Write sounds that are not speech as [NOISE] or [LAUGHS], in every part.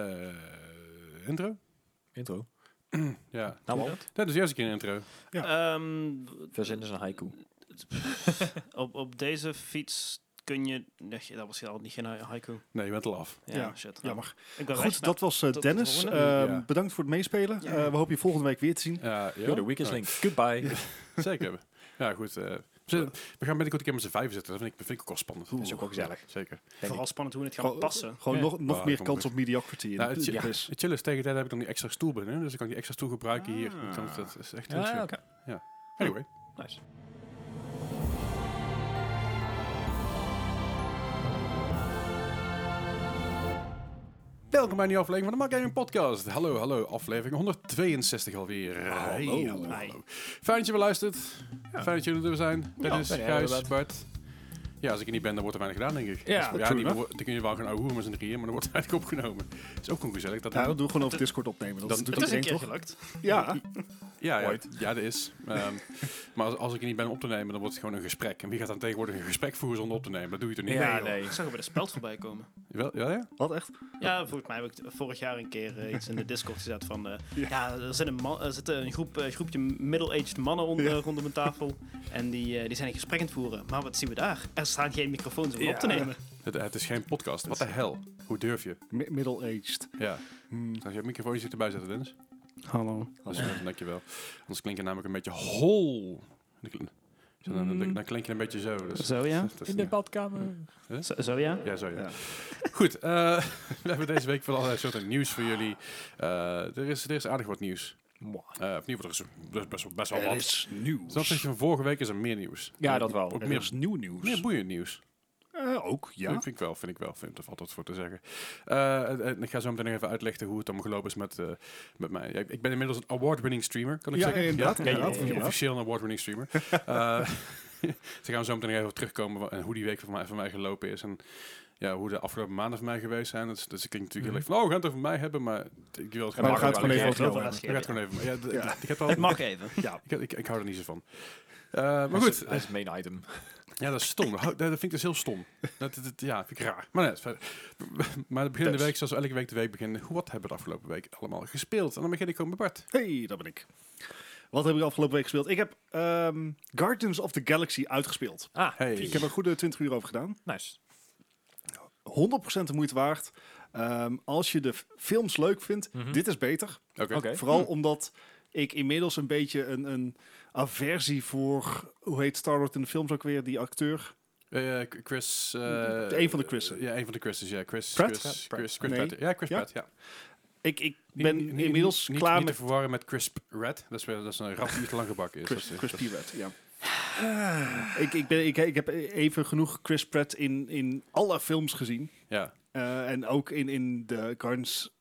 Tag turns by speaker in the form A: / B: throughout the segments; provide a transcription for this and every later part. A: Eh, intro?
B: Intro.
A: Ja.
B: Nou,
C: Doe
B: wel.
C: dat?
A: Dat is juist een keer een intro.
C: Ehm,
B: Verzinnen is een haiku.
C: op, op deze fiets kun je... Nee, dat was al niet geen haiku.
A: Nee, je bent al af.
C: Ja,
D: Ja,
C: shit.
D: Jammer.
C: Ik ben weg,
D: Goed, dat was eh,
C: tot de
D: Dennis.
C: volgende.
D: Eh,
A: Ja.
D: Bedankt voor het meespelen.
C: Ja.
D: Eh, we hopen je volgende week weer te zien.
A: Ja, ja.
B: You're the weakest
A: Nou,
B: link. Goodbye.
A: [LAUGHS] Zeker hebben. Ja, goed. eh, we zullen- we gaan binnenkort een keer met z'n vijven zitten. Dat vind ik, vind ik ook wel spannend.
D: Oeh.
A: Dat is ook wel gezellig. Zeker.
C: Vooral spannend hoe het gaat passen.
D: Gewoon
A: Ja.
D: nog, nog
A: Ah,
D: meer
A: kom
D: kans
A: goed.
D: op mediocrity. in
A: Nou,
D: het
A: het-
D: quiz.
B: ja.
A: Het chillen is tegen de tijd heb ik dan die extra stoel binnen. Dus ik kan die extra stoel gebruiken hier.
B: Ah.
A: Dat, dat is echt
B: [LAUGHS]
A: heel
B: Ja,
A: chill.
B: oké.
A: Anyway.
B: Nice.
A: Welkom bij een nieuwe aflevering van de Mark Gaming Podcast. Hallo, hallo, aflevering 162 alweer. Hey, hallo,
C: Hi.
A: hallo. Fijn dat je weer luistert. Fijn dat jullie er zijn. Dennis,
B: ben jij
A: Gijs,
B: inderdaad.
A: Bart. Ja, als ik er niet ben, dan wordt er weinig gedaan, denk ik.
B: Ja,
A: ja
B: true
A: die-
B: enough.
A: dan kun je wel gaan ouwe hoeren met z'n drieën, maar dan wordt het eigenlijk opgenomen. is ook gewoon gezellig. Dat
D: Ja, dat doen we gewoon over Discord opnemen. Dat,
A: Dat-
D: doet
C: Het is een
D: iedereen
C: keer
D: toch?
C: gelukt.
D: Ja.
A: Ja, ja,
B: Ooit.
A: ja, dat is. Ehm, [LAUGHS] maar als, als ik er niet ben op te nemen, dan wordt het gewoon een gesprek. En wie gaat dan tegenwoordig een gesprek voeren zonder op te nemen? Dat doe je toch niet?
B: Ja,
C: joh.
B: nee.
C: Ik zag er bij de speld voorbij komen.
A: Wel, ja, ja?
D: Wat echt?
C: Ja, volgens mij heb ik t- vorig jaar een keer eh, iets in de Discord gezet van... eh, ja. er zit een, man, er zit een groep, eh, groepje middle-aged mannen onder, rondom een tafel. En die, eh, die zijn een gesprek aan het voeren. Maar wat zien we daar? Er staan geen microfoons om
B: Ja.
C: op te nemen.
A: Het, het is geen podcast. Wat de hel? Hoe durf je?
D: Mi- Middle-aged.
A: Ja.
D: Hmm.
A: Als je het microfoon zit erbij zetten, Dennis.
C: Hallo.
A: Dat is goed, [LAUGHS] dankjewel. Anders klink je namelijk een beetje hol. Dan kl- zo, Dan, dan, dan klink je een beetje zo. Dus,
C: Zo ja?
A: dat is
B: In de
A: niet-
B: badkamer.
C: Zo, zo ja?
A: ja, zo ja.
D: Ja.
A: Goed, eh, [LAUGHS] we hebben deze week van allerlei soorten nieuws voor jullie. Eh, er, is, er is aardig wat nieuws. Eh of in ieder geval, er is best, best, best wel
D: Er
A: wat.
D: is nieuws.
A: Dus dat van vorige week is er meer nieuws.
B: Ja, dat wel.
A: Ook
D: Er
A: meer,
D: is nieuw
A: meer
D: nieuws.
A: boeiend nieuws.
D: Eh, ook, ja.
A: Vind ik wel, vind ik wel. Vind, er valt wat voor te zeggen. Eh, en- en ik ga zo meteen nog even uitleggen hoe het allemaal gelopen is met, eh, met mij. Ja, ik- ik ben inmiddels een award-winning streamer, kan ik
D: Ja,
A: zeggen.
D: inderdaad,
A: Ja,
D: inderdaad,
A: ja,
D: inderdaad.
A: Officieel een award-winning
D: [LAUGHS]
A: streamer. Eh [LAUGHS] dus daar gaan we zo meteen nog even op terugkomen wa- en hoe die week van mij, van mij gelopen is. En ja, hoe de afgelopen maanden van mij geweest zijn. Dus, dus ik klink natuurlijk heel erg van, oh, we gaan het over mij hebben, maar t- ik wil het
D: Mhm. Maar
A: gewoon
D: we gaan het
A: wel-
D: gewoon even
A: ik-
D: over
A: we gaan het gewoon even. Ja, d-
D: Ja.
A: Ik, ik, heb al,
C: Het mag even.
D: Ja.
A: ik, ik, ik hou er niet zo van. Eh, maar goed,
B: Dat is het main item.
A: ja, dat is stom. Dat hou- dat vind ik dus heel stom. Dat, dat- dat- ja, vind ik raar. Maar nee, dat is verder. [LAUGHS] maar het begin van de
D: Dus.
A: week, zoals we elke week de week beginnen, hoe- wat hebben we de afgelopen week allemaal gespeeld? En dan begin ik gewoon met Bart.
D: Hey, dat ben ik. Wat heb ik afgelopen week gespeeld? Ik heb ehm, Guardians of the Galaxy uitgespeeld.
B: Ah,
A: Hey.
D: Ik heb er een goede 20 uur over gedaan.
B: nice.
D: 100% de moeite waard. Ehm, als je de f- films leuk vindt,
B: Mhm.
D: dit is beter.
A: Oké. Hm.
B: Oké.
D: Vooral omdat ik inmiddels een beetje een, een aversie voor, hoe heet Star-Lord in de films ook weer, die acteur?
A: Eh, K- Chris... eh,
D: Eén van de Chris'en.
A: Ja, een van de Chris'en, ja. Chris,
D: Pratt?
A: Chris,
B: Ja,
A: Chris,
B: Pratt.
A: Chris,
D: Nee.
A: Pratt. Ja, Chris
D: Ja?
A: Pratt, ja.
D: Ik, ik
A: Niet-
D: ben
A: niet- niet-
D: inmiddels
A: niet-
D: klaar
A: niet
D: met
A: te verwarren met Crisp Red. Dat is, weer- dat is een rap die te lang gebakken is.
D: Chris,
A: Dat is-
D: Chris
A: dat is-
D: Pratt, ja. ik, ik, ben, ik, ik heb even genoeg Chris Pratt in, in alle films gezien.
A: Ja,
D: Eh, en ook in, in de Guardians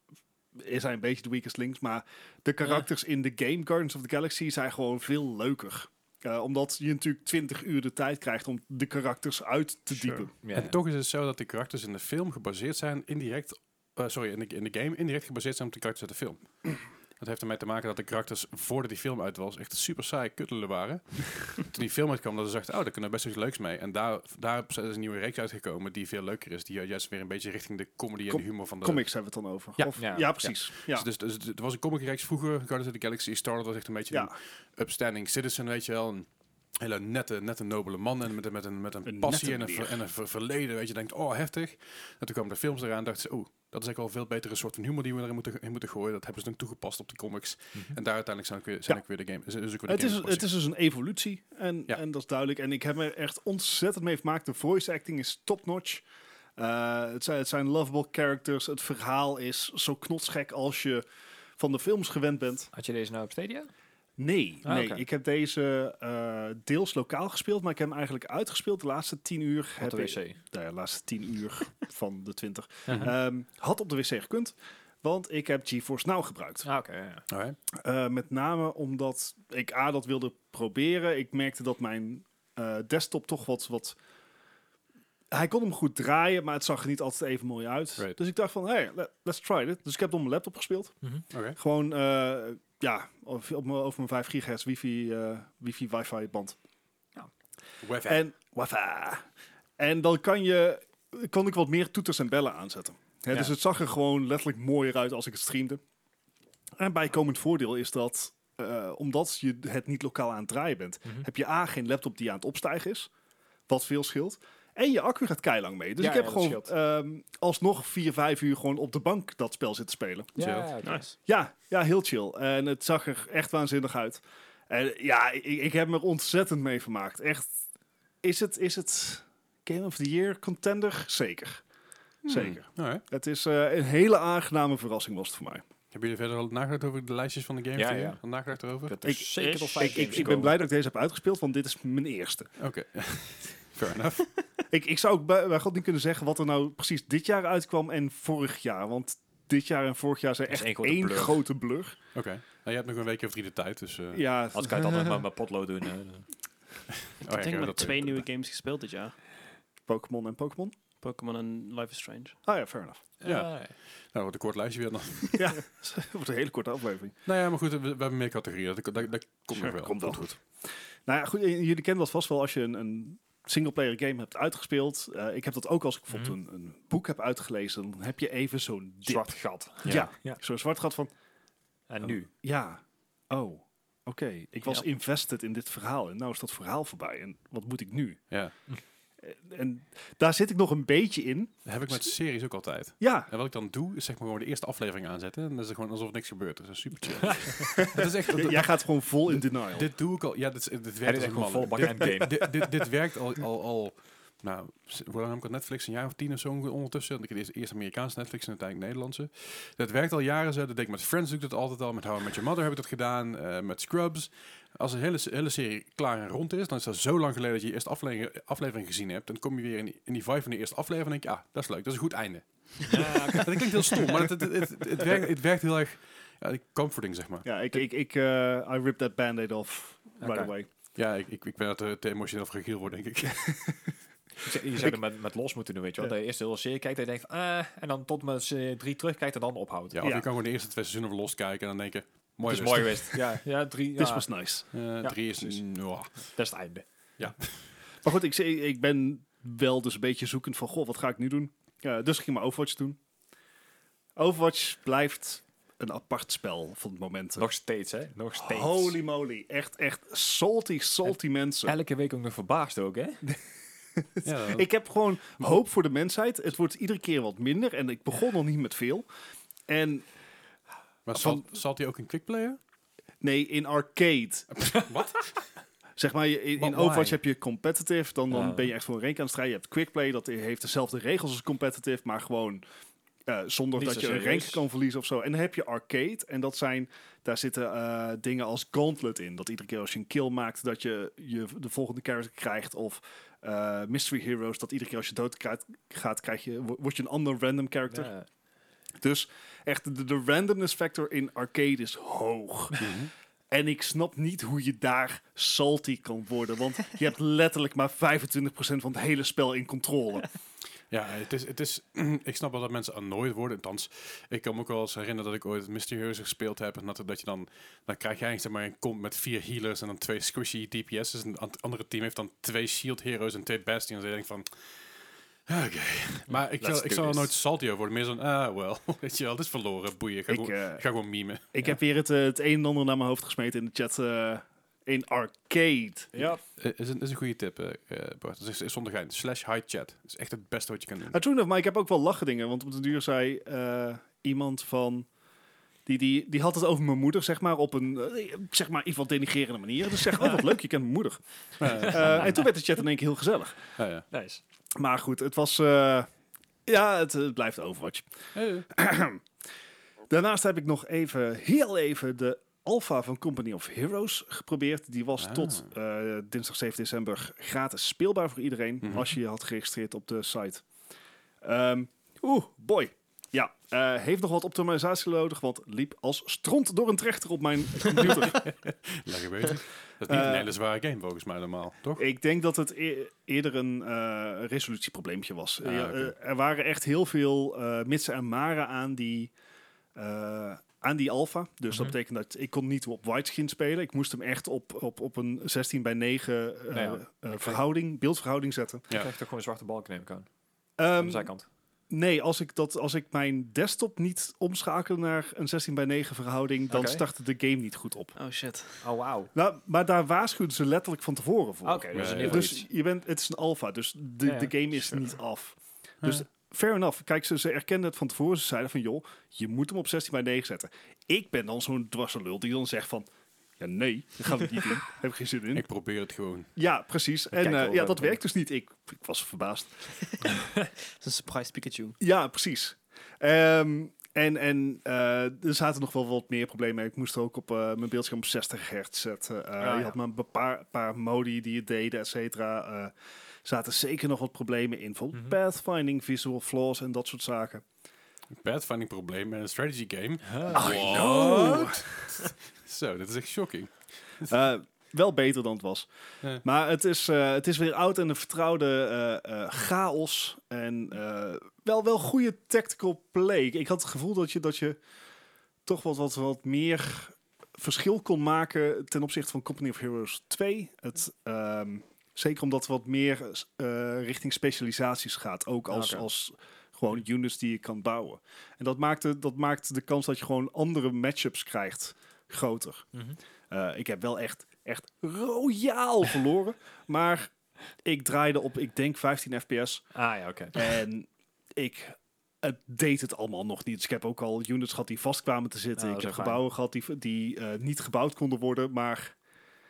D: is hij een beetje de weakest links. Maar de karakters in de game Guardians of the Galaxy zijn gewoon veel leuker. Eh, omdat je natuurlijk 20 uur de tijd krijgt om de karakters uit te
A: Sure.
D: diepen.
B: Ja.
A: En toch is het zo dat de karakters in de film gebaseerd zijn indirect, eh, sorry, in de, in de game indirect gebaseerd zijn op de karakters uit de film. Dat heeft ermee te maken dat de karakters voordat die film uit was echt super saai kuttelen waren. Toen die film uitkwam, dat ze dachten, oh, daar kunnen we best iets leuks mee. En daar, daar is een nieuwe reeks uitgekomen die veel leuker is. Die juist weer een beetje richting de comedy en
D: Com-
A: de humor van de...
D: Comics hebben we het dan over.
A: Ja.
D: Of-
B: Ja.
D: precies. Ja.
A: Dus, dus, dus er was een comicreeks vroeger, Guardians of the Galaxy. Star-Lord was echt een beetje
D: Ja.
A: een upstanding citizen, weet je wel. Een hele nette, nette nobele man en met, een- met een, met een,
D: Een
A: passie
D: nette
A: en een, ver-
D: meneer.
A: en een ver- verleden, weet je. Denkt, oh, heftig. En toen kwamen de films eraan en dachten ze, oh, dat is eigenlijk al een veel betere soort van humor die we erin moeten, in moeten gooien. Dat hebben ze dan toegepast op de comics. En daar uiteindelijk zijn ook weer, zijn
D: Mhm. Ja.
A: ook weer de game. Is, is ook weer de
D: Het is,
A: game
D: het is dus een evolutie en,
A: Ja.
D: en dat is duidelijk. En ik heb er echt ontzettend mee gemaakt. De voice acting is top-notch. Eh, het, zijn, het zijn lovable characters. Het verhaal is zo knotsgek als je van de films gewend bent.
B: Had je deze nou op Stadia?
D: Nee,
B: Ah,
D: nee.
B: oké.
D: ik heb deze eh, deels lokaal gespeeld, maar ik heb hem eigenlijk uitgespeeld de laatste tien uur.
B: Op
D: heb
B: de
D: ik-
B: wc.
D: nou ja, de laatste tien uur
B: [LAUGHS]
D: van de twintig.
B: Mhm.
D: Ehm, had op de wc gekund, want ik heb GeForce Now gebruikt.
B: Ah, oké. ja, ja.
A: Alright.
D: Eh, met name omdat ik A, dat wilde proberen. Ik merkte dat mijn eh, desktop toch wat, wat... Hij kon hem goed draaien, maar het zag er niet altijd even mooi uit.
A: Right.
D: Dus ik dacht van, hey, let- let's try it. Dus ik heb het op mijn laptop gespeeld.
A: Oké.
D: Gewoon, eh, ja, op, op mijn, over mijn 5 gigahertz wifi, eh wifi, wifi band.
A: Wef.
D: En, wafa. En dan kan je, kon ik wat meer toeters en bellen aanzetten. Hè,
C: Ja.
D: Dus het zag er gewoon letterlijk mooier uit als ik het streamde. En bijkomend voordeel is dat, eh, omdat je het niet lokaal aan het draaien bent,
B: Mhm.
D: heb je A, geen laptop die aan het opstijgen is, wat veel scheelt. En je accu gaat keilang mee. Dus
B: Ja,
D: ik heb
B: ja, dat
D: gewoon ehm, alsnog vier, vijf uur gewoon op de bank dat spel zitten spelen.
B: Ja, oké.
C: Nice.
D: Ja, ja, heel chill. En het zag er echt waanzinnig uit. En ja, ik, ik heb me er ontzettend mee vermaakt. Echt, is het, is het Game of the Year contender? Zeker. Zeker.
A: Hmm. Alright.
D: Het is eh, een hele aangename verragening was het voor mij.
A: Hebben jullie verder al nagedacht over de lijstjes van de games?
B: Ja,
A: die-
B: ja.
A: al Nagedacht erover?
B: Dat
D: Ik-
B: is zeker
C: ik-
B: nog vijf
D: Ik, ik,
B: games
D: ik ben
B: gekomen.
D: blij dat ik deze heb uitgespeeld, want dit is mijn
B: [LAUGHS]
D: eerste.
A: Oké. [LAUGHS] Fair enough.
D: ik, ik zou ook bij, bij God niet kunnen zeggen wat er nou precies dit jaar uitkwam en vorig jaar. Want dit jaar en vorig jaar zijn
B: Dat is
D: echt
B: één
D: één,
B: grote blur.
D: grote blur.
A: Oké. Nou, je hebt nog een week of drie de tijd, dus... eh,
D: Ja,
B: Als kan ik het altijd met mijn potlood doen. [LAUGHS] hè.
A: oh ja,
C: Ik denk
A: ja,
C: maar
A: dat-
C: twee nieuwe games gespeeld dit jaar.
D: Pokémon en Pokémon.
C: Pokémon en Life is Strange.
D: Ah ja,
B: [LAUGHS]
D: fair enough.
A: Ja.
B: Ah,
A: Nou, wat een kort lijstje weer dan.
D: ja, [LAUGHS] dat wordt een hele korte aflevering.
A: nou ja, maar goed, we, we hebben meer categorieën. Dat, dat, dat komt
D: Sure,
A: nog wel.
D: komt wel.
A: goed.
D: Nou ja, goed, j- jullie kennen dat vast wel als je een, een singleplayer game hebt uitgespeeld. Eh, ik heb dat ook als ik bijvoorbeeld een, een boek heb uitgelezen. Dan heb je even zo'n dip.
B: Mhm. Zwart gat.
D: Ja.
B: ja.
D: Zo'n zwart gat van,
B: En nu?
D: ja, oh, oké. Ik was
C: Ja.
D: invested in dit verhaal en nou is dat verhaal voorbij. En wat moet ik nu?
A: Ja.
D: En, en daar zit ik nog een beetje in.
A: Dat heb ik met series ook altijd.
D: Ja,
A: En wat ik dan doe, is zeg maar gewoon de eerste aflevering aanzetten. En dan is het gewoon alsof niks gebeurt. Dat is super chill.
D: [LAUGHS]
A: dat is echt...
D: J- jij gaat gewoon vol in denial.
A: Dit doe ik al. Ja, dit, is- dit
B: Hij
A: werkt als
B: is echt
A: een
B: gewoon
A: man.
B: vol bak
A: Dit-
B: endgame.
A: dit, dit, dit werkt al, al, al nou, s- hoe lang heb ik al Netflix? Een jaar of tien of zo onge- ondertussen. Want ik heb eerst- eerst Amerikaanse Netflix en uiteindelijk Nederlandse. Dat werkt al jaren zo. Dat denk ik met Friends doe ik dat altijd al. Met How I Met Your Mother heb ik dat gedaan. eh, met Scrubs. Als een hele, s- hele serie klaar en rond is, dan is dat zo lang geleden dat je je eerste aflevering, aflevering gezien hebt. Dan kom je weer in die, in die vibe van de eerste aflevering en denk je, ah, dat is leuk. Dat is een goed einde.
B: [LAUGHS]
A: dat klinkt heel stom, maar het, het, het, het, het werkt, het werkt heel erg ja, comforting, zeg maar.
D: Ja, ik, ik, ik eh, I ripped that band-aid off right
A: Oké.
D: away.
A: Ja, ik, ik, ik ben er te, te emotioneel fragiel voor, denk ik.
B: Je zou er met, met los moeten doen, weet je wel.
D: Ja.
B: De eerste hele serie kijkt en je denkt van, eh, en dan tot met z'n drie terugkijkt en dan ophoudt.
A: Ja, of
D: Ja.
A: je kan gewoon de eerste twee seizoenen van Lost kijken en dan denken,
B: dat
A: mooi
B: is
A: rust.
B: mooi geweest. Ja, ja drie,
D: This
B: ja, Mm,
D: was nice.
A: Eh,
B: Ja,
A: drie is...
B: precies.
A: nou,
B: dat is het einde.
D: Maar goed, ik, zei- ik ben wel dus een beetje zoekend van, goh, wat ga ik nu doen? Ja, dus ik ging maar Overwatch doen. Overwatch blijft een apart spel van het moment.
B: Nog steeds, hè? Nog steeds.
D: Holy moly, echt, echt salty, salty mensen.
B: Elke week ook nog verbaasd ook, hè?
A: ja, dan-
D: Ik heb gewoon hoop voor de mensheid. Het wordt iedere keer wat minder en ik begon nog niet met veel. En
A: maar zat, zat hij ook in
B: [LAUGHS]
A: quickplayer?
D: nee, in arcade.
A: Wat?
D: Zeg maar, je- in,
A: But
D: in
A: why?
D: Overwatch heb je competitive, dan, dan
B: Ja.
D: ben je echt voor een rank aan het strijden. Je hebt quickplay, dat heeft dezelfde regels als competitive, maar gewoon eh, zonder
B: Niet
D: dat
B: zo
D: je een rank
B: serieus.
D: kan verliezen of zo. En dan heb je arcade, en dat zijn, daar zitten eh, dingen als gauntlet in. Dat iedere keer als je een kill maakt, dat je, je de volgende character krijgt. Of eh, mystery heroes, dat iedere keer als je dood krijgt- gaat, krijg je, wo- word je een ander random character.
B: Ja.
D: Dus echt, de, de randomness factor in arcade is hoog.
A: Mhm.
D: En ik snap niet hoe je daar salty kan worden. Want je hebt letterlijk maar 25% van het hele spel in controle.
A: Ja, het is, het is, [CLEARS THROAT] ik snap wel dat mensen annoyed worden. Althans, ik kan me ook wel eens herinneren dat ik ooit Mysterieus gespeeld heb. En dat, dat je dan, dan krijg jij zeg maar een comp met vier healers en dan twee squishy DPS's. En het an- andere team heeft dan twee shield heroes en twee bastions. En je denkt van, oké. Maar ik,
B: Let's
A: zal, ik
B: do
A: zal er
B: this.
A: nooit salty over worden. Meer zo'n, ah, well, weet je wel, [LAUGHS] het is verloren, boeien. Ik ga,
D: Ik,
A: gewoon,
D: eh,
A: ik ga gewoon memen.
D: ik heb weer het, eh, het een en ander naar mijn hoofd gesmeten in de chat. eh, in arcade.
B: Ja.
A: Eh, Is een, is een goede tip, eh, eh, Bart. Dat is, is zonder gein. Slash high chat. is echt het beste wat je kan doen.
D: Ah, true enough, maar ik heb ook wel lachen dingen. Want op de duur zei eh, iemand van... Die, die, die had het over mijn moeder, zeg maar, op een, eh, zeg maar, iets wat denigerende manier. Dus zeg, oh wat leuk, je kent mijn moeder.
A: Eh,
D: Eh, en toen werd de chat in één keer heel gezellig.
A: ah, ja.
B: Nice.
D: Maar goed, het was... eh, ja, het, het blijft Overwatch. Daarnaast heb ik nog even, heel even, de alpha van Company of Heroes geprobeerd. Die was
A: Ah.
D: tot eh, dinsdag 7 december gratis speelbaar voor iedereen.
A: Mhm.
D: Als je je had geregistreerd op de site. Ehm, Oeh, boy. Ja, eh, heeft nog wat optimalisatie nodig, want liep als stront door een trechter op mijn
A: [LAUGHS]
D: computer.
A: Lekker weten.
D: [LAUGHS]
A: Dat is niet een
D: Eh,
A: hele zware game volgens mij normaal, toch?
D: ik denk dat het e- eerder een eh, resolutieprobleempje was.
A: Ah,
D: Ja,
A: oké.
D: eh, er waren echt heel veel eh mitsen en maren aan die, eh, aan die alpha. Dus dat
B: Mhm.
D: betekent dat ik kon niet op widescreen spelen. Ik moest hem echt op, op, op een 16 bij 9 eh,
B: Nee, Nou ja.
D: eh, verhouding, beeldverhouding zetten.
A: Ja.
B: Je krijgt toch gewoon een zwarte balk, neem ik aan. aan
D: Ehm,
B: de zijkant.
D: Nee, als ik, dat, als ik mijn desktop niet omschakel naar een 16 bij 9 verhouding, dan
B: Oké.
D: startte de game niet goed op.
C: Oh shit.
B: Oh, wauw.
D: Nou, maar daar waarschuwden ze letterlijk van tevoren voor.
B: Oké, dus in
A: Nee,
B: ieder geval
D: Dus
B: iets.
D: je bent, het is een alfa, dus de,
B: Ja, ja.
D: de game is
A: Sure.
D: niet af.
A: Ja.
D: Dus fair enough. Kijk, ze, ze erkenden het van tevoren. Ze zeiden van, joh, je moet hem op 16 bij 9 zetten. Ik ben dan zo'n dwarse lul die dan zegt van, ja nee, dat gaan we niet
B: [LAUGHS]
D: doen. Heb ik geen zin in.
A: Ik probeer het gewoon.
D: ja, precies. En
B: kijken
D: eh,
B: wel
D: ja,
B: wat
D: dat
B: we
D: werkt dus niet. Ik, ik was verbaasd.
C: Het is een surprise Pikachu.
D: Ja, precies. Ehm, en en eh, er zaten nog wel wat meer problemen. mee. Ik moest er ook op eh, mijn beeldscherm op 60 hertz zetten. Eh,
B: Ah, ja.
D: Je had maar een paar, paar modi die het deden, et cetera. Eh, zaten zeker nog wat problemen in. Bijvoorbeeld
B: Mhm.
D: pathfinding, visual flaws en dat soort zaken.
A: Pathfinding probleem en een strategy game.
D: I
B: Ah.
D: know.
A: Zo, dat is echt shocking.
D: Eh, wel beter dan het was.
A: Ja.
D: Maar het is, eh, het is weer oud en een vertrouwde eh, eh, chaos. En eh, wel, wel goede tactical play. Ik had het gevoel dat je, dat je toch wat, wat, wat meer verschil kon maken ten opzichte van Company of Heroes 2. Het, ehm, zeker omdat het wat meer eh, richting specialisaties gaat. Ook als,
B: Oké.
D: als gewoon units die je kan bouwen. En dat maakt, dat maakt de kans dat je gewoon andere matchups krijgt groter.
B: Mhm.
D: Eh, ik heb wel echt, echt royaal verloren. [LAUGHS] maar ik draaide op, ik denk 15 fps.
B: Ah ja, oké. [LAUGHS]
D: En ik het deed het allemaal nog niet. Dus ik heb ook al units gehad die vast kwamen te zitten.
B: Nou, dat
D: ik heb
B: is ook
D: gebouwen gehad die, die eh, niet gebouwd konden worden. Maar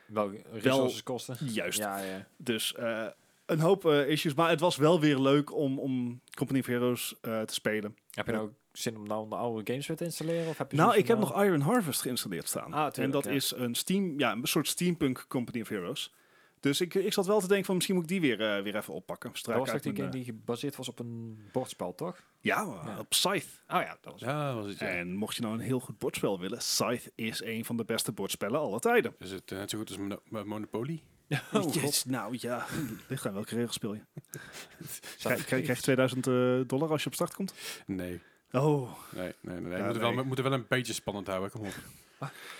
B: Wel, resources kosten.
D: juist.
B: Ja, ja.
D: Dus eh, een hoop eh, issues. Maar het was wel weer leuk om, om Company of Heroes eh, te spelen.
B: Heb je nou zin om nou de oude games weer te installeren? Of heb je
D: Nou,
B: zoiets
D: ik
B: van,
D: heb nog Iron Harvest geïnstalleerd staan.
B: Ah, tuurlijk,
D: en dat
B: ja.
D: is een, steam, ja, een soort steampunk Company of Heroes. Dus ik, ik zat wel te denken van misschien moet ik die weer, eh, weer even oppakken.
B: Dat
D: Struik
B: was toch
D: uit
B: die game
D: mijn,
B: die gebaseerd was op een bordspel, toch?
D: eh, Ja, maar
B: Ja.
D: op Scythe.
B: Oh ja, dat was
A: Ja, was het. Ja.
D: En mocht je nou een heel goed bordspel willen, Scythe is een van de beste bordspellen alle tijden.
A: Is het eh, net zo goed als Mono- Mo- Monopoly?
B: [LAUGHS] Oh,
D: Yes, nou
B: [LAUGHS]
D: ja, ligt aan welke regels speel je.
B: Zou-
D: Krijg, krijg, krijg
B: [LAUGHS]
D: je 2000 eh, dollar als je op start komt?
A: Nee.
D: Oh,
A: Nee, nee, nee. nee.
D: Ja,
A: we, moeten wel,
D: nee. Ah.
A: we moeten wel een beetje spannend houden. Kom op.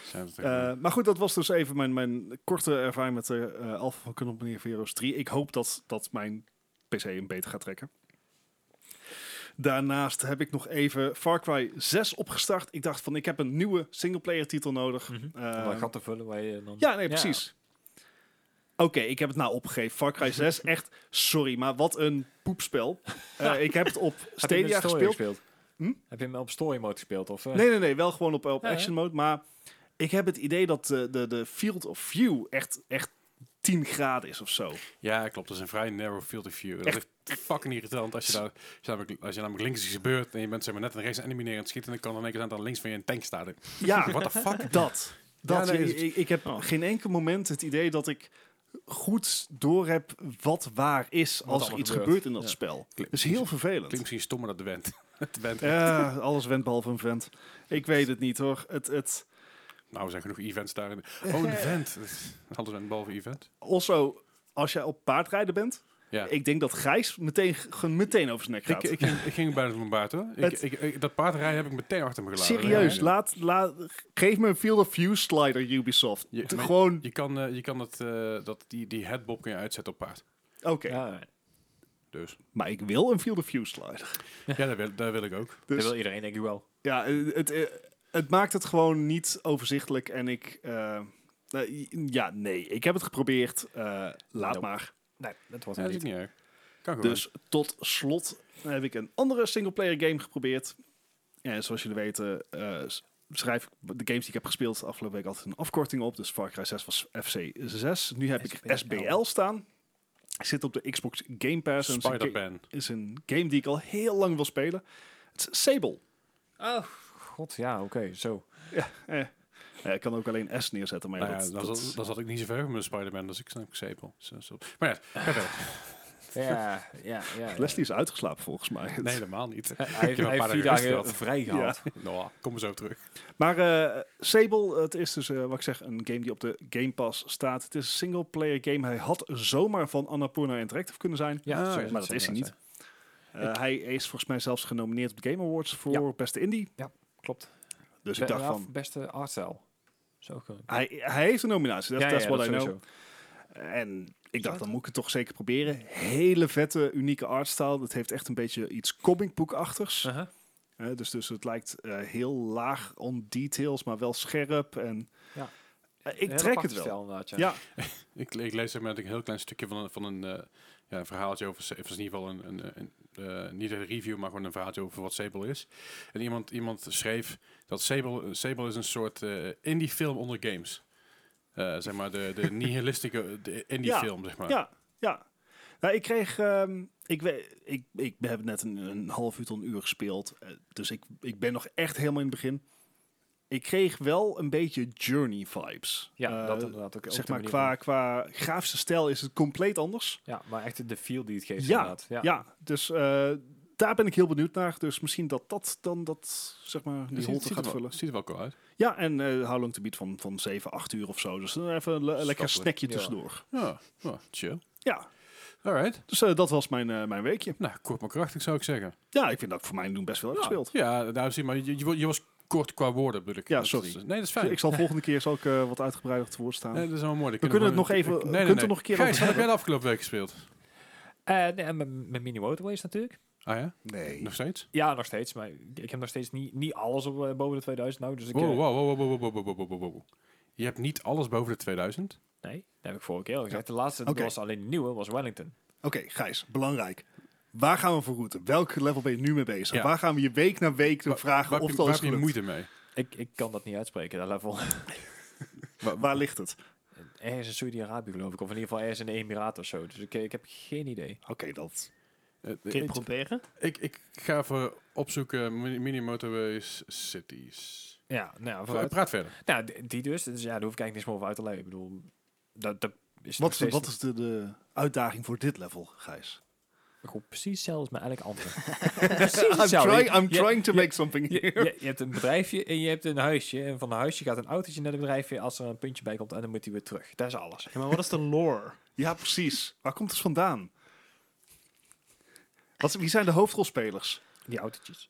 A: Zijn we het echt
D: Eh, maar goed, dat was dus even mijn, mijn korte ervaring met de eh Alpha van Company of Heroes 3. Ik hoop dat, dat mijn PC hem beter gaat trekken. Daarnaast heb ik nog even Far Cry 6 opgestart. Ik dacht van, ik heb een nieuwe singleplayer titel nodig.
B: Om dat
D: Eh,
B: gat te vullen waar je dan...
D: ja, nee, precies. Oké, ik heb het nou opgegeven. Far Cry 6, echt, sorry, maar wat een poepspel. Eh, ik heb het op
B: Heb je hem in
D: Stadia
B: story
D: gespeeld. Hm?
B: Heb je hem op story mode gespeeld? Of, eh?
D: Nee, nee, nee, wel gewoon op, op
B: Ja, ja.
D: action mode. Maar ik heb het idee dat de, de, de field of view echt, echt 10 graden is of zo.
A: Ja, klopt. Dat is een vrij narrow field of view. Dat
D: Echt.
A: is fucking irritant als je, daar, als, je namelijk, als je namelijk links is gebeurd en je bent zeg maar, net naar rechts aan het animeren en het schieten, dan kan er in één keer aan dat links van je een tank staan.
D: [LAUGHS] Ja,
A: Ah, What the fuck?
D: dat. dat
A: Ja, nee,
D: ik- ik, ik heb
C: Oh.
D: geen enkel moment het idee dat ik goed door heb wat waar is als er
B: allemaal
D: iets
B: gebeurt.
D: gebeurt in dat
B: Ja.
D: spel. Dat
A: Klinkt
D: is heel
A: Klinkt
D: vervelend.
A: misschien stommer dat de went. [LAUGHS] Het went.
D: Ja, alles went behalve een vent. Ik weet het niet hoor. Het, het...
A: Nou, er zijn genoeg events daarin. Oh, een event. Alles went behalve event.
D: Also, als jij op paardrijden bent,
A: Ja.
D: ik denk dat Gijs meteen, gewoon meteen over zijn nek
A: Ik,
D: gaat.
A: ik, ging, ik ging bijna van baard hoor. Ik,
D: Het-
A: ik, ik- dat paardrijden heb ik meteen achter me gelaten.
D: Serieus,
A: Ja.
D: laat, laat, geef me een Field of View slider, Ubisoft.
A: Je-
D: Te-
A: maar-
D: gewoon,
A: Je kan, eh, je kan dat, eh, dat, die, die headbob kun je uitzetten op paard.
D: oké.
B: Ja, dat
A: Dus.
D: Maar ik wil een Field of View slider.
A: Ja, dat wil, dat wil ik ook.
D: Dus
B: wil iedereen denk ik wel.
D: ja, eh, het, eh, het maakt het gewoon niet overzichtelijk. En ik, eh, eh, ja, nee, ik heb het geprobeerd. eh, laat
B: Nope.
D: maar.
B: Nee, dat was
A: Ja,
B: het
A: dat is ook
B: niet.
A: niet erg. Kan gewoon.
D: Dus tot slot heb ik een andere singleplayer game geprobeerd. En zoals jullie weten eh, s- schrijf ik de games die ik heb gespeeld de afgelopen week altijd een afkorting op. Dus Far Cry 6 was FC6. Nu heb ik
B: SBL.
D: SBL staan. Ik zit op de Xbox Game Pass. en het is een ga-
A: Spider-Man.
D: is een game die ik al heel lang wil spelen. Het is Sable.
B: Oh, god, ja, oké, zo.
D: Eh, eh, ik kan ook alleen S neerzetten, maar ja,
A: Nou ja,
D: dat,
A: dan,
D: dat-
A: zat, dan zat ik niet zo ver met Spider-Man, dus ik snap ik sepel. Zo- zo. Maar ja, ga verder.
B: Ja, ja, ja. ja.
D: [LAUGHS] Leslie is uitgeslapen volgens mij.
A: nee, helemaal niet.
B: Hij heeft,
A: heb
B: hij heeft
A: een
B: vier
A: paar dagen
B: dagen
A: rust
B: vrij gehad.
A: [LAUGHS] Nou, kom eens zo terug.
D: Maar eh, Sable, het is dus eh, wat ik zeg, een game die op de Game Pass staat. Het is een single-player game. Hij had zomaar van Annapurna Interactive kunnen zijn,
B: Ja,
A: Ah,
B: zo
A: ja,
B: het
D: maar dat is hij niet.
B: inderdaad,
D: Eh, hij is volgens mij zelfs genomineerd op de Game Awards voor beste indie.
B: ja. Klopt.
D: Dus ik dacht
B: Ja,
D: van,
B: Beste artstijl. Zo kunnen.
D: hij, hij heeft een nominatie. Dat is what I know.
B: sowieso.
D: En ik dacht, dan moet ik het toch zeker proberen. Hele vette, unieke artstyle. Dat heeft echt een beetje iets comicboekachtigs.
B: Uh-huh.
D: Hè, dus, dus het lijkt eh, heel laag on details, maar wel scherp. En,
B: Ja.
D: Eh,
B: Een
D: ik
B: heel
D: trek
B: apart
D: het wel.
B: stijl inderdaad, ja.
D: Ja.
A: Ik, ik lees zeg maar een heel klein stukje van een, van een, eh, ja, een verhaaltje over, Sa- of in ieder geval een, een, een, eh, niet een review, maar gewoon een verhaaltje over wat Sable is. En iemand, iemand schreef dat Sable, Sable is een soort eh, indie film onder games. Eh, zeg maar de,
D: [LAUGHS]
A: de nihilistische de indie
D: Ja,
A: film, zeg maar.
D: Ja, ja. Nou, ik kreeg. ehm, ik, we- ik, ik heb net een, een half uur tot een uur gespeeld. eh, Dus ik, ik ben nog echt helemaal in het begin. Ik kreeg wel een beetje journey vibes.
B: Ja,
D: Eh,
B: dat inderdaad ook. ook
D: zeg
B: de
D: maar,
B: manier
D: qua, qua grafische stijl is het compleet anders.
B: van- Ja, maar echt de feel die het geeft
D: Ja,
B: inderdaad.
D: Ja, dus eh, daar ben ik heel benieuwd naar. Dus misschien dat dat dan dat, zeg maar,
A: Het
D: die
A: ziet, het
D: holte
A: ziet
D: gaat
A: er wel,
D: vullen.
A: het ziet er wel cool uit.
D: Ja, en eh How Long to Beat van, van 7, 8 uur of zo. Dus dan even een le-
A: Schappelijk.
D: lekker snackje
B: Ja.
D: tussendoor.
A: Ja, ja, chill.
D: Ja,
A: Alright.
D: dus eh, dat was mijn, eh, mijn weekje.
A: Nou, kort maar krachtig zou ik zeggen.
D: Ja, ik vind dat ik voor mij doen best wel heb gespeeld.
A: Ja, nou, zie maar, je, je, je was kort qua woorden, bedoel ik.
D: Ja,
A: Dat is-
D: sorry.
A: nee, dat is
D: Dus
A: fijn.
D: ik zal volgende keer zal ik, eh, wat uitgebreider te woord staan.
A: Nee, dat is wel mooi.
D: we kunnen het nog even...
A: Nee,
D: kunt
A: nee,
D: er
A: nee.
D: nog een keer
A: Gijs,
D: over
A: heb jij
D: hebben?
A: de afgelopen week gespeeld?
B: Eh, nee, en mijn mijn mini motorways natuurlijk.
A: Ah ja?
D: Nee.
A: Nog steeds?
B: Ja, nog steeds. Maar ik ik heb nog steeds niet, niet alles op, eh, boven de 2000 nou. Dus ik,
A: Wow,
B: eh,
A: wow, wow, wow, wow, wow, wow, wow, wow, wow, wow. Je hebt niet alles boven de 2000.
B: Nee, dat heb ik vorige keer al gezegd. De laatste
D: Oké.
B: dat was alleen de nieuwe, was Wellington.
D: Oké, Gijs, belangrijk. Waar gaan we voor route? Welk level ben je nu mee bezig?
A: Ja.
D: Waar gaan we je week na week
A: Waar-
D: de vragen
A: waar heb
D: of
A: je-
D: dat
A: waar
D: is
A: heb je
D: gelukt?
A: moeite mee?
B: Ik, ik kan dat niet uitspreken, dat level.
D: Waar ligt het?
B: ergens in Saudi-Arabië geloof ik. Of in ieder geval ergens in de Emiraten of zo. Dus ik, ik heb geen idee.
D: Oké, dat...
A: Eh,
C: Kun je het
A: ik-
C: proberen?
A: ik, ik ga even opzoeken mini Mini Motorways Cities.
B: Ja, nou,
A: Pra-
B: vooruit.
A: Praat verder.
B: nou d- die dus. Dus ja, daar hoef ik eigenlijk niks meer over uit te leggen. Ik bedoel, dat, dat is nog
D: Wat, is-
B: steeds
D: wat is de, de uitdaging voor dit level,
A: [LAUGHS]
D: Gijs?
B: Goed, precies hetzelfde als met elk [LAUGHS] ander. precies
D: I'm,
B: hetzelfde.
D: trying, I'm
B: Je-
D: trying to
B: je-
D: make something
B: Je,
D: here.
B: je, je hebt een bedrijfje en je hebt een huisje. En van een huisje gaat een autootje naar het bedrijfje. Als er een puntje bij komt, en dan moet hij weer terug. Dat is alles.
C: Ja, maar wat is de lore?
D: Ja, precies. Waar komt het vandaan? Wat, wie zijn de hoofdrolspelers? [LAUGHS]
B: Die autootjes.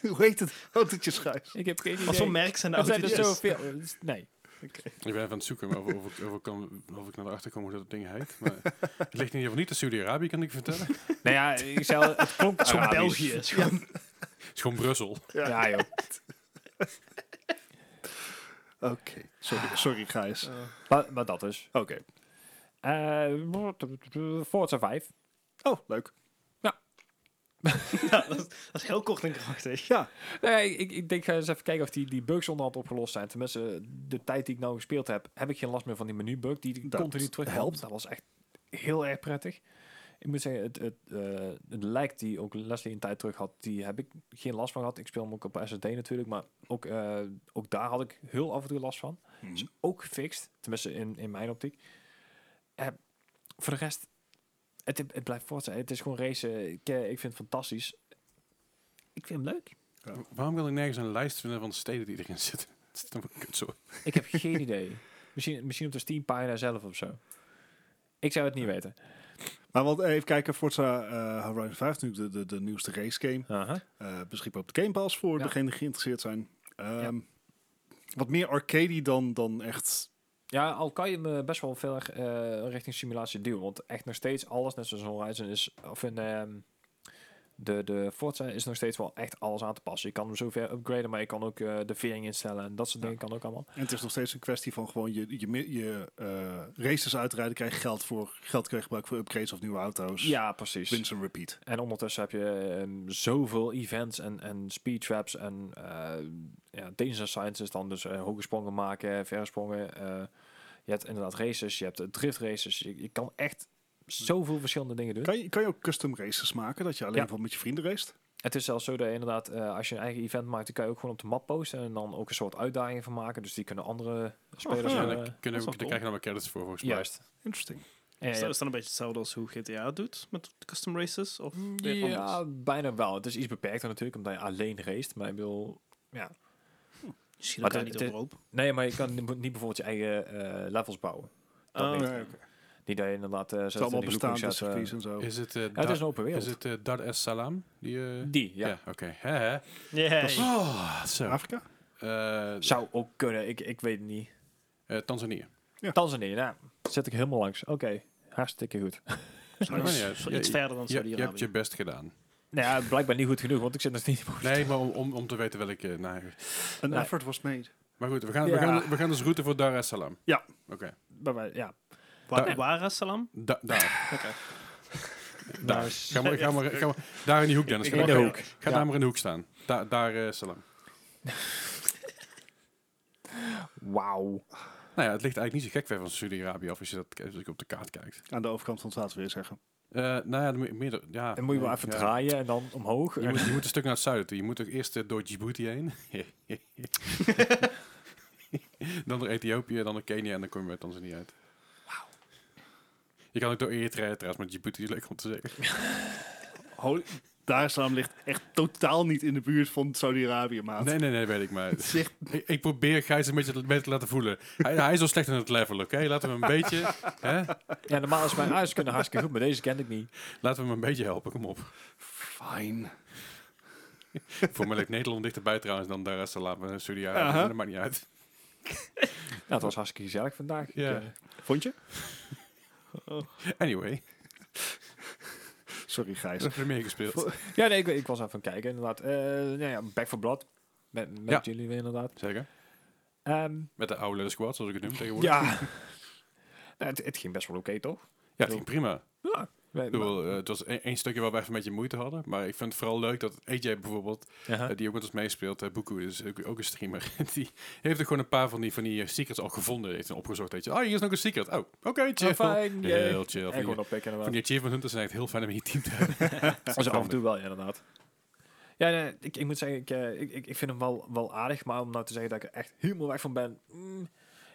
D: Hoe heet het? Autootjes, Gijs.
B: Ik heb geen idee.
C: Wat voor merk zijn de
B: Er zijn er
C: autootjes?
B: zoveel. eh, dus- Nee.
A: Ik ben even aan het zoeken over, of, ik, of, ik kan, of ik naar achter kom hoe dat ding heet. Maar het ligt in ieder geval niet in Saudi-Arabië, kan ik je vertellen.
B: Nou ja, ik zei, al, het klonk
C: Het is gewoon
B: Arabisch.
C: België. Het Ah, [LAUGHS] is gewoon-
A: Het is gewoon Brussel.
B: Ja, joh.
D: Oké. Sorry, sorry, Gijs.
B: Maar, maar dat dus. is.
D: Oké.
B: Eh Forza 5.
D: Oh, leuk.
C: [LAUGHS] Ja, dat, is, dat is heel kort en krachtig.
D: Ja.
B: Nee, Nou ik, ik denk, ga eens even kijken of die, die bugs onderhand opgelost zijn. Tenminste, de tijd die ik nou gespeeld heb, heb ik geen last meer van die menubug die ik
D: Dat
B: continu terug
D: helpt.
B: Dat was echt heel erg prettig. Ik moet zeggen, het, het, eh, het lijkt die ook Leslie een tijd terug had, die heb ik geen last van gehad. Ik speel hem ook op SSD natuurlijk, maar ook, eh, ook daar had ik heel af en toe last van. Is
A: Hmm.
B: ook gefixt, tenminste in, in mijn optiek. Eh, voor de rest, het, het blijft Forza. Het is gewoon racen. Ik, eh, ik vind het fantastisch. Ik vind hem leuk.
D: Ja.
A: Waarom wil ik nergens een lijst vinden van de steden die erin zitten? [LAUGHS] Het is allemaal kutzooi.
B: Ik heb geen idee. Misschien, misschien op de Steam-pagina zelf of zo. Ik zou het niet weten.
D: Maar wat, even kijken, Forza eh, Horizon 5, nu de, de, de nieuwste race game. eh, beschikbaar op de Game Pass voor
B: Ja.
D: degenen die geïnteresseerd zijn. Ehm, Wat meer arcade dan, dan echt...
B: Ja, al kan je me best wel veel erg, eh, richting simulatie duwen. Want echt nog steeds alles, net zoals Horizon is... Of in, ehm, de, de Forza is nog steeds wel echt alles aan te passen. Je kan hem zover upgraden, maar je kan ook eh, de vering instellen. En dat soort dingen kan ook allemaal.
D: En het is nog steeds een kwestie van gewoon je, je, mi- je eh, races uitrijden, krijg je geld voor, geld krijg je gebruik voor upgrades of nieuwe auto's.
B: Ja, precies.
D: Rinse and repeat.
B: En ondertussen heb je ehm, zoveel events en, en speed traps en eh ja, danger sciences dan. Dus eh, hoge sprongen maken, verre sprongen. eh, je hebt inderdaad races, je hebt eh, drift races. Je, je kan echt zoveel verschillende dingen doen.
D: Kan je, kan je ook custom races maken, dat je alleen
B: Ja.
D: wel met je vrienden race?
B: Het is zelfs zo dat je inderdaad, eh, als je een eigen event maakt, dan kan je ook gewoon op de map posten. En dan ook een soort uitdaging van maken. Dus die kunnen andere
C: Oh,
B: spelers...
A: Ja,
B: eh,
A: daar kunnen, daar
C: wel cool.
A: krijg je dan wel credits voor, volgens mij.
B: juist.
D: Interesting.
B: En
C: Is
B: je
C: dat is dan een beetje hetzelfde als hoe GTA doet met custom races? Of weer
B: Mm, Ja,
C: anders?
B: bijna wel. Het is iets beperkter natuurlijk, omdat je alleen raced. Maar ik bedoel, ja,
C: Misschien
B: Maar
C: elkaar
B: het-
C: niet
B: het-
C: overhoop.
B: Nee, maar je kan [LAUGHS] niet niet bijvoorbeeld je eigen eh, levels bouwen. Dat
C: Oh,
B: niet.
C: nee,
B: Niet dat je inderdaad... eh zet
D: Het is allemaal
B: in die loopings
D: bestaande
B: zet, eh,
D: circuits en zo.
A: Is het, eh,
B: ja, het is
A: Dar-
B: een open wereld.
A: is het eh, Dar es Salaam? Die, eh,
B: die, ja.
A: oké. Hè, hè.
C: Yay.
A: Oh, zo.
D: Afrika?
A: Eh,
B: Zou ook kunnen, ik, ik weet het niet.
A: eh, Tanzania.
D: Ja.
B: Tanzania, nou, zet ik helemaal langs. Oké, Hartstikke goed.
A: Maar
C: Iets-
A: niet uit.
C: voor
A: Je-
C: iets verder dan
A: Je, je hebt je
C: Saudi-Arabië.
A: best gedaan.
B: Nou ja, blijkbaar niet goed genoeg, want ik zit nog niet in
A: Nee, maar om, om, om te weten welke... Nou,
D: An
B: Nee.
D: effort was made.
A: maar goed, we gaan, we,
B: Ja.
A: gaan, we gaan dus route voor Dar es Salaam.
D: Ja.
A: Oké.
B: Bij mij, ja.
C: Wa-
A: Ja.
C: Waar, Salam?
A: Da- daar. Daar.
B: is-
A: Ga maar, ga maar, ga maar- daar in die hoek, Dennis.
C: Ik-
A: Ga,
C: ik-
A: maar-
B: in de hoek.
A: ga
B: Ja.
A: daar maar in de hoek staan. Da- daar eh, Salam.
B: Wauw.
A: Nou ja, het ligt eigenlijk niet zo gek ver van Saudi-Arabië af als je dat als je op de kaart kijkt.
D: Aan de overkant van het water, wil je zeggen.
A: Eh, nou ja, dan moet je meerdere- ja,
B: Dan moet je wel
A: nee,
B: even
A: ja.
B: draaien en dan omhoog.
A: Je
B: En-
A: moet, je moet een stuk naar het zuiden toe. Je moet ook eerst eh, door Djibouti
D: [LAUGHS]
A: heen. dan door Ethiopië, dan door Kenia en dan kom je bij Tanzania uit. Je kan ook door Eritrea trouwens, maar Djibouti is leuk om te zeggen.
D: Holy- Daar is Salaam ligt echt totaal niet in de buurt van Saudi-Arabië, maat.
A: Nee, nee, nee, weet ik maar.
D: [LAUGHS] Het is echt-
A: Ik, ik probeer Gijs een beetje te- beter te laten voelen. Hij, hij is al slecht in het level, oké? Laten we hem een
D: [LAUGHS]
A: beetje... Hè?
B: Ja, normaal is mijn huis kunnen hartstikke goed, maar deze kende ik niet.
A: Laten we hem een beetje helpen, kom op.
D: Fine.
A: Voor mij ligt Nederland dichterbij trouwens dan Dar es Salaam en eh, Saudi-Arabië.
D: Aha.
A: maar Dat maakt niet uit.
B: Nou, het was hartstikke gezellig vandaag.
A: Ja.
B: Ik, eh,
D: Vond je?
A: Anyway,
D: Sorry,
A: is
D: Gijs.
A: er meer gespeeld.
B: ja, nee, ik, ik was even aan het kijken, inderdaad. Eh nou ja, Back for Blood. Met, met
A: Ja.
B: jullie weer, inderdaad.
A: Zeker.
B: Ehm,
A: Met de oude squad, zoals ik het noem tegenwoordig.
B: ja. [LAUGHS] Nou, het, het ging best wel oké, toch?
A: ja het ging prima.
B: Ja. Nee,
A: Ik bedoel, eh, het was één één stukje waar we even een beetje moeite hadden. Maar ik vind het vooral leuk dat AJ bijvoorbeeld,
B: maar-
A: eh, die ook met ons meespeelt, eh Boekoe is ook, ook een streamer. [LAUGHS] die heeft ook gewoon een paar van die, van die eh, secrets al gevonden. Heeft en opgezocht. Weet je, ah, hier is nog een secret. Oh, oké, chill.
B: Ja, Ah, fijn. yay.
A: Heel chill.
B: En
A: Van
B: gewoon eh,
A: die,
B: oppikken,
A: van
B: inderdaad.
A: die achievement hunters zijn echt heel fijn om in je team te hebben.
B: Also, af en toe wel, ja, inderdaad. Ja, nee, ik, ik moet zeggen, ik, eh, ik, ik, ik vind hem wel, wel aardig, maar om nou te zeggen dat ik er echt helemaal weg van ben... mm.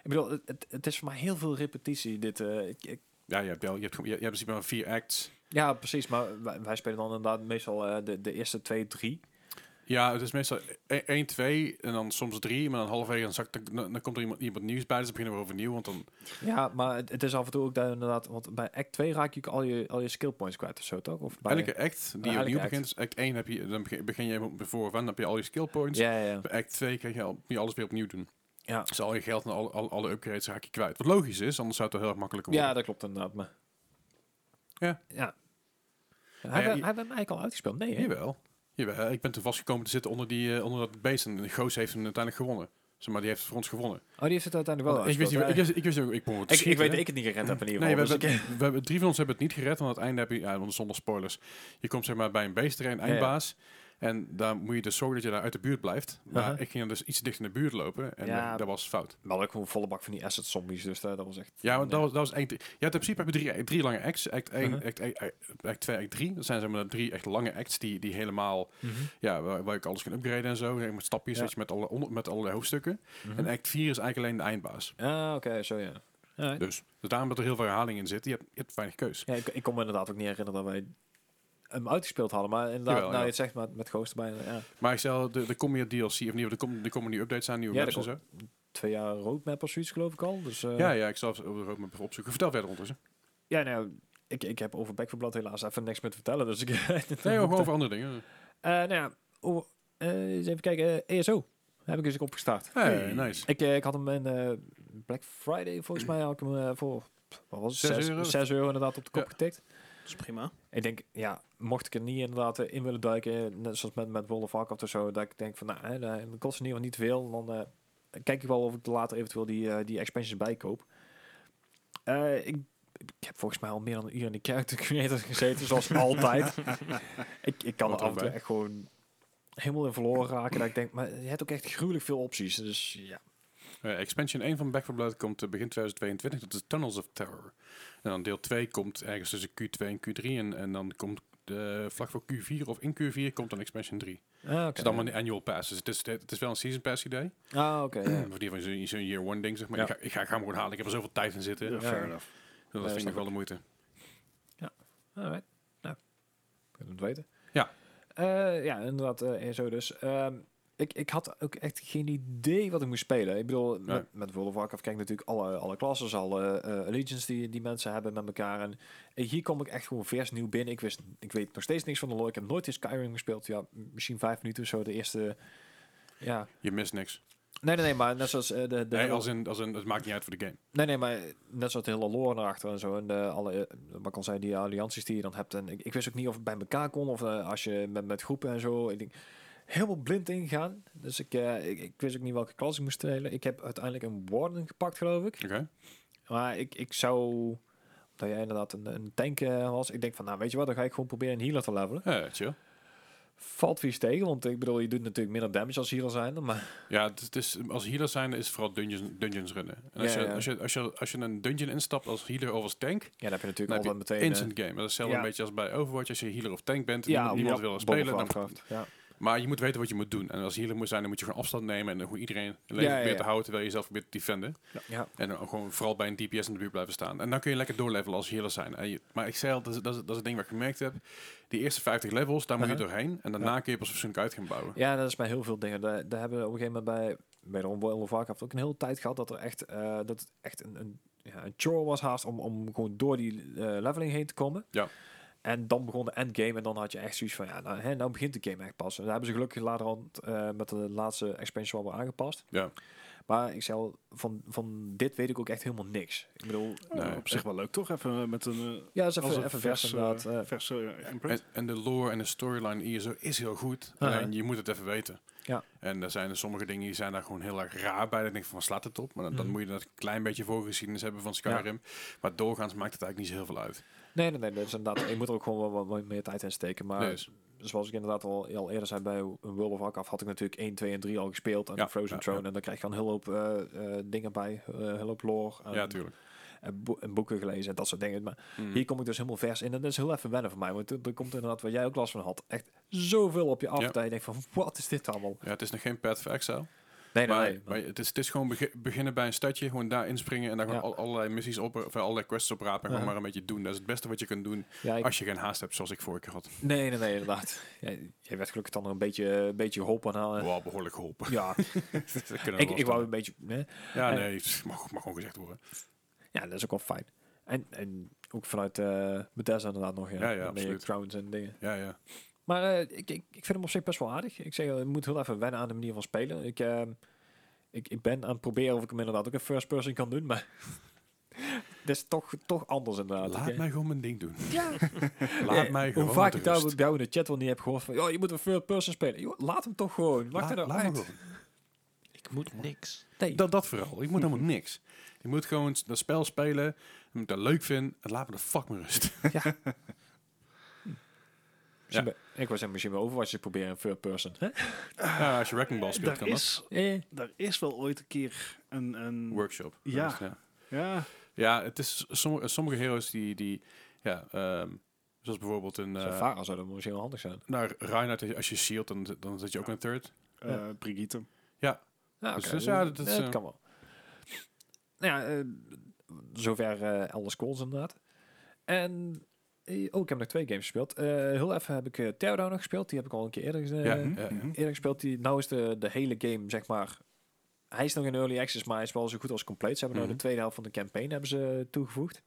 B: ik bedoel, het, het, het is voor mij heel veel repetitie, dit. eh, ik, ik-
A: Ja, je hebt, wel- je hebt, gewoon- je, je hebt in principe maar vier acts.
B: ja, precies, maar wij, wij spelen dan inderdaad meestal eh, de, de eerste twee, drie.
A: Ja, het is meestal 1, 2 en dan soms 3, maar dan halverwege dan, zakt, dan, dan komt er iemand, iemand nieuws bij, dus dan beginnen we weer overnieuw, want dan...
B: Ja, maar het, het is af en toe ook dat inderdaad, want bij act 2 raak je ook al je, al je skill points kwijt of zo, toch? Of bij,
A: Elke act die
B: elke
A: je opnieuw
B: act.
A: begint, dus act 1 heb je, dan begin, begin je helemaal voor dan heb je al je skill points.
B: ja, ja, ja.
A: Bij act 2 kan je, al, moet je alles weer opnieuw doen.
B: Ja.
A: Dus al je geld en alle, alle, alle upgrades raak je kwijt. Wat logisch is, anders zou het wel heel erg makkelijk worden.
B: ja, dat klopt inderdaad, maar...
A: Ja.
B: Ja.
A: ja,
B: Hebben we- hebben
A: je-
B: we hem eigenlijk al uitgespeeld? Nee, hè?
A: Jawel. Jawel. Ik ben toen vastgekomen te zitten onder, die, eh, onder dat beest en Goos heeft hem uiteindelijk gewonnen. Zeg maar, die heeft het voor ons gewonnen.
B: Oh, die heeft het uiteindelijk wel
A: ik, wist, niet-
B: uitgespeeld,
A: ik, wist, ik wist ook, ik kon het
B: ja. ik, ik
A: schieten,
B: weet
A: hè.
B: dat ik het niet gered heb in ieder
A: Nee, we,
B: geval. dus
A: hebben-
B: ik-
A: we hebben, drie van ons hebben het niet gered. Want aan het einde heb je, ja, want zonder spoilers. Je komt zeg maar bij een beest erin,
B: Ja, ja.
A: eindbaas. En daar moet je dus zorgen dat je daar uit de buurt blijft. Maar
B: Aha.
A: ik ging dan dus iets dichter in de buurt lopen. En
B: Uh-huh. Ja.
A: eh, dat was fout.
B: Maar ook een volle bak van die asset zombies, dus dat, dat was echt...
A: Ja, want dat
B: nee. Uh-huh.
A: was, dat was één. Ja, in principe heb je drie, drie lange acts. Act 1,
B: Aha.
A: act, 1, act 2, act 3. Dat zijn zeg maar drie echt lange acts die, die helemaal...
B: Mhm.
A: Ja, waar, waar ik alles kan upgraden en zo. Met stapjes,
B: Ja.
A: weet je, met, alle, onder- met allerlei hoofdstukken.
B: Mhm.
A: En act 4 is eigenlijk alleen de eindbaas.
B: Ah, oké, zo ja. Alright.
A: Dus, dus daarom dat er heel veel herhaling in zit. Je hebt, je hebt weinig keus.
B: Ja, ik, ik kon me inderdaad ook niet herinneren dat wij hem uitgespeeld hadden, maar inderdaad,
A: Jawel,
B: nou,
A: ja.
B: je het zegt met, met Ghost erbij, ja.
A: Maar ik stel, er er komen meer DLC, of in ieder geval, er komen, er komen nieuwe updates aan, nieuwe
B: Ja,
A: maps en
B: er
A: zo.
B: Twee jaar roadmap of zoiets, geloof ik al, dus... eh,
A: ja, ja, ik zal even op de roadmap even opzoeken. Vertel verder ondertussen.
B: Ja, nou, ik, ik heb over Back for Blood helaas even niks meer te vertellen. Dus ik. [LAUGHS]
A: Nee, joh, gewoon over andere dingen.
B: Eh, nou ja, oh, eh, eens even kijken. eh, ESO heb ik dus ook opgestart.
A: Hey, nice.
B: Ik, eh, ik had hem in eh, Black Friday, volgens mij, had ik hem eh, voor wat was het?
A: Zes
B: Zes-
A: euro?
B: zes euro inderdaad op de kop
A: Ja.
B: getikt.
C: Dat is prima.
B: Ik denk, ja, mocht ik er niet inderdaad eh, in willen duiken, net zoals met, met World of Warcraft of zo, dat ik denk van, nou, hè, dat dat kost in ieder geval niet veel. Dan eh, kijk ik wel of ik er later eventueel die, eh, die expansions bijkoop. Eh ik, ik heb volgens mij al meer dan een uur in de character [LAUGHS] creator gezeten,
A: [LAUGHS]
B: zoals altijd. ik, ik kan er
A: Hoort
B: af en toe
A: erbij.
B: echt gewoon helemaal in verloren raken. dat ik denk, maar je hebt ook echt gruwelijk veel opties. Dus ja,
A: Eh, expansion 1 van Back 4 Blood komt eh, begin 2022. Dat is Tunnels of Terror. En dan deel 2 komt ergens tussen Q2 en Q3. En, en dan komt de vlak voor Q4 of in Q4 komt dan expansion 3.
B: ah,
A: Het is allemaal een annual pass. Dus het is, het is wel een season pass
B: [CLEARS THROAT]
A: idee.
B: Ah, oké. ja.
A: Of in ieder geval zo'n- zo'n year one ding, zeg maar.
B: Ja.
A: Ik, ga, ik ga ik ga hem gewoon halen. Ik heb er zoveel tijd in zitten.
D: Ja,
A: Dat
D: fair
B: ja.
D: enough.
A: vind
B: snap
A: ik nog
B: ik.
A: wel de moeite.
B: Alright. Nou, kunnen we het weten.
A: Ja.
B: Eh, ja, inderdaad. eh, en zo dus. Ehm, ik, ik had ook echt geen idee wat ik moest spelen. Ik bedoel,
A: Nee.
B: met, met World of Warcraft kijk ik natuurlijk alle, alle classes, alle eh allegiance die, die mensen hebben met elkaar. En hier kom ik echt gewoon vers nieuw binnen. Ik, wist, ik weet nog steeds niks van de lore. Ik heb nooit in Skyrim gespeeld. Ja, misschien vijf minuten of zo, de eerste... Ja,
A: Je mist niks.
B: Nee, nee, nee, maar net zoals eh, de... de
A: nee, als in, als in, het maakt niet uit voor de game.
B: nee, nee, maar net zoals de hele lore erachter en zo. En de, alle, eh, wat ik al zei, die allianties die je dan hebt. En ik, ik wist ook niet of het bij elkaar kon of eh, als je met, met groepen en zo. Ik denk, helemaal blind ingaan. Dus ik, eh, ik, ik wist ook niet welke klas ik moest spelen. Ik heb uiteindelijk een warden gepakt, geloof ik.
A: Oké.
B: Maar ik, ik zou... Dat jij inderdaad een, een tank eh, was. Ik denk van, nou weet je wat, dan ga ik gewoon proberen een healer te levelen.
A: Ja, Eh, chill.
B: Valt vies tegen, want ik bedoel, je doet natuurlijk minder damage als healer zijn. Maar
A: Ja, het, het is, als healer zijn is het vooral dungeons, dungeons runnen. En als,
B: Ja,
A: je,
B: ja.
A: Als, je, als, je, als je een dungeon instapt als healer of als tank,
B: Ja, dan heb je
A: dan
B: natuurlijk
A: heb je
B: altijd meteen...
A: instant game. Dat is hetzelfde
D: Ja.
A: een beetje als bij Overwatch. Als je healer of tank bent,
B: eh, ja,
A: niemand, niemand wil
B: ja,
A: spelen.
B: World of
A: Dan,
B: Warcraft, ja.
A: maar je moet weten wat je moet doen. En als healer moet zijn, dan moet je gewoon afstand nemen en dan gewoon iedereen in leven
B: Ja, ja,
A: proberen
B: ja.
A: te houden terwijl je zelf probeert te defenden.
B: Ja.
A: En dan gewoon vooral bij een DPS in de buurt blijven staan. En dan kun je lekker doorlevelen als healer zijn. En je- maar ik zei al, dat is, dat, is, dat is het ding wat ik gemerkt heb. Die eerste 50 levels, daar moet je
B: Uh-huh.
A: doorheen. En daarna kun je pas waarschijnlijk uit gaan bouwen.
B: ja, dat is bij heel veel dingen. Daar, daar hebben we op een gegeven moment bij... Bij de World of Warcraft ook een hele tijd gehad dat er echt, eh, dat het echt een, een, ja, een chore was haast om, om gewoon door die eh, leveling heen te komen.
A: Ja.
B: En dan begon de endgame en dan had je echt zoiets van, ja, nou, hè, nou begint de game echt pas. En daar hebben ze gelukkig later al eh, met de laatste expansion wel weer aangepast.
A: Ja.
B: Maar ik zei al, van, van dit weet ik ook echt helemaal niks. Ik bedoel, eh,
A: Nee.
D: op zich wel leuk, toch? Even met een... eh,
B: ja, dat is
D: als
B: even,
D: een
B: even vers,
D: vers, eh,
B: inderdaad. eh,
D: verse eh, imprint.
A: En, en de lore en de storyline hier zo is heel goed.
B: Aha.
A: Alleen je moet het even weten.
B: Ja.
A: En er zijn er sommige dingen die zijn daar gewoon heel erg raar bij. Dan denk ik van slaat het op. Maar dan, dan
B: Mhm.
A: moet je dat klein beetje voorgeschiedenis hebben van Skyrim. Maar doorgaans maakt het eigenlijk niet zo heel veel uit.
B: Nee, nee, nee. Dat is inderdaad, je moet er ook gewoon wel wat, wat meer tijd in steken. Maar
A: Nee, is-
B: Dus zoals ik inderdaad al, al eerder zei bij World of Warcraft, had ik natuurlijk 1, 2 en 3 al gespeeld. En
A: Ja,
B: Frozen
A: ja,
B: Throne. En dan krijg je dan heel hoop eh, eh, dingen bij. eh, heel hoop lore. En,
A: ja, tuurlijk.
B: en, boe- en boeken gelezen en dat soort dingen. Maar
A: Mm.
B: hier kom ik dus helemaal vers in. En dat is heel even wennen voor mij. Want er er komt inderdaad, waar jij ook last van had, echt zoveel op je af.
A: Ja.
B: Dat je denkt van, wat is dit allemaal?
A: Ja, het is nog geen Path of Exile.
B: Nee, nee,
A: maar
B: nee.
A: maar het, is, het is gewoon begi- beginnen bij een stadje. Gewoon daar inspringen. En daar gewoon
B: Ja.
A: al- allerlei missies op. Of allerlei quests oprapen. En gewoon
B: Ja.
A: maar een beetje doen. Dat is het beste wat je kunt doen.
B: Ja, ik-
A: Als je geen haast hebt, zoals ik vorige keer had.
B: nee, nee, nee, inderdaad. Jij, jij werd gelukkig dan nog een beetje, een beetje geholpen aan. eh,
A: Wel behoorlijk geholpen. [LAUGHS]
B: Ja,
A: Dat kunnen we
B: ik,
A: wel
B: ik wou
A: stellen.
B: een beetje... hè,
A: Ja,
B: eh,
A: nee. het Mag, mag gewoon gezegd worden.
B: Ja, dat is ook wel fijn. En, en ook vanuit eh Bethesda inderdaad nog. Ja,
A: Ja, ja,
B: Met je
A: absoluut.
B: crowns en dingen.
A: Ja, ja.
B: Maar eh, ik, ik, ik vind hem op zich best wel aardig. Ik zeg, eh, je moet heel even wennen aan de manier van spelen. Ik, eh, ik, ik ben aan het proberen of ik hem inderdaad ook een first person kan doen, maar... [LAUGHS] dat is toch, toch anders inderdaad.
A: Ah, Laat
B: Ik, eh,
A: mij gewoon mijn ding doen.
B: Ja.
A: [LAUGHS] Laat
B: eh,
A: mij gewoon
B: Hoe vaak
A: met
B: ik daar
A: rust.
B: bij jou in de chat wel niet heb gehoord van... Joh, je moet een first person spelen. Joh, laat hem toch gewoon. Maak
A: Laat-
B: er nou
A: laat me
B: uit.
A: gewoon.
E: Ik moet niks.
B: Nee.
A: Dat, dat vooral. Ik moet helemaal niks. Ik moet gewoon s- dat spel spelen. Ik moet dat leuk vinden. En laat me de fuck me rust.
B: Misschien bij- Ik was zeggen, misschien wel Overwatch te proberen een first person. Hè?
A: [LAUGHS] Ja, als je Wrecking Ball speelt,
D: Daar
A: kan dat.
D: is,
B: Eh,
D: daar is wel ooit een keer een... een
A: Workshop.
D: Ja.
A: Dat is, ja.
D: Ja,
A: Ja, het is sommige, sommige heroes die... die ja, ehm, zoals bijvoorbeeld een... eh,
B: Safara zou dat misschien wel handig zijn.
A: nou, Reinhardt, als je shield, dan, zit- dan zit je ook in een third.
D: eh, Brigitte.
B: Ja,
A: Dus
B: Ah, oké,
A: dus ja,
B: dat,
A: dat is,
B: dat
A: eh,
B: kan wel. Nou ja, eh, zover eh Elder Scrolls inderdaad. En eh, oh, ik heb nog twee games gespeeld. Eh, heel even heb ik eh Teardown nog gespeeld. Die heb ik al een keer eerder, gez-
A: ja, hm.
B: eh,
A: ja, ja.
B: eerder gespeeld. Die, nou is de, de hele game, zeg maar... Hij is nog in early access, maar hij is wel zo goed als compleet. Ze hebben nou
A: Mhm.
B: de tweede helft van de campaign hebben ze toegevoegd.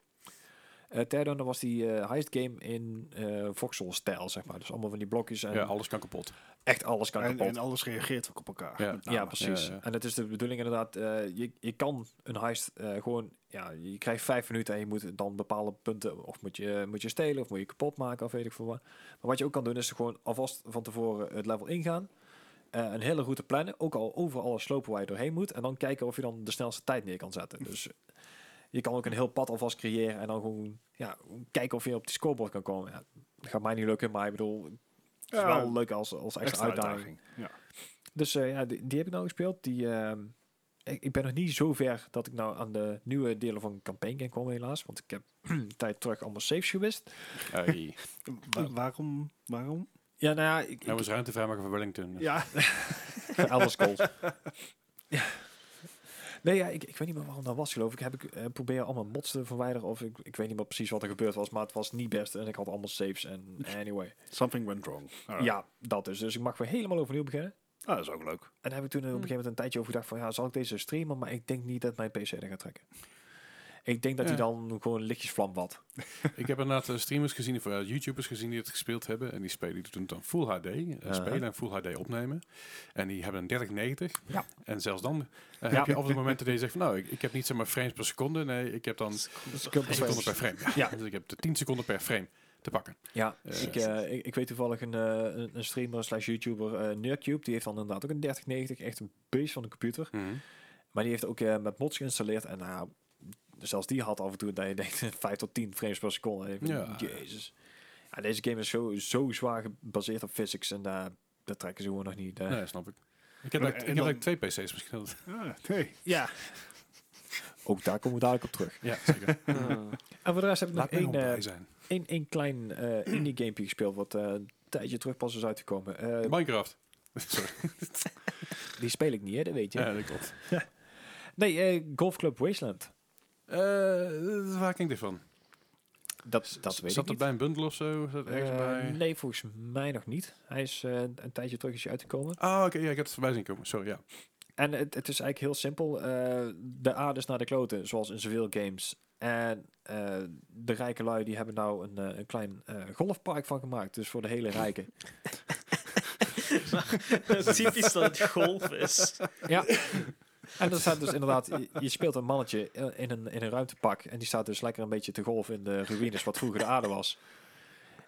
B: Eh Teardown dat was die eh, heist game in eh voxel-stijl, zeg maar. Dus allemaal van die blokjes en
A: Ja, alles kan kapot.
B: echt alles kan
D: En,
B: kapot.
D: en alles reageert ook op elkaar.
A: Ja.
D: met name.
B: Ja, precies.
A: Ja, ja.
B: En het is de bedoeling inderdaad, eh, je, je kan een heist eh, gewoon, ja, je krijgt vijf minuten en je moet dan bepaalde punten, of moet je, moet je stelen, of moet je kapot maken, of weet ik veel wat. Maar wat je ook kan doen is gewoon alvast van tevoren het level ingaan, eh, een hele route plannen, ook al over alle slopen waar je doorheen moet, en dan kijken of je dan de snelste tijd neer kan zetten. Dus je kan ook een heel pad alvast creëren en dan gewoon, ja, kijken of je op die scoreboard kan komen. Ja, dat gaat mij niet lukken, maar ik bedoel, het is
D: Ja,
B: wel leuk als, als extra,
D: Extra
B: uitdaging.
D: uitdaging.
B: Dus eh, ja, die, die heb ik nou gespeeld. Die, ehm, ik, ik ben nog niet zo ver dat ik nou aan de nieuwe delen van campaign kan komen helaas. Want ik heb [CLEARS THROAT] een tijd terug allemaal saves gewist.
A: Hey.
D: Wa- waarom? Waarom?
B: Ja, nou ja, ik,
A: Nou, we zijn ruimte vrijmaken voor Wellington.
D: Ja,
B: ik, alles [LAUGHS] goals. Nee, ja, ik, ik weet niet meer waarom dat was, geloof ik. Heb ik eh, probeer allemaal mods te verwijderen of ik, ik weet niet meer precies wat er gebeurd was, maar het was niet best en ik had allemaal saves en anyway.
D: something went wrong. Alright.
B: Ja, dat dus. Dus ik mag weer helemaal overnieuw beginnen.
D: Ah, dat is ook leuk.
B: En
A: Hmm.
B: daar heb ik toen op een gegeven moment een tijdje over gedacht van ja, zal ik deze streamen? Maar ik denk niet dat mijn PC er gaat trekken. Ik denk dat
A: Ja.
B: hij dan gewoon lichtjesvlam wat.
A: Ik heb inderdaad eh, streamers gezien, of eh, YouTubers gezien die het gespeeld hebben. En die spelen, die doen het dan Full HD. eh, Spelen en Full HD opnemen. En die hebben een 3090.
B: Ja.
A: En zelfs dan eh,
B: Ja.
A: heb je af en toe momenten dat je zegt van, nou, ik, ik heb niet zomaar frames per seconde. Nee, ik heb dan seconden per frame. Ja.
B: Ja.
A: [LAUGHS] Dus ik heb de 10 seconden per frame te pakken.
B: Ja,
A: Eh,
B: ik, eh, ik, ik weet toevallig een, eh, een- een streamer slash YouTuber, eh Nerdcube, die heeft dan inderdaad ook een 3090, echt een beest van de computer. Maar die heeft ook eh, met mods geïnstalleerd en nou, zelfs die had af en toe dat je denkt [LAUGHS] 5 tot 10 frames per seconde. Ik denk,
A: Ja.
B: Jezus. Ja, deze game is zo, zo zwaar gebaseerd op physics en daar dat trekken ze gewoon nog niet. eh.
A: Nee, snap ik. Ik heb,
D: Maar-
A: eigenlijk-
D: en
A: ik heb
D: dan-
A: eigenlijk twee PC's misschien.
D: Ah, nee.
C: Ja,
B: Ook daar komen we dadelijk op terug.
A: [LAUGHS] Ja, zeker.
B: En voor de rest heb ik
A: Laat mij
B: nog één, eh,
A: blij zijn.
B: één, één
A: [CLEARS THROAT]
B: klein eh indie gamepje gespeeld wat eh, een tijdje terug pas is uitgekomen. Eh,
A: Minecraft. Sorry.
B: die speel ik niet, hè, dat weet je.
A: Ja, dat klopt.
B: Nee, eh, Golf Club Wasteland.
A: Eh, waar ken ik dit van?
B: Dat, dat weet
A: Zat
B: ik
A: er
B: niet.
A: bij een bundel of zo? Zat ergens
B: Eh,
A: bij?
B: Nee, volgens mij nog niet. Hij is eh, een tijdje terug is hij uitgekomen.
A: Ah, oké, ja, ik heb het voorbij zien komen. Sorry, ja.
B: En het, het is eigenlijk heel simpel. eh, de aarde is naar de kloten, zoals in zoveel games. En eh, de rijke lui die hebben nou een, eh, een klein eh, golfpark van gemaakt. Dus voor de hele rijken.
C: typisch [LAUGHS] dat het golf is.
B: ja. En dan staat dus inderdaad, je, je speelt een mannetje eh, in een, in een ruimtepak. En die staat dus lekker een beetje te golven in de ruïnes wat vroeger de aarde was.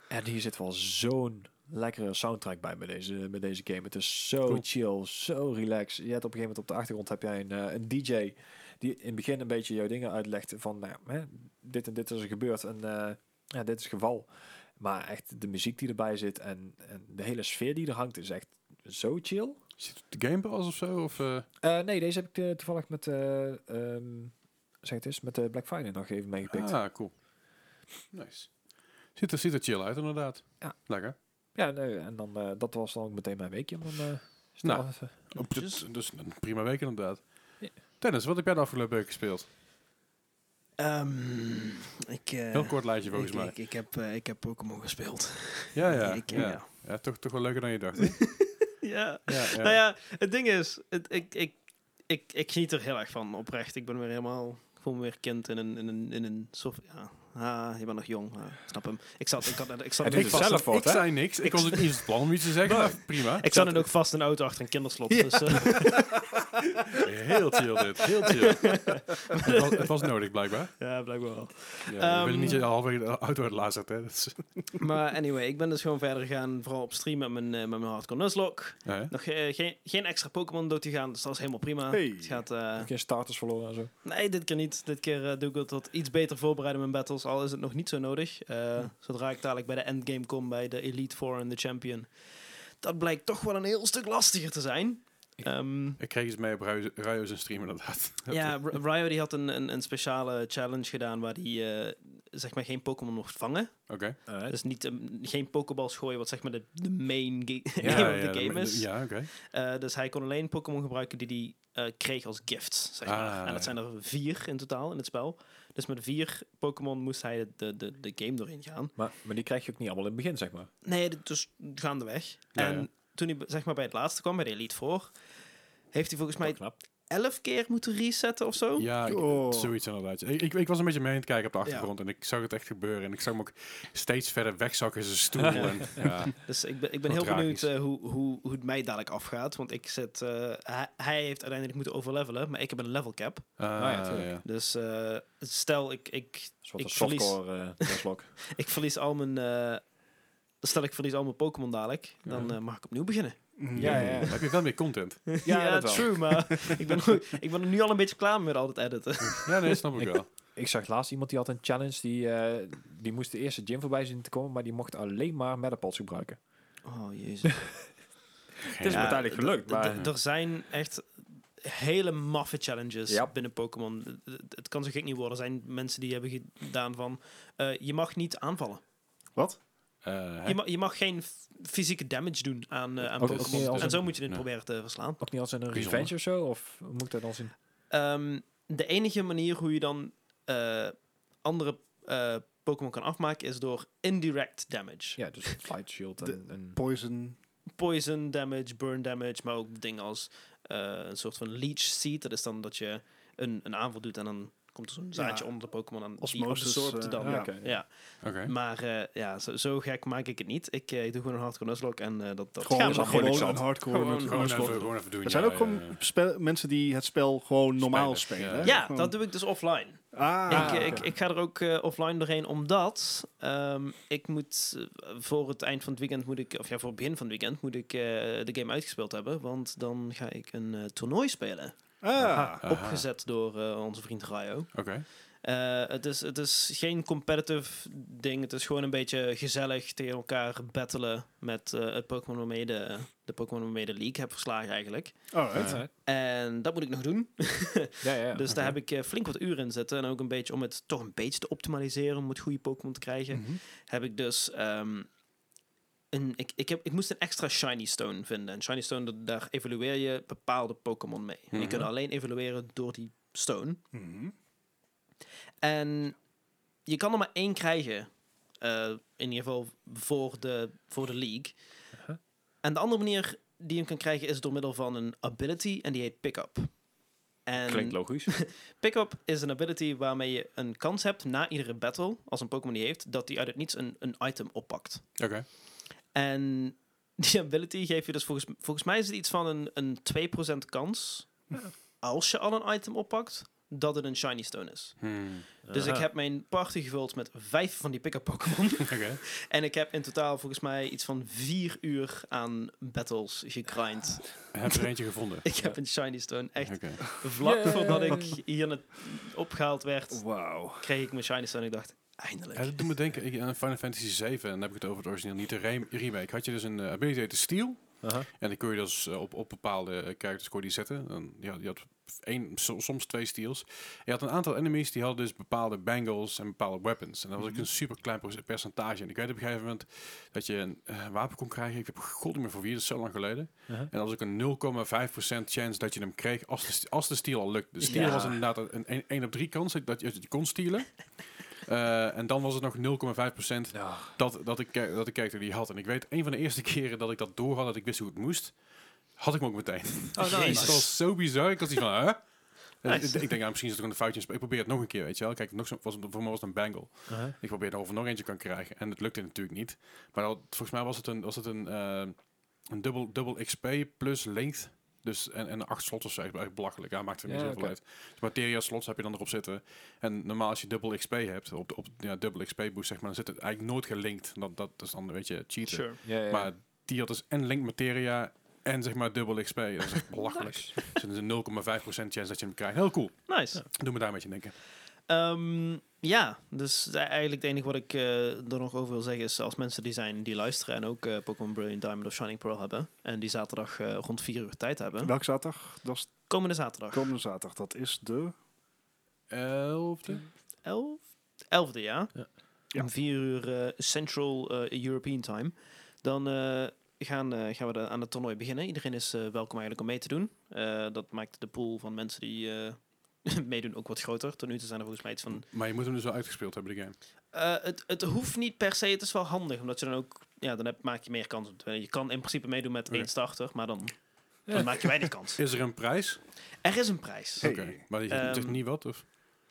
B: En hier zit wel zo'n lekkere soundtrack bij bij deze, bij deze game. Het is zo
A: Cool.
B: chill, zo relaxed. Je hebt op een gegeven moment op de achtergrond heb jij een, eh, een DJ die in het begin een beetje jouw dingen uitlegt van nou, hè, dit en dit is er gebeurd en eh, ja, dit is het geval. Maar echt de muziek die erbij zit en, en de hele sfeer die er hangt is echt zo chill.
A: Zit het op de Game Pass of zo? Of, eh,
B: Eh, nee, deze heb ik eh, toevallig met, eh, ehm, zeg het eens, met de Black Friday nog even meegepikt.
A: Ah, cool. Nice. Ziet er, ziet er chill uit, inderdaad.
B: Ja.
A: Lekker.
B: Ja, nee, en dan, eh, dat was dan ook meteen mijn weekje. om dan, eh, snel
A: Nou.
B: even-
A: Op dit-
C: Dus-
A: dus een prima week, inderdaad.
B: Ja.
A: Tennis, wat heb jij de afgelopen week gespeeld?
E: Ehm, ik, eh,
A: Heel kort lijstje,
E: ik,
A: volgens mij.
E: ik, ik heb, eh, ik heb Pokémon gespeeld.
A: ja, ja,
E: ik,
A: ja.
E: ja.
A: Ja, toch, toch wel leuker dan je dacht. [LAUGHS] hè?
C: Ja.
A: ja, ja.
C: Nou ja, het ding is, het, ik, ik, ik, ik geniet er heel erg van, oprecht. Ik ben weer helemaal, ik voel me weer kind in een, in een, in een soort, ja, ah, je bent nog jong, ah, snap hem. Ik zat, ik had, ik
B: Hij
C: zat, ik
B: doet
A: Ik,
B: het
A: was
B: zelf
A: ik
B: wat, hè?
A: zei niks. Ik
C: Ik-
A: was [LAUGHS] ook niet eens het plan om iets te zeggen. maar prima.
C: ik zat dan ook vast in een auto achter een kinderslot. Dus, eh,
A: Heel chill dit. Heel chill. [LAUGHS] het, was, het was nodig, blijkbaar.
C: ja, blijkbaar wel.
A: Ja,
C: Ehm,
A: je wil niet halverwege de auto uitlazerd, hè. Dat [LAUGHS] is,
C: Maar anyway, ik ben dus gewoon verder gegaan, vooral op stream met mijn, eh, met mijn hardcore Nuzlocke.
A: Ja, hè?
C: Nog eh, geen, geen extra Pokémon dood te gaan, dus dat is helemaal prima.
D: Hey.
C: Het gaat, eh,
B: Heb je starters verloren en zo?
C: nee, dit keer niet. Dit keer eh, doe ik het wat iets beter voorbereiden met battles, al is het nog niet zo nodig. Eh, Zodra ik dadelijk bij de endgame kom, bij de Elite Four en de Champion, dat blijkt toch wel een heel stuk lastiger te zijn. Ehm,
A: Ik kreeg iets mee op Ruijs- Ruijs en stream, inderdaad. [LAUGHS]
C: ja, R- Ryo die had een, een, een speciale challenge gedaan waar hij eh, zeg maar geen Pokémon mocht vangen.
A: Oké.
C: Dus niet, eh, geen Pokéballs gooien, wat zeg maar de, de main ga- [LAUGHS]
A: Ja,
C: game of
A: ja,
C: the game
A: de-
C: is.
A: Ja, oké.
C: Eh, dus hij kon alleen Pokémon gebruiken die hij eh, kreeg als gifts, zeg maar.
A: Ah,
C: en dat
A: ja.
C: zijn er vier in totaal in het spel. Dus met vier Pokémon moest hij de, de, de game doorheen gaan.
B: Maar, maar die krijg je ook niet allemaal in het begin, zeg maar.
C: Nee, dit- dus gaandeweg.
A: Ja,
C: en
A: ja.
C: toen hij zeg maar, bij het laatste kwam, bij de Elite Four... heeft hij volgens
B: Wel
C: mij
B: knap.
C: elf keer moeten resetten of zo.
A: Ja, ik-
D: Oh.
A: zoiets inderdaad. Ik, ik, ik was een beetje mee aan het kijken op de
C: Ja.
A: achtergrond en ik zag het echt gebeuren. En ik zag hem ook steeds verder wegzakken in zijn stoel. en, ja.
C: Dus ik ben, ik ben
A: Wat
C: heel
A: tragisch.
C: benieuwd eh, hoe, hoe, hoe het mij dadelijk afgaat. Want ik zit, eh, hij, hij heeft uiteindelijk moeten overlevelen, maar ik heb een level cap.
A: Ah,
B: ja, tuurlijk.
A: ja.
C: Dus eh, stel, ik, ik
B: Dat is wat
C: Ik
B: een softcore eh slok.
C: Ik verlies al mijn. eh, stel ik verlies al mijn Pokémon dadelijk, dan eh, mag ik opnieuw
B: [LAUGHS]
C: beginnen.
D: Mm.
B: Ja, ja, ja.
A: Heb je wel meer content?
C: Ja,
B: dat wel.
C: true,
B: [LAUGHS]
C: maar ik ben, goed- ik ben er nu al een beetje klaar mee met al dat editen.
A: Ja, nee, snap ik wel.
B: [LAUGHS] Ik zag laatst iemand die had een challenge. Die, eh, die moest de eerste gym voorbij zien te komen. Maar die mocht alleen maar metapods gebruiken.
C: Oh jezus.
B: Het is
C: Ja,
B: me uiteindelijk gelukt. Maar
C: [LAUGHS] D- Er zijn echt hele maffe challenges
B: Ja.
C: binnen Pokémon. D- d- Het kan zo gek niet worden. Er zijn mensen die hebben gedaan van. eh, je mag niet aanvallen.
A: Eh, hè?
C: Je, ma- je mag geen f- fysieke damage doen aan, eh, aan
B: Ook- ook niet
C: Pokémon.
B: als
C: En zo
A: een-
C: moet je dit
A: nee.
C: proberen te verslaan.
B: ook niet als in een
A: Bijzonder.
B: revenge of zo? Of hoe moet ik dat dan zien?
C: Ehm, de enige manier hoe je dan eh, andere eh, Pokémon kan afmaken is door indirect damage.
B: Ja, dus flight shield en... en-
D: Poison.
C: Poison damage, burn damage, maar ook dingen als eh, een soort van leech seed. Dat is dan dat je een, een aanval doet en dan komt er zo'n zaadje
D: Ja.
C: onder de Pokémon aan. die
D: Osmosis,
C: absorpt
D: eh,
C: dan.
D: ja.
B: Oké.
C: Ja.
A: Oké.
C: Maar eh, ja, zo, zo gek maak ik het niet. Ik, eh, ik doe gewoon een hardcore Nuzlocke en eh, dat, dat
D: Gewoon,
C: gaan we
D: gewoon,
C: dan gewoon
D: een hardcore.
A: Gewoon,
D: met
A: gewoon even,
D: Nuzlocke.
A: gewoon even doen.
D: Er zijn
A: ja,
D: ook gewoon
A: ja, ja.
D: spe- mensen die het spel gewoon normaal
A: Spelers,
D: spelen.
A: ja.
D: hè?
C: Ja,
D: Gewoon-
C: dat doe ik dus offline.
D: Ah,
C: ik,
B: oké.
C: ik, ik ga er ook eh, offline doorheen, omdat ehm, ik moet eh, voor het eind van het weekend moet ik, of ja, voor het begin van het weekend moet ik eh, de game uitgespeeld hebben. Want dan ga ik een eh, toernooi spelen.
D: ah.
A: Aha.
C: Opgezet door eh, onze vriend Rayo.
A: Oké.
C: Eh, het, is, het is geen competitive ding. Het is gewoon een beetje gezellig tegen elkaar battelen met eh, het Pokémon waarmee je de, de Pokémon waarmee je de league heb verslagen eigenlijk.
D: Alright.
A: Ja.
C: En dat moet ik nog doen.
B: Ja, ja.
C: dus daar heb ik eh, flink wat uren in zitten. En ook een beetje om het toch een beetje te optimaliseren om het goede Pokémon te
B: Mm.
C: krijgen.
A: Mhm.
C: Heb ik dus. ehm, een, ik, ik, heb, ik moest een extra Shiny Stone vinden. En Shiny Stone, dat- daar evalueer je bepaalde Pokémon mee. En Je
A: Mhm.
C: kunt alleen evalueren door die Stone.
D: Mhm.
C: En je kan er maar één krijgen. eh, in ieder geval voor de, voor de league.
B: Aha.
C: En de andere manier die je hem kan krijgen is door middel van een ability. En die heet pick-up.
B: Klinkt
C: En
B: logisch.
C: pick-up is een ability waarmee je een kans hebt na iedere battle, als een Pokémon die heeft, dat die uit het niets een, een item oppakt.
A: Oké.
C: En die ability geef je dus volgens, volgens mij is het iets van een, een 2% kans, als je al een item oppakt, dat het een shiny stone is.
A: Hmm.
C: Dus
D: Ah.
C: ik
B: Aha.
C: heb mijn party gevuld met vijf van die pick-up Pokémon. [LAUGHS]
A: Oké.
C: en ik heb in totaal volgens mij iets van vier uur aan battles gegrind.
A: Heb je er eentje gevonden?
C: Ik heb een Shiny Stone. Echt
A: Oké.
C: vlak
B: Yay.
C: voordat ik hier na- opgehaald werd,
D: Wauw.
C: kreeg ik mijn Shiny Stone. Ik dacht,
A: Ja,
C: eindelijk.
A: dat doet me denken ik- aan Final Fantasy 7. En dan heb ik het over het origineel, niet de re- remake. Had je dus een eh, ability te steel.
B: Aha.
A: En dan kun je dus eh, op, op bepaalde eh, characters kon je die zetten. Dan, ja, je had één, so- soms twee steals. En je had een aantal enemies die hadden dus bepaalde bangles en bepaalde weapons. En dat
B: Mhm.
A: was ook een super klein percentage. En ik weet op een gegeven moment dat je een eh, wapen kon krijgen. Ik heb god niet meer voor wie, dat is zo lang geleden.
B: Aha.
A: En dat was ook een 0,5% chance dat je hem kreeg als de, st- als de steal al lukt. De steal
C: Ja.
A: was inderdaad een- een 1 op 3 kans dat je, dat je kon stealen. Eh, en dan was het nog 0,5%
B: Ja.
A: dat, dat, ik, eh, dat ik character die had. En ik weet, een van de eerste [LAUGHS] keren dat ik dat door had, dat ik wist hoe het moest, had ik hem ook meteen.
C: Oh,
A: Het
C: nice.
A: was zo bizar. Ik was die van, hè? En
C: Nice.
A: Ik denk, ja, misschien zit er gewoon een foutje in. Ik probeer het nog een keer, weet je wel. Kijk, nog zo, was, het- voor mij was het een bangle.
B: Aha.
A: Ik probeerde of er nog eentje kan krijgen. En het lukte natuurlijk niet. Maar dat- volgens mij was het een, was het een, eh, een dubbel, dubbel XP plus length. Dus, en, en acht slots of zo. Echt belachelijk. Ja, maakt er niet
B: Ja,
A: zoveel
B: oké.
A: uit. Dus materia slots heb je dan erop zitten. En normaal als je dubbel XP hebt, op, de- op ja, dubbel XP boost zeg maar, dan zit het eigenlijk nooit gelinkt. Dat, dat is dan een beetje cheaten.
C: Sure.
B: Ja, ja.
A: Maar die had dus en link materia en zeg maar dubbel XP. Dat is echt belachelijk. Dus er is een 0,5% chance dat je hem krijgt. Heel cool.
C: Nice.
A: Doe me daar een beetje aan denken.
C: Ehm, ja, dus e- eigenlijk het enige wat ik eh, er nog over wil zeggen is... als mensen die zijn die luisteren en ook eh, Pokémon Brilliant Diamond of Shining Pearl hebben... en die zaterdag eh, rond vier uur tijd hebben...
D: Welk zaterdag? Dat is
C: komende zaterdag.
D: komende zaterdag. Dat is de...
A: Elfde?
C: 11? 11e, ja.
B: Ja.
D: Ja.
C: Om 4 uur eh, Central eh, European Time. Dan eh, gaan, eh, gaan we de- aan het toernooi beginnen. Iedereen is eh, welkom eigenlijk om mee te doen. Eh, dat maakt de pool van mensen die eh, [LAUGHS] meedoen ook wat groter. Tot nu toe zijn er volgens mij iets van...
A: Maar je moet hem dus wel uitgespeeld hebben, de game.
C: Eh, het, het hoeft niet per se, het is wel handig. Omdat je dan ook... Ja, dan heb, maak je meer kans. op te winnen. Je kan in principe meedoen met
A: Oké.
C: één starter, maar dan, dan maak je weinig kans.
A: Is er een prijs?
C: Er is een prijs.
D: Hey.
A: Oké. Maar die zegt
C: Ehm,
A: niet wat? Of?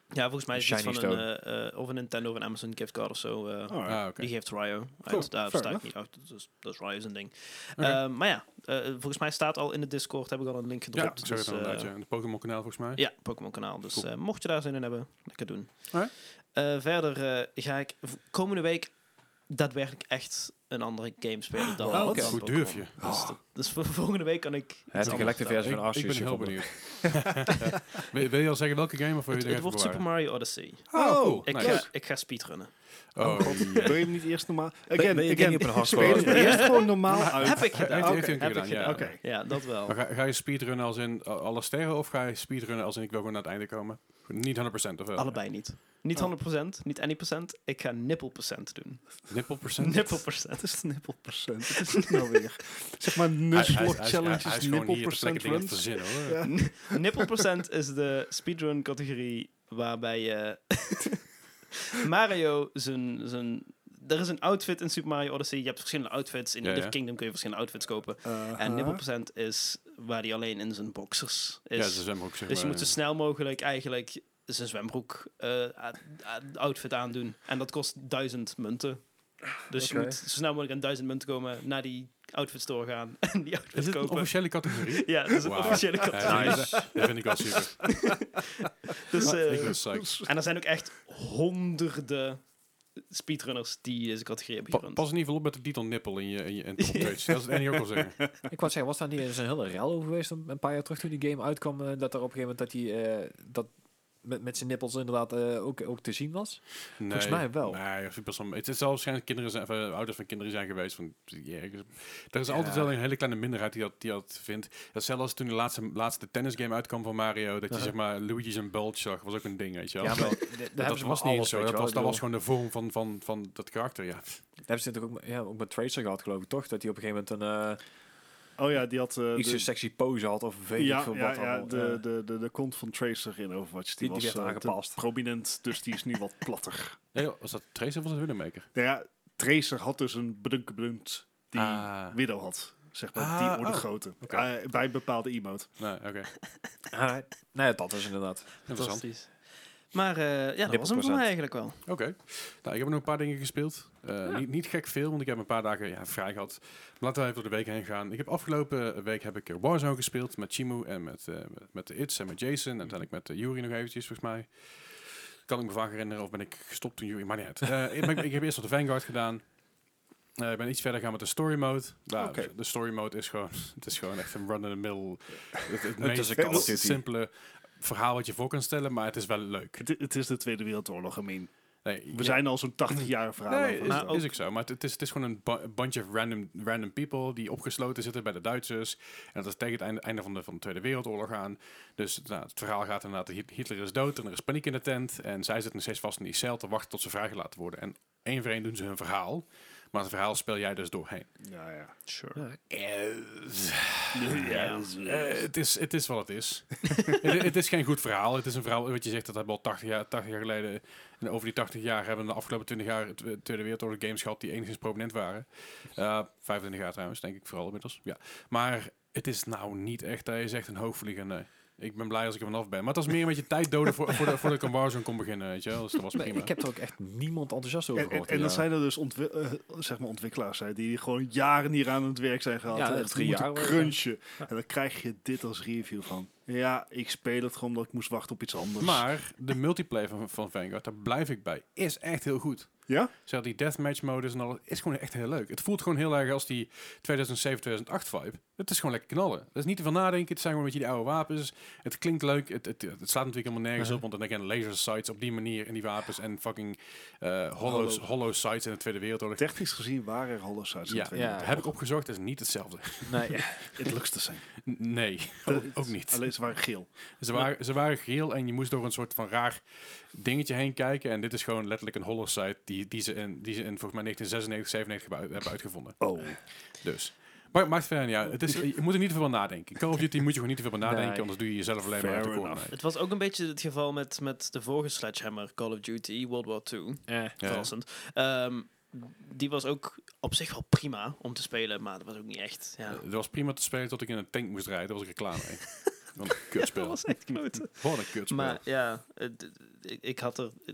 C: Ja, volgens mij is het
B: Shiny
C: iets van een, eh, eh, of een Nintendo of een Amazon giftcard of zo. eh,
D: Alright.
A: Ah, oké.
C: Die geeft Ryo.
D: Cool,
C: Uit,
D: fair
C: daar sta ik
D: enough.
C: niet uit. Dat is, dat is Ryo zijn ding.
A: Oké.
C: Ehm, maar ja, eh, volgens mij staat al in de Discord, heb ik al een link
A: ja,
C: gedropt.
A: ik zeg het
C: dus,
A: al inderdaad.
C: eh,
A: ja. En de Pokémon-kanaal volgens mij.
C: ja, Pokémon kanaal. Dus
A: Cool.
C: eh, mocht je daar zin in hebben, lekker doen.
A: Alright.
C: Eh, verder eh, ga ik v- komende week daadwerkelijk echt een andere game spelen dan
B: Oh, oké.
C: dan
A: Hoe
C: Pokémon.
A: durf je? Oh.
C: Dus, dat- dus voor [LAUGHS] volgende week kan ik... iets
B: Heb
C: anders
B: ik een lekte
C: vertellen.
B: versie van
A: ik, ik
B: Arceus
A: ben heel
B: gevonden.
A: benieuwd.
C: [LAUGHS]
A: wil, wil je al zeggen welke game of wil je
C: Het,
A: er
C: het
A: even
C: wordt Super
A: bewaren?
C: Mario Odyssey.
A: Oh,
C: Ik,
A: nice.
C: ga, ik ga speedrunnen.
A: Oh,
D: God, wil je hem niet eerst normaal... Again,
B: ben je
D: again,
B: niet op een hardcore?
D: speel het maar eerst gewoon normaal uit.
C: Heb ik gedaan.
A: heeft hij een keer
C: heb ik
A: gedaan, ja.
C: gedaan.
D: Oké.
C: Ja, dat
A: [LAUGHS]
C: wel.
A: Maar ga, ga je speedrunnen als in a- alle sterren of ga je speedrunnen als in ik wil gewoon naar het einde komen? Niet 100% of wel?
C: Allebei niet. Niet
D: Oh.
C: 100%, niet any percent. Ik ga nippelpercent doen.
A: Nippel percent?
C: Nippelpercent.
D: Het is de nippelpercent. Het is het nou weer. Zeg maar nusvlog challenges, nippelpercent
A: dingen
D: runs.
A: verzinnen hoor.
D: Ja.
C: Nippelpercent is de speedrun categorie waarbij je [LAUGHS] Mario zijn, zijn... Er is een outfit in Super Mario Odyssey. Je hebt verschillende outfits. In
A: Ja,
C: ieder
A: ja.
C: kingdom kun je verschillende outfits kopen.
D: Uh-huh.
C: En nippelpercent is waar hij alleen in zijn boxers
A: Ja,
C: is.
A: ze zijn ook zeg
C: dus je
A: maar,
C: moet zo
A: eh,
C: snel mogelijk eigenlijk zijn zwembroek eh, a- a- outfit aandoen. En dat kost duizend munten. Dus
B: Oké.
C: je moet zo snel mogelijk aan duizend munten komen, naar die outfit store gaan [LAUGHS] en die outfit
A: Is dit een
C: kopen.
A: officiële categorie?
C: [LAUGHS] ja, dat is een
A: Wauw.
C: officiële
A: Ja,
C: categorie.
A: nice. Dat vind ik wel super.
C: Dus, eh,
A: ik ben
B: [LAUGHS]
A: psyched.
C: en er zijn ook echt honderden speedrunners die deze categorie hebben
A: Pa-
C: gerund.
A: pas in ieder geval op met de titel nippel in je, in je in
B: [LAUGHS]
A: top page. Dat is het enige ook al zeggen.
B: Ik wou zeggen, was daar niet eens een hele rel over geweest een, een paar jaar terug toen die game uitkwam? eh, dat er op een gegeven moment dat hij eh, dat met, met zijn nippels inderdaad eh, ook, ook te zien was?
A: Nee,
B: [LAUGHS] Volgens mij wel.
A: Nee, super som. Het is al waarschijnlijk kinderen zijn, of, eh, ouders van kinderen zijn geweest. Van, ja, ik- er is altijd
B: Ja.
A: wel een hele kleine minderheid die dat, die dat vindt. Dat zelfs toen de laatste, laatste tennisgame uitkwam van Mario, dat je
B: Uh-huh.
A: zeg maar Luigi's en Bulge zag, was ook een ding, weet je wel. [LAUGHS]
B: Ja, maar
A: dat
B: d- daar
A: dat
B: hebben ze
A: was
B: maar
A: niet
B: alles,
A: zo.
B: weet
A: Dat
B: je wel.
A: was,
B: Ik
A: dat was
B: bedoel-
A: gewoon de vorm van, van, van dat karakter, ja.
B: Daar hebben ze natuurlijk ook, met- ja, ook met Tracer gehad, geloof ik, toch? Dat hij op een gegeven moment een eh,
D: Oh ja, die had... eh,
B: iets
D: de-
B: een sexy pose had of weet ik
D: ja,
B: veel
D: ja,
B: wat
D: ja
B: allemaal.
D: de,
B: eh.
D: de, de, de kont van Tracer in Overwatch. Die,
B: Die- die
D: was
B: werd
D: eh, te
B: aangepast.
D: prominent, dus die is nu
B: [LAUGHS]
D: wat platter.
A: Nee, joh, was dat Tracer of was dat Widowmaker?
D: Nou ja, Tracer had dus een bedunken bedunt die
A: Ah.
D: Widow had. Zeg maar,
A: Ah,
D: die orde
A: oh.
D: grootte.
A: Oké.
D: Eh, bij een bepaalde emote.
A: Nee,
B: [LAUGHS]
A: oké.
B: Alright. ah, Nee, dat is inderdaad.
A: Interessant.
C: Fantastisch. Maar eh, ja, dat was hem voor
B: Nippelprocent.
C: mij eigenlijk wel.
A: Oké. Nou, ik heb nog een paar dingen gespeeld. Eh, niet, niet gek veel, want ik heb een paar dagen ja, vrij gehad. Maar laten we even door de week heen gaan. Ik heb afgelopen week heb ik eh, Warzone gespeeld met Chimu en met, eh, met- met de Its en met Jason. En uiteindelijk met eh, Yuri nog eventjes, volgens mij. Kan ik me vaak herinneren, of ben ik gestopt toen Yuri? Maar niet uit. Eh, [LAUGHS] ik, ben- ik heb eerst nog de Vanguard gedaan. Eh, ik ben iets verder gaan met de story mode. Nou,
D: Oké.
A: De story mode is gewoon, [LAUGHS] het is gewoon echt een run-in-the-mill. Het, het
B: is een
A: meest
B: Call of Duty.
A: simpele verhaal wat je voor kan stellen, maar het is wel leuk.
D: Het, het is de Tweede Wereldoorlog, I mean.
A: Nee,
D: We
A: ja.
D: zijn al zo'n 80 jaar verhaal
A: Nee,
D: over.
A: is,
D: Maar ook-
A: is ook zo. Maar het- het is, het is gewoon een bu- bunch of random, random people die opgesloten zitten bij de Duitsers. En dat is tegen het einde, einde van, de, van de Tweede Wereldoorlog aan. Dus nou, het verhaal gaat inderdaad, Hit- Hitler is dood en er is paniek in de tent. En zij zitten nog steeds vast in die cel te wachten tot ze vrijgelaten worden. En één voor één doen ze hun verhaal. Maar het verhaal speel jij dus doorheen.
D: Ja,
B: [LAUGHS]
D: ja.
C: Sure.
D: Ja, dat is-
A: Eh, het, is, het is wat het is. [LAUGHS] het, het is geen goed verhaal. Het is een verhaal, wat je zegt, dat hebben we al 80 jaar, 80 jaar geleden. En over die 80 jaar hebben we de afgelopen 20 jaar het eh, Tweede Wereldoorlog games gehad die enigszins prominent waren. Eh 25 jaar trouwens, denk ik vooral inmiddels. Ja. Maar het is nou niet echt, hij is echt een hoogvlieger, nee. Ik ben blij als ik er vanaf ben. Maar het was meer een beetje tijd doden voor, voor de,
B: [LAUGHS]
A: voordat ik aan Warzone kon beginnen, weet je wel. Dus dat was
B: Nee,
A: prima.
B: ik heb er ook echt niemand enthousiast over
D: En, en,
B: gehoord.
D: en
B: ja.
D: dat zijn er dus ontwi- eh, zeg maar ontwikkelaars hè, die gewoon jaren hier aan het werk zijn gehad.
B: Ja,
D: en
B: dat
D: echt
B: drie
D: moeten
B: jaar wel, ja.
D: crunchen. En dan krijg je dit als review van. Ja, ik speel het gewoon omdat ik moest wachten op iets anders.
A: Maar de multiplayer van, van Vanguard, daar blijf ik bij, is echt heel goed.
D: ja?
A: Zeg, die deathmatch modus en alles is gewoon echt heel leuk. Het voelt gewoon heel erg als die 2007-2008 vibe. Het is gewoon lekker knallen. Dat is niet te veel nadenken. Het zijn gewoon een beetje die oude wapens. Het klinkt leuk. Het, het, het slaat natuurlijk helemaal nergens op. Want dan denk je aan laser sights op die manier en die wapens. En fucking eh hollow,
D: Hollow.
A: hollow sights in de Tweede Wereldoorlog.
D: Technisch gezien waren er Hollow-sites in
A: Ja,
D: de Tweede
B: ja.
A: Heb ik opgezocht. Het is niet hetzelfde.
B: Nee, ja.
D: Het looks the same.
A: N- Nee, ook, [LAUGHS] ook niet.
D: Alleen ze waren geel.
A: Ze waren, ze waren geel en je moest door een soort van raar dingetje heen kijken. En dit is gewoon letterlijk een hollow sight die, die, ze, in, die ze in volgens mij 1996, 97 hebben uit- hebben uitgevonden.
D: Oh.
A: Dus. Maar maakt verder niet uit. Het is, je moet er niet te veel nadenken. Call of Duty moet je gewoon niet te veel nadenken,
B: Nee.
A: anders doe je jezelf alleen maar
D: Fair
A: uit de koren.
D: enough.
A: uit.
C: Het was ook een beetje het geval met, met de vorige Sledgehammer Call of Duty World War II.
B: Eh,
A: Ja.
C: Verrassend. Ehm, die was ook op zich wel prima om te spelen, maar dat was ook niet echt. Ja. [LAUGHS]
A: Het Eh, was prima te spelen tot ik in een tank moest rijden. Daar was ik er klaar mee. Wat een
C: dat
A: kutspel.
C: was echt klote.
A: Wat een kutspel.
C: Maar ja, het- het- ik, ik had er eh,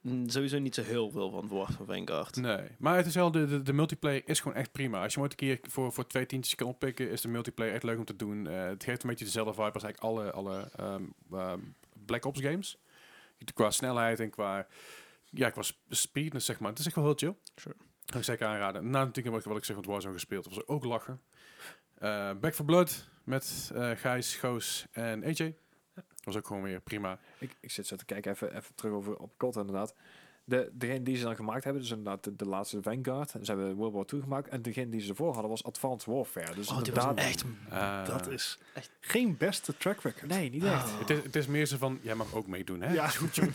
C: mm, sowieso niet zo heel veel van verwacht van Vanguard.
A: Nee, maar het is wel, de, de, de multiplayer is gewoon echt prima. Als je hem ooit een keer voor, voor twee tientjes kan oppikken, is de multiplayer echt leuk om te doen. Eh, het geeft een beetje dezelfde vibe als eigenlijk alle, alle ehm, ehm, Black Ops games. Qua snelheid en qua, ja, qua sp- speedness, zeg maar. Het is echt wel heel chill.
C: Sure.
A: Kan ik zeker aanraden. Na natuurlijk wat, wat ik zeg van Warzone gespeeld, was er ook lachen. Eh, Back for Blood met eh, Gijs, Goos en AJ. Was ook gewoon weer prima.
B: ik, ik zit zo te kijken, even, even terug over op kot inderdaad. De, degene die ze dan gemaakt hebben, dus inderdaad de, de laatste Vanguard. En ze hebben World War II gemaakt. En degene die ze ervoor hadden was Advanced Warfare. Dus
C: Oh, die was
B: inderdaad...
C: echt...
A: Eh,
D: dat is
C: echt.
D: geen beste track record.
B: Nee, niet echt.
A: Het is, het is meer zo van, jij mag ook meedoen, hè?
D: Ja.
A: Is goed, joh.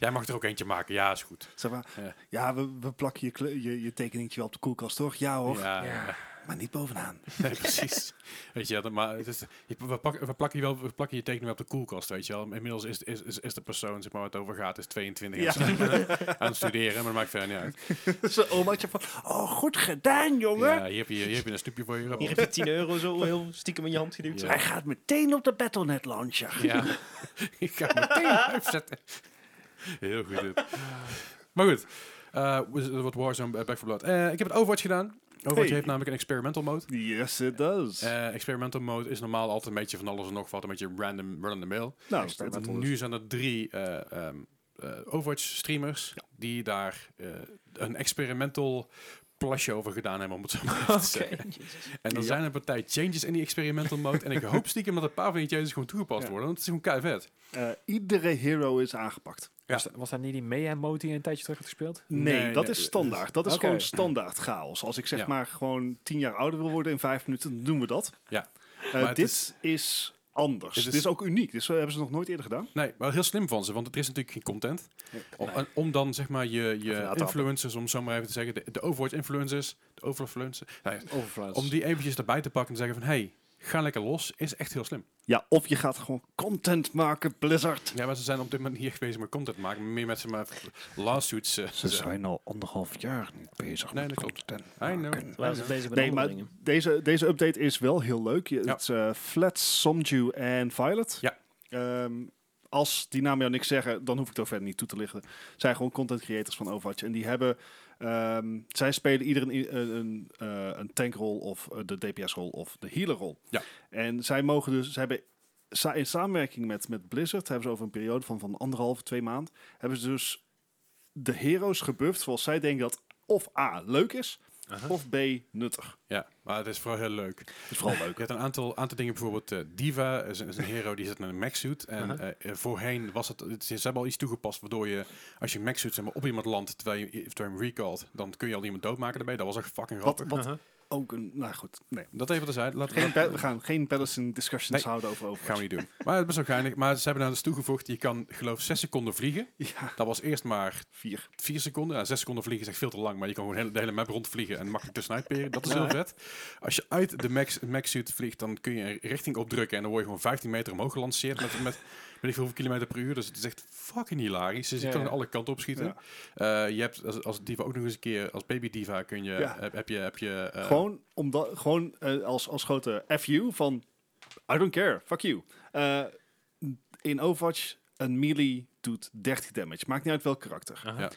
A: jij mag er ook eentje maken. Ja, is goed.
D: [LAUGHS] Zeg maar,
A: Ja.
D: ja, we, we plakken je, kle- je, je tekeningetje wel op de koelkast, toch? Ja hoor.
A: Ja, [LAUGHS]
B: Ja.
A: ja.
D: maar niet bovenaan. [LAUGHS]
A: Nee, precies. weet je, dat- maar het is, je- we, pak, we plakken je wel, we plakken je tekening wel op de koelkast, weet je wel. Inmiddels is, is, is, is de persoon zeg maar, waar het over gaat, is 22 en is eh, aan het studeren, maar dat maakt verder niet uit.
D: Zijn omaatje van, oh, goed gedaan, jongen.
A: Ja, hier, heb je, hier heb je een snoepje voor je
C: Hier
A: rabbel.
C: heb je 10 euro zo heel stiekem in je hand geduwd.
A: Ja.
D: Hij gaat meteen op de Battle.net launcher.
A: Ja, [LAUGHS] ik ga het meteen opzetten. Heel goed dit. Maar goed, eh, was- eh, wat Warzone eh, Back for Blood. Eh, ik heb het Overwatch gedaan. Overwatch
D: Hey.
A: heeft namelijk een experimental mode.
D: Yes, it does.
A: Eh, experimental mode is normaal altijd een beetje van alles en nog wat, een beetje random run-of-the-mill.
D: nou,
A: Want
D: experimental
A: nu zijn er drie eh, ehm, eh, Overwatch-streamers die daar eh, een experimental plasje over gedaan hebben, om het
D: [LAUGHS]
A: zo maar even te
C: [LAUGHS]
A: zeggen. En er
D: Ja.
A: zijn een partij changes in die experimental mode. en ik hoop stiekem dat een paar van die changes gewoon toegepast
D: Ja.
A: worden, want het is gewoon keihard.
D: Eh, iedere hero is aangepakt.
A: Ja.
B: Was, dat- was dat niet die Mayhem mode die je een tijdje terug had gespeeld?
D: Nee,
A: Nee,
D: dat
A: nee,
D: is standaard. Dat is
B: Oké.
D: gewoon standaard chaos. Als ik zeg
A: Ja.
D: maar gewoon tien jaar ouder wil worden in vijf minuten, dan doen we dat.
A: Ja.
D: Eh,
A: Maar het
D: dit is, anders.
A: het is-
D: dit is ook uniek. Dit zo hebben ze nog nooit eerder gedaan.
A: Nee, maar heel slim van ze, want er is natuurlijk geen content.
D: Nee.
A: Om, en om dan zeg maar je, je
D: laten
A: influencers, om zo maar even te zeggen, de, de Overwatch-influencers, de Overwatch-influencers, nou ja,
B: Overfluence.
A: om die eventjes erbij te pakken en te zeggen van, hey, ga lekker los, is echt heel slim.
D: Ja, of je gaat gewoon content maken, Blizzard.
A: Ja, maar ze zijn op dit moment niet echt bezig met content maken, maar meer met zeg maar lawsuits. eh, te-
D: al anderhalf jaar niet bezig
A: Nee, met dat klopt. I know. I
C: Waar ze
A: know.
C: bezig met
D: Nee,
C: andere
D: maar
C: dingen.
D: deze, deze update is wel heel leuk. Je,
A: Ja.
D: Het is eh, Flat, Somju en Violet.
A: Ja.
D: Ehm, als die namen jou niks zeggen, dan hoef ik het ook verder niet toe te lichten. Zijn gewoon content creators van Overwatch. En die hebben... ehm, zij spelen ieder een, i- een, een, eh, een tankrol of eh, de DPS-rol of de healer-rol.
A: Ja.
D: En zij mogen dus... Zij hebben sa- in samenwerking met, met Blizzard hebben ze over een periode van, van anderhalf, twee maanden... hebben ze dus de heroes gebufft zoals zij denken dat of A, leuk is...
A: Aha.
D: Of B, nuttig.
A: Ja, maar het is vooral heel leuk.
D: Dat is vooral leuk.
A: Je hebt een aantal, aantal dingen, bijvoorbeeld eh, Diva is, een- is een hero, die zit in een maxsuit. En
D: Uh-huh.
B: Aha.
A: eh, eh, voorheen was het, het- ze hebben al iets toegepast waardoor je, als je maxsuit zeg maar, op iemand landt, terwijl je, terwijl je hem recallt, dan kun je al iemand doodmaken daarbij. Dat was echt fucking
D: Wat-
A: grappig.
D: wat- Ook een, nou goed, nee.
A: Dat even terzijde, laten we
D: Geen pa- we gaan geen Palestine discussions
A: Nee.
D: houden over over.
A: gaan we niet doen. Maar het is best wel geinig. Maar ze hebben nou dus toegevoegd, je kan geloof ik 6 seconden vliegen.
D: [LAUGHS] Ja,
A: Dat was eerst maar
D: vier.
A: 4 seconden. Nou, 6 seconden vliegen is echt veel te lang, maar je kan gewoon heel- de hele map rondvliegen en makkelijk te sniperen. Dat is heel vet. Als je uit de max, maxsuit vliegt, dan kun je een richting opdrukken en dan word je gewoon 15 meter omhoog gelanceerd met, met weet ik veel hoeveel kilometer per uur. Dus het is echt fucking hilarisch. Dus je
B: Ja,
A: kan
B: ja.
A: alle kanten op schieten.
D: Ja.
A: Eh, je hebt als, als diva ook nog eens een keer, als baby diva kun je,
D: Ja.
A: heb, heb je, heb je eh,
D: gewoon omdat, gewoon eh, als, als grote FU van, I don't care, fuck you. Eh, in Overwatch, een melee doet 30 damage. Maakt niet uit welk karakter.
B: Aha.
A: Ja.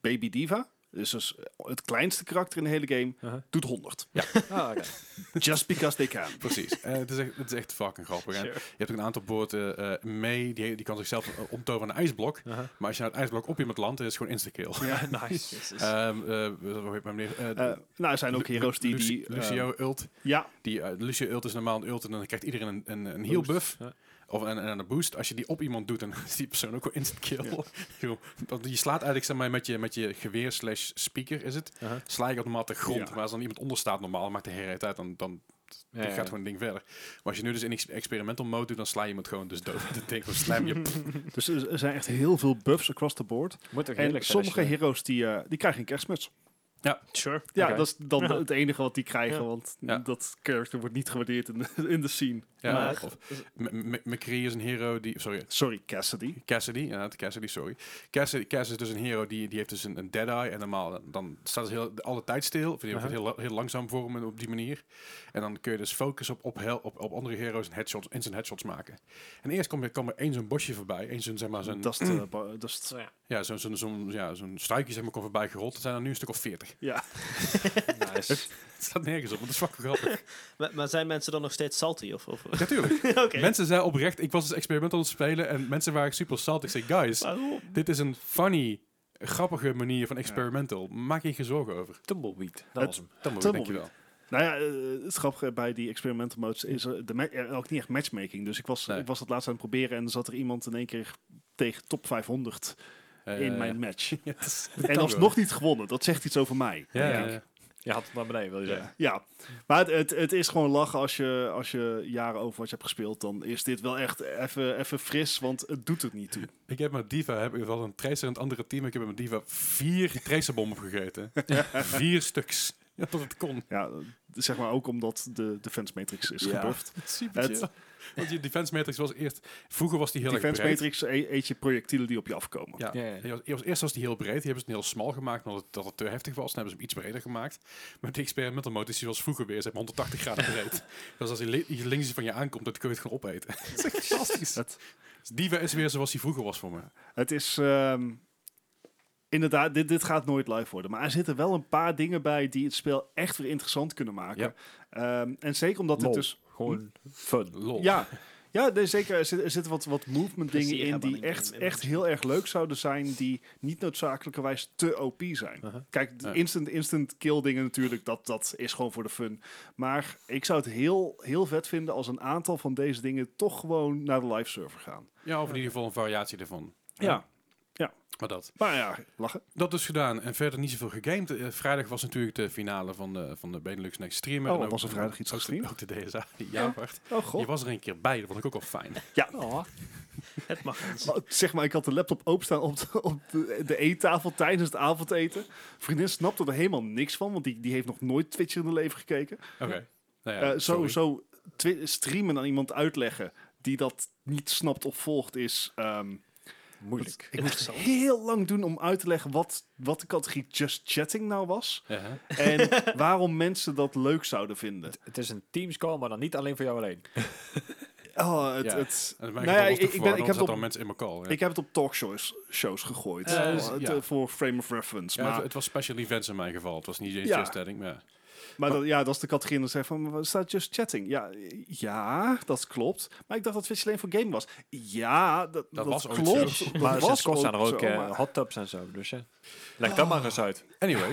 D: Baby Diva, dus, dus het kleinste karakter in de hele game,
B: Aha.
D: doet 100.
B: Ah, oké.
D: [LAUGHS] Just because they can. [LAUGHS]
A: Precies. Eh, het, is echt, het is echt fucking grappig. En je hebt ook een aantal boten eh mee, die, die kan zichzelf eh, omtoveren aan een ijsblok.
B: [LAUGHS] Aha.
A: Maar als je naar het ijsblok op iemand landt, is het gewoon insta-kill.
B: nice.
C: Jezus.
A: Ehm, eh, hoe heet mijn meneer? Eh,
D: Dus- Eh, nou, er zijn ook
A: Lu-
D: heroes die...
A: Lu-
D: die eh,
A: Lucio ult.
D: ja,
A: Die, eh, Lucio ult is normaal een ult en dan krijgt iedereen een, een, een heal buff.
B: ja.
A: Of een, een, een boost. Als je die op iemand doet, dan [LAUGHS] is die persoon ook wel instant kill. [LAUGHS] Yo, want je slaat eigenlijk zeg maar, met, je, met je geweer slash speaker, is het.
B: Aha.
A: Sla je op normaal op de grond.
D: Ja.
A: Maar als dan iemand onder staat normaal, maakt de herheid uit. Dan, dan
B: Ja,
A: gaat
B: ja.
A: gewoon het ding verder. Maar als je nu dus in ex- experimental mode doet, dan sla je iemand gewoon dus
D: [LAUGHS]
A: dood. Dan denk ik, slam je.
D: dus er zijn echt heel veel buffs across the board.
B: Moet er
D: En
B: heerlijk zijn als
D: sommige
B: je-
D: heroes die, eh, die krijgen een kerstmuts.
C: Sure.
D: Ja,
B: Oké.
D: dat is dan
C: Ja.
D: het enige wat die krijgen,
C: Ja.
D: want
A: Ja.
D: dat character wordt niet gewaardeerd in de, in de scene.
A: Ja,
C: Maar-
A: of M- M- McCree is een hero die... Sorry,
D: Sorry, Cassidy.
A: Cassidy, inderdaad, Cassidy, sorry. Cassidy, Cass is dus een hero die, die heeft dus een, een dead eye. En normaal dan- dan staat het heel, de- alle tijd stil. Of die wordt
B: Aha.
A: heel, la- heel langzaam voor hem op die manier. En dan kun je dus focussen op, op, hel- op, op andere heroes en headshots, instant headshots maken. En eerst kwam er, kwam er één zo'n bosje voorbij. Eén zo'n, zeg maar, zo'n,
D: Dat is de... ba- dat is het-
C: Zo ja.
A: ja, zo'n, zo'n, zo'n, ja, zo'n struikje zeg maar, kwam voorbij gerold. Er zijn er nu een stuk of veertig. [LAUGHS]
D: ja.
B: [LAUGHS] Nice.
A: Het staat nergens op, want dat is fucking grappig.
C: Maar, maar zijn mensen dan nog steeds salty? Of, of? Oké.
A: Natuurlijk. Mensen zijn oprecht... Ik was dus experiment aan het spelen en mensen waren super salt. Ik zei, guys,
C: Waarom?
A: dit is een funny... Grappige manier van experimental. Maak je geen zorgen over.
B: Tumbleweed.
D: Het-
B: Dat was hem.
A: Dan moet
D: Tumbleweed.
A: denk je wel.
D: Nou ja, eh, het grappige bij die experimental modes is er, de ma- er ook niet echt matchmaking. Dus ik was,
A: Nee.
D: ik was het laatst aan het proberen en er zat er iemand in één keer tegen top 500
A: Eh,
D: in mijn
A: [LAUGHS]
D: match.
A: ja, dat is-
D: En
A: kan
D: alsnog niet gewonnen. Dat zegt iets over mij.
A: Ja,
D: denk
A: ja,
D: ik.
A: ja.
B: Je had het naar beneden, wil je zeggen.
D: Ja, maar het, het, het is gewoon lachen als je, als je jaren Overwatch hebt gespeeld. Dan is dit wel echt even even fris, want het doet het niet toe.
A: Ik heb met Diva, heb, ik wel [LAUGHS] een tracer in het andere team. Ik heb met Diva vier tracerbommen gegeten. vier stuks. Ja, dat het kon.
D: Ja, zeg maar ook omdat de Defense Matrix is
A: Ja.
D: gebufft.
A: Het is super
D: Het-
A: chill. Want je defense matrix was eerst... Vroeger was die heel erg
D: Defense
A: breed.
D: Matrix e- eet je projectielen die op je afkomen.
A: Ja.
B: Ja, ja.
A: Die was- die was- eerst was die heel breed. Die hebben ze heel smal gemaakt omdat het, dat het te heftig was. Dan hebben ze hem iets breder gemaakt. Maar de experimental mode is zoals vroeger weer. Ze hebben 180 graden [LAUGHS] breed. Dus als hij li- hier links van je aankomt, dan kun je het gewoon opeten. dat is echt fantastisch.
D: Dat-
A: Dus die is weer zoals die vroeger was voor me.
D: Het is... ehm, inderdaad, dit, dit gaat nooit live worden. Maar er zitten wel een paar dingen bij die het spel echt weer interessant kunnen maken.
A: Ja.
D: Ehm, en zeker omdat
B: Lol.
D: het dus...
B: Gewoon fun.
A: Lol.
D: Ja, ja nee, zeker. Er zit- er zitten wat, wat movement
C: Plezier
D: dingen in
C: hebben
D: die
C: aan een
D: echt,
C: game,
D: echt heel erg leuk zouden zijn. Die niet noodzakelijkerwijs te OP zijn.
A: Uh-huh.
D: Kijk, de
A: Ja.
D: instant, instant kill dingen natuurlijk, dat, dat is gewoon voor de fun. Maar ik zou het heel, heel vet vinden als een aantal van deze dingen toch gewoon naar de live server gaan.
A: Ja, of in ieder geval een variatie daarvan.
D: Ja.
A: Maar dat.
D: Maar ja, lachen.
A: Dat is gedaan. En verder niet zoveel gegamed. Eh, vrijdag was natuurlijk de finale van de, van de Benelux Next Stream.
D: Oh,
A: En ook-
D: was er vrijdag iets
A: ook de-
D: gestreamd?
A: Ook de DSA. [LAUGHS] Ja, wacht.
D: Oh
A: Je
D: god.
A: was er een keer bij. Dat vond ik ook al fijn. [LAUGHS]
B: Oh,
C: Het mag niet.
D: Wat- Oh, Zeg maar, ik had de laptop openstaan op de, op de, de eettafel tijdens het avondeten. Vriendin snapte er helemaal niks van, want die, die heeft nog nooit Twitch in haar leven gekeken.
A: Oké. Nou ja,
D: Eh, zo
A: sorry.
D: zo twi- streamen aan iemand uitleggen die dat niet snapt of volgt is... ehm,
B: moeilijk.
D: Ik moest
C: Interessant.
D: heel lang doen om uit te leggen wat, wat de categorie just chatting nou
A: [LAUGHS]
D: was.
A: Ja, hè?
D: En waarom mensen dat leuk zouden vinden.
B: Het is een Teams call, maar dan niet alleen voor jou alleen.
D: Oh, het,
A: Ja.
D: het,
A: En
D: Nou
A: mijn
D: ja,
A: geval was
D: ik-
A: ik,
D: ik ben-
A: ik
D: ik
A: heb
D: heb het op-
A: dan mensen in mijn call. Ja.
D: ik heb het op talkshows shows gegooid.
A: Ja, dus-
D: Eh, het,
A: ja.
D: eh, voor frame of reference.
A: Ja, het-
D: maar
A: het was special events in mijn geval. Het was niet eens
D: Ja.
A: just chatting, maar
D: maar dat, ja, dat is de categorie en dan zegt van, wat staat just chatting? Ja, ja, dat klopt. Maar ik dacht dat Twitch alleen voor game was. Ja, dat, dat,
A: was ooit
D: klopt.
A: zo.
D: Dat
B: Maar sinds
D: was
B: kort zijn er ook Ah.
D: zo,
B: eh,
D: maar-
B: hot tubs en zo. Dus ja. Leg dat maar eens uit.
A: Anyway,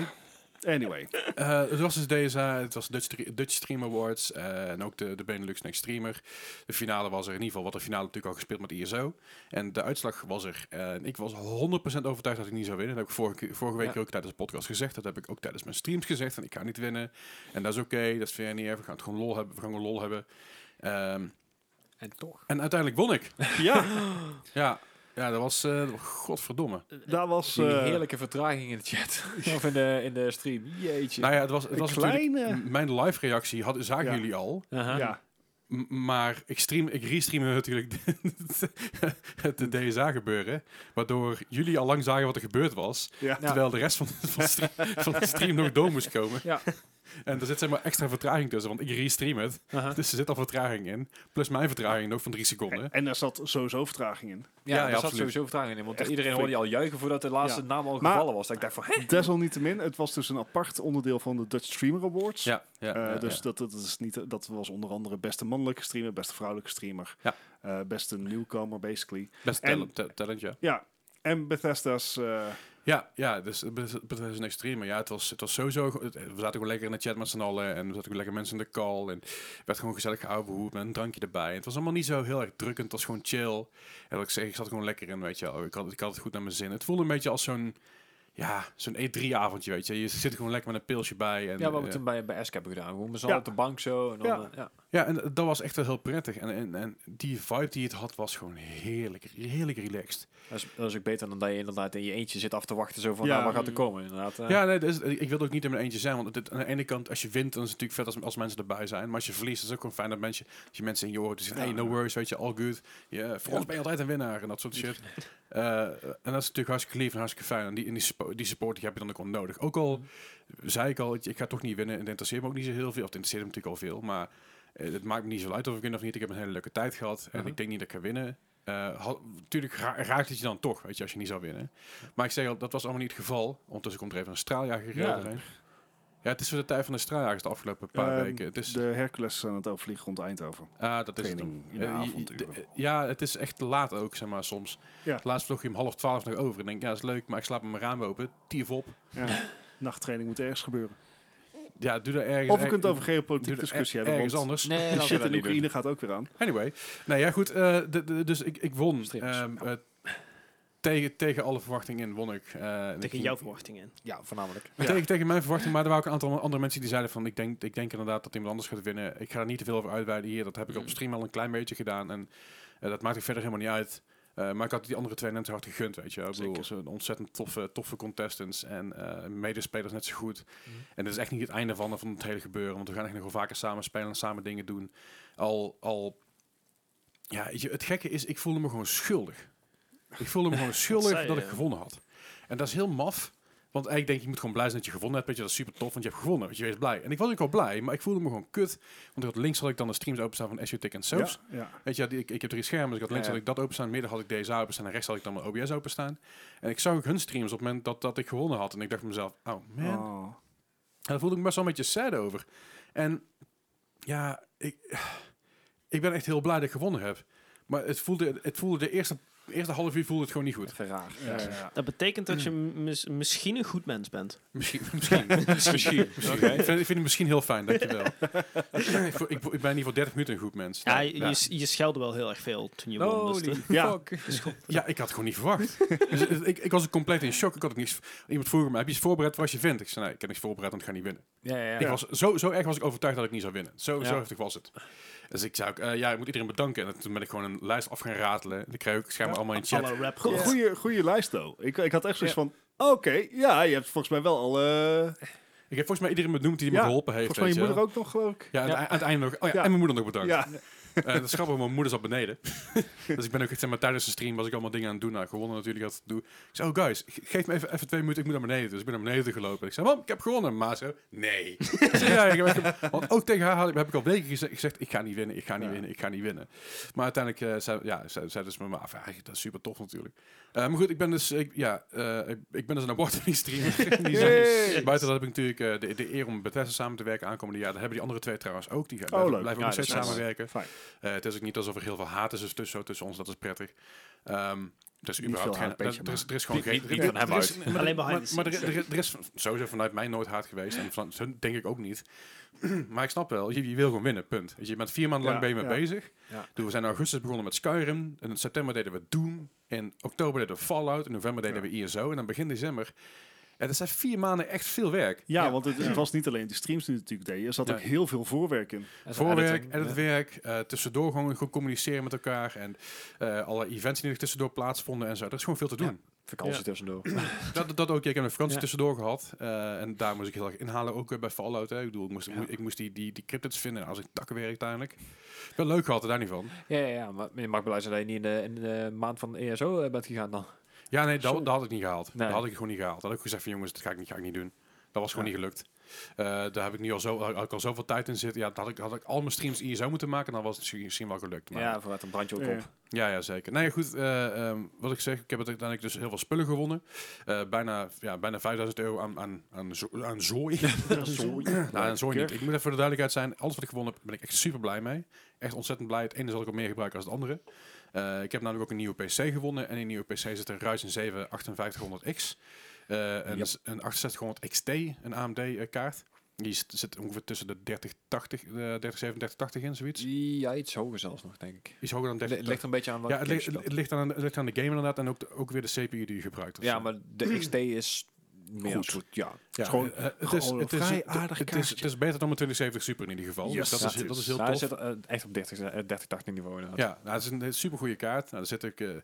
D: Anyway,
A: eh, het was dus DSA, het was Dutch, Stre- Dutch Stream Awards eh, en ook de, de Benelux Next Streamer. De finale was er, in ieder geval wat de finale natuurlijk al gespeeld met ISO. En de uitslag was er. eh, En ik was 100% overtuigd dat ik niet zou winnen. Dat heb ik vorige, keer- vorige week
B: Ja.
A: ook tijdens de podcast gezegd. Dat heb ik ook tijdens mijn streams gezegd. Van ik ga niet winnen. En dat is oké, dat is fair niet erg. We gaan het gewoon lol hebben. We gaan gewoon lol hebben. Ehm,
B: En toch.
A: en uiteindelijk won ik.
D: ja,
A: ja. ja, dat was... eh, godverdomme.
D: daar was...
B: Die
D: eh,
B: heerlijke vertraging in de chat. [LAUGHS] of in de, in de stream. Jeetje.
A: Nou ja, het was, het was natuurlijk...
D: kleine...
A: M- Mijn live reactie had, zagen
D: Ja.
A: jullie al.
B: Aha.
D: Ja,
A: m- Maar ik, stream, ik restream natuurlijk [LAUGHS] het de DSA gebeuren. Waardoor jullie al lang zagen wat er gebeurd was.
D: ja.
B: Ja.
A: Terwijl de rest van, [LAUGHS] van, de stream, van de stream nog door moest komen.
B: Ja.
A: [LAUGHS] En er zit zeg maar extra vertraging tussen. Want ik restream het.
B: Aha.
A: Dus er zit al vertraging in. Plus mijn vertraging nog van drie seconden.
D: En daar zat sowieso vertraging in.
A: Ja,
B: Ja,
A: ja,
B: daar zat
A: absoluut.
B: sowieso vertraging in. Want
D: Echt
B: iedereen hoorde je al juichen voordat de laatste
D: Ja.
B: naam al
D: Maar-
B: gevallen was. Dat ik dacht van, hè?
D: Desalniettemin, het was dus een apart onderdeel van de Dutch Streamer Awards.
A: Ja, ja,
D: Eh,
A: ja, ja.
D: dus Dat, dat, is niet, dat was onder andere beste mannelijke streamer, beste vrouwelijke streamer,
A: Ja.
D: eh, beste newcomer basically.
A: Best
D: en-
A: talent, ta- talent, ja.
D: Ja, en Bethesda's... eh,
A: Ja, ja, dus het bet- het is een extreme. Ja, het was, het was sowieso... go- het- We zaten gewoon lekker in de chat met z'n allen. En we zaten ook lekker mensen in de call. En werd gewoon gezellig gehouden met een drankje erbij. En het was allemaal niet zo heel erg drukkend. Het was gewoon chill. En wat ik zeg, ik zat gewoon lekker in, weet je wel. Ik had, ik had het goed naar mijn zin. Het voelde een beetje als zo'n... Ja, zo'n E3-avondje, weet je. Je zit er gewoon lekker met een pilsje bij. En,
B: Ja, wat we
A: eh,
B: toen bij, bij Esk hebben gedaan. Gewoon met z'n
D: Ja.
B: allen op de bank zo. En dan,
D: Ja.
B: eh, ja.
A: ja, en dat was echt wel heel prettig. En, en, en die vibe die het had, was gewoon heerlijk, heerlijk relaxed.
B: Dat, is, dat is ook beter dan dat je inderdaad in je eentje zit af te wachten. Zo van,
D: Ja.
B: nou, waar gaat er komen? Inderdaad. eh.
A: Ja, nee, dat is- ik wil ook niet in mijn eentje zijn. Want het, aan de ene kant, als je wint, dan is het natuurlijk vet als, als mensen erbij zijn. Maar als je verliest, is het ook gewoon fijn dat mensen, als je mensen in je oren zitten.
D: Ja.
A: hey, no worries, weet je, all good. ja voor ons ben je altijd een winnaar en dat soort shit. Eh, en dat is natuurlijk hartstikke lief en hartstikke fijn. En die, en die, spo- die support die heb je dan ook wel nodig. Ook al zei ik al, ik ga toch niet winnen. En dat interesseert me ook niet zo heel veel. Of het interesseert me natuurlijk al veel. Maar eh, het maakt me niet zo uit of ik win of niet. Ik heb een hele leuke tijd gehad. En
D: Uh-huh.
B: Mhm.
A: ik denk niet dat ik ga winnen. Eh, had- Natuurlijk ra- raakt het je dan toch, weet je, als je niet zou winnen. Maar ik zeg al, dat was allemaal niet het geval. Ondertussen komt er even een straaljager
B: Ja.
A: overheen. Ja, het is weer de tijd van de straaljagers de afgelopen paar
D: ehm,
A: weken. Het is,
D: De Hercules aan het overvliegen rond Eindhoven.
A: ah, dat is het
D: training
A: hem.
D: in de
A: Eh, je-
D: avonduren.
A: de- ja, het is echt te laat ook, zeg maar, soms.
D: Ja.
A: Laatst vlog je om half twaalf nog over en denk ja, dat is leuk, maar ik slaap met mijn raam open. Tief op.
D: Ja. Nachttraining moet ergens gebeuren.
A: Ja, doe daar ergens...
D: Of we kunnen het over
A: doe
D: geopolitieke
A: er
D: discussie
A: er-
D: hebben,
A: Ergens
D: want
A: anders.
B: Nee,
D: de
B: laten we
D: shit
B: dat
D: in
B: niet doen.
D: Oekraïne gaat ook weer aan.
A: Anyway, nou ja, goed. eh, de, de- dus ik, ik won.
B: Strips.
A: Ehm,
C: Oh.
A: eh, tegen, tegen alle verwachtingen in won ik. eh, en ik
C: Tegen
A: ging-
C: jouw verwachtingen. in.
B: Ja, voornamelijk.
A: Tegen, tegen mijn verwachting, maar er waren ook een aantal andere mensen die zeiden van... Ik denk, ik denk inderdaad dat iemand anders gaat winnen. Ik ga er niet te veel over uitweiden hier. Dat heb ik op
C: Mm.
A: stream al een klein beetje gedaan. En eh, dat maakt ook verder helemaal niet uit. Eh, maar ik had die andere twee net zo hard gegund, weet je. wel. Ik bedoel,
D: Zeker.
A: ze zijn ontzettend toffe, toffe contestants en eh, medespelers net zo goed.
C: Mm.
A: En dat is echt niet het einde van, van het hele gebeuren. Want we gaan echt nog wel vaker samen spelen en samen dingen doen. Al, al ja, weet je, het gekke is, ik voelde me gewoon schuldig. Ik voelde
C: [LAUGHS]
A: me gewoon schuldig
C: zei
A: dat,
C: je.
A: ik gewonnen had. En dat is heel maf. Want ik denk, je moet gewoon blij zijn dat je gewonnen hebt. Weet je, dat is super tof, want je hebt gewonnen. Want je wees blij. En ik was ook wel blij, maar ik voelde me gewoon kut. Want ik had links had ik dan de streams openstaan van SU Tech en Soaps.
D: Ja, ja.
A: Weet je, had- ik, ik heb drie schermen, dus ik had links
D: Ja, ja.
A: had ik dat openstaan, midden had ik DSA openstaan en rechts had ik dan mijn OBS openstaan. En ik zag ook hun streams op het moment dat, dat ik gewonnen had. En ik dacht bij mezelf, oh man. En
D: Oh.
A: daar voelde ik me best wel een beetje sad over. En ja, ik, ik ben echt heel blij dat ik gewonnen heb. Maar het voelde, het voelde de eerste, eerste half uur voelde het gewoon niet goed.
B: Even raar.
D: Ja, ja, ja.
C: Dat betekent dat je mis- misschien een goed mens bent.
A: Misschien. [LAUGHS] misschien. misschien. misschien. Ik, vind, ik vind het misschien heel fijn, dankjewel. [LAUGHS] ik, vo- ik, vo- ik ben in ieder geval 30 minuten een goed mens.
C: Ja,
A: Nou,
C: je, je, je schelde wel heel erg veel toen je won. Dus de-
D: Ja.
A: Ja, ik had het gewoon niet verwacht. Dus, eh, ik, ik was ook compleet in shock. Ik had ook niks. Iemand vroeg me: heb je iets voorbereid wat je vindt? Ik zei: nee, ik heb niks voorbereid, want ik ga niet winnen.
B: Ja, ja,
A: Ik
B: ja.
A: was, zo, zo erg was ik overtuigd dat ik niet zou winnen. Zo, zo
B: Ja.
A: heftig was het. Dus ik zei ook: eh, ja, ik moet iedereen bedanken. En toen ben ik gewoon een lijst af gaan ratelen. En ik kreeg ook schijnbaar allemaal in chat.
C: Alle rap
D: Go-
C: goed.
D: Goeie, goeie lijst, though. Ik, ik had echt zoiets
B: Ja.
D: van... Oké, ja, je hebt volgens mij wel al... eh,
A: Ik heb volgens mij iedereen benoemd die me
D: Ja,
A: geholpen heeft.
D: volgens mij je
A: weet
D: moeder
A: wel.
D: ook nog, geloof ik.
A: Ja, aan,
B: Ja.
A: het- aan het einde nog. Oh ja,
D: Ja.
A: en mijn moeder nog bedankt.
D: Ja,
A: Eh, dat is grappig, want mijn moeder zat beneden. [LAUGHS] dus ik ben ook echt, zeg maar, tijdens de stream was ik allemaal dingen aan het doen. Nou, gewonnen natuurlijk, dat doe. Ik zei, oh guys, ge- geef me even, even twee minuten, ik moet naar beneden. Dus ik ben naar beneden gelopen. Ik zei, mam, ik heb gewonnen. Maar ze, nee. [LAUGHS] Ik zei, ja, ik heb echt- want ook tegen haar had ik- heb ik al weken gezegd, gezegd, ik ga niet winnen, ik ga niet
D: Ja.
A: winnen, ik ga niet winnen. Maar uiteindelijk eh, zei, ja, zei, zei dus mijn ma, van, ja, dat is super tof natuurlijk. Eh, maar goed, ik ben dus, ik, ja, eh, ik, ik ben dus een award-winning streamer. [LAUGHS] Die zijn-
D: Yay.
A: Buiten dat heb ik natuurlijk eh, de, de eer om met Bethesda samen te werken aankomende jaar. Dat hebben die andere twee trouwens ook. Die gaan,
D: Oh, leuk.
A: blijven ook nog
B: Ja, dat
A: steeds
B: is nice.
A: samenwerken.
D: Fijn.
A: Eh, het is ook niet alsof er heel veel haat is tussen, zo tussen ons, dat is prettig. Ehm er is überhaupt
B: veel
A: geen,
B: haat, beetje,
A: er, er is, er is gewoon
B: Niet-
A: geen...
B: niet-
A: er-
B: niet van
A: er
B: hem
A: is-
B: uit.
A: dus maar- maar-
C: Alleen behind the
A: Maar er,
C: scenes,
A: er, er is sowieso vanuit mij nooit haat geweest. En van hun denk ik ook niet. [CLEARS THROAT] maar ik snap wel, je, je wil gewoon winnen, punt. Weet Je je bent vier maanden lang
D: Ja,
A: ben je mee
D: ja.
A: bezig.
B: Ja.
A: Doe, we zijn in augustus begonnen met Skyrim. En in september deden we Doom. In oktober deden we Fallout. In november deden
D: Ja.
A: we ISO. En dan begin december... En dat zijn vier maanden echt veel werk.
D: Ja,
B: Ja.
D: want het, het was niet alleen de streams die natuurlijk deden. Er zat ook
A: Nee.
D: heel veel voorwerk in.
B: En zo
A: Voorwerk,
B: editing,
A: en het werk, eh, tussendoor gewoon goed communiceren met elkaar en eh, alle events die er tussendoor plaatsvonden en zo. Er is gewoon veel te doen.
B: ja, Vakantie
C: Ja.
B: tussendoor.
A: Dat, dat ook, ja, ik heb een vakantie
B: Ja.
A: tussendoor gehad eh, en daar moest ik heel erg inhalen, ook eh, bij Fallout. Hè. Ik bedoel, ik moest, ik moest die, die, die cryptids vinden als ik takkenwerk uiteindelijk. Wel leuk gehad, daar niet van.
B: Ja, ja, ja. Maar je mag blij zijn dat je niet in de, in de maand van de ESO eh, bent gegaan dan.
A: Ja, nee,
B: Zo.
A: dat, dat had ik niet gehaald.
B: Nee.
A: Dat had ik gewoon niet gehaald. Dat had ik gezegd van jongens, dat ga ik niet, ga ik niet doen. Dat was gewoon
B: Ja.
A: niet gelukt. Eh, daar heb ik nu al, zo, had ik al zoveel tijd in zitten. Ja, dat had ik, had ik al mijn streams ISO moeten maken, dan was het misschien- misschien wel gelukt. Maar
B: Ja, vooruit een brandje ook
D: Ja.
B: op.
A: Ja, ja zeker. Nee, goed, eh, ehm, wat ik zeg, ik heb uiteindelijk dus heel veel spullen gewonnen. Eh, bijna, ja, bijna 5000 euro aan, aan, aan, zo- aan zooi. [LAUGHS] nou, aan zooi niet. Ik moet even voor de duidelijkheid zijn, alles wat ik gewonnen heb, ben ik echt super blij mee. Echt ontzettend blij. Het ene zal ik ook meer gebruiken als het andere. Eh, ik heb namelijk ook een nieuwe PC gewonnen. En in die nieuwe PC zit een Ryzen 7 5800X. eh een,
B: Yep.
A: een 6800 XT, een AMD eh, kaart. Die zit- zit ongeveer tussen de 3080, eh 3070, 3080 in, zoiets.
B: Ja, iets hoger zelfs nog, denk ik.
A: Iets hoger dan
B: Het
A: 3080.
B: ligt er een beetje aan wat
A: Ja, het ligt, het, ligt aan, het ligt aan de game inderdaad en ook, de- ook weer de CPU die je gebruikt. of
B: ja
A: zo.
B: maar
A: [CLEARS THROAT]
B: de XT is meer
D: Goed.
B: een soort- ja.
A: Ja,
D: is gewoon-
A: eh, het is,
D: gewoon
A: het
D: een
A: is,
D: vrij
A: het-
D: aardig
A: het is,
D: kaartje.
A: het is beter dan mijn 2070 Super in ieder geval.
D: Yes,
A: dus dat, is,
D: natuurlijk.
A: dat is heel
B: Nou, hij
A: tof.
B: zit eh, echt op 30, eh, 30, 80 niveau inderdaad.
A: Ja, nou, het is een super goede kaart. Nou, daar zit ik, eh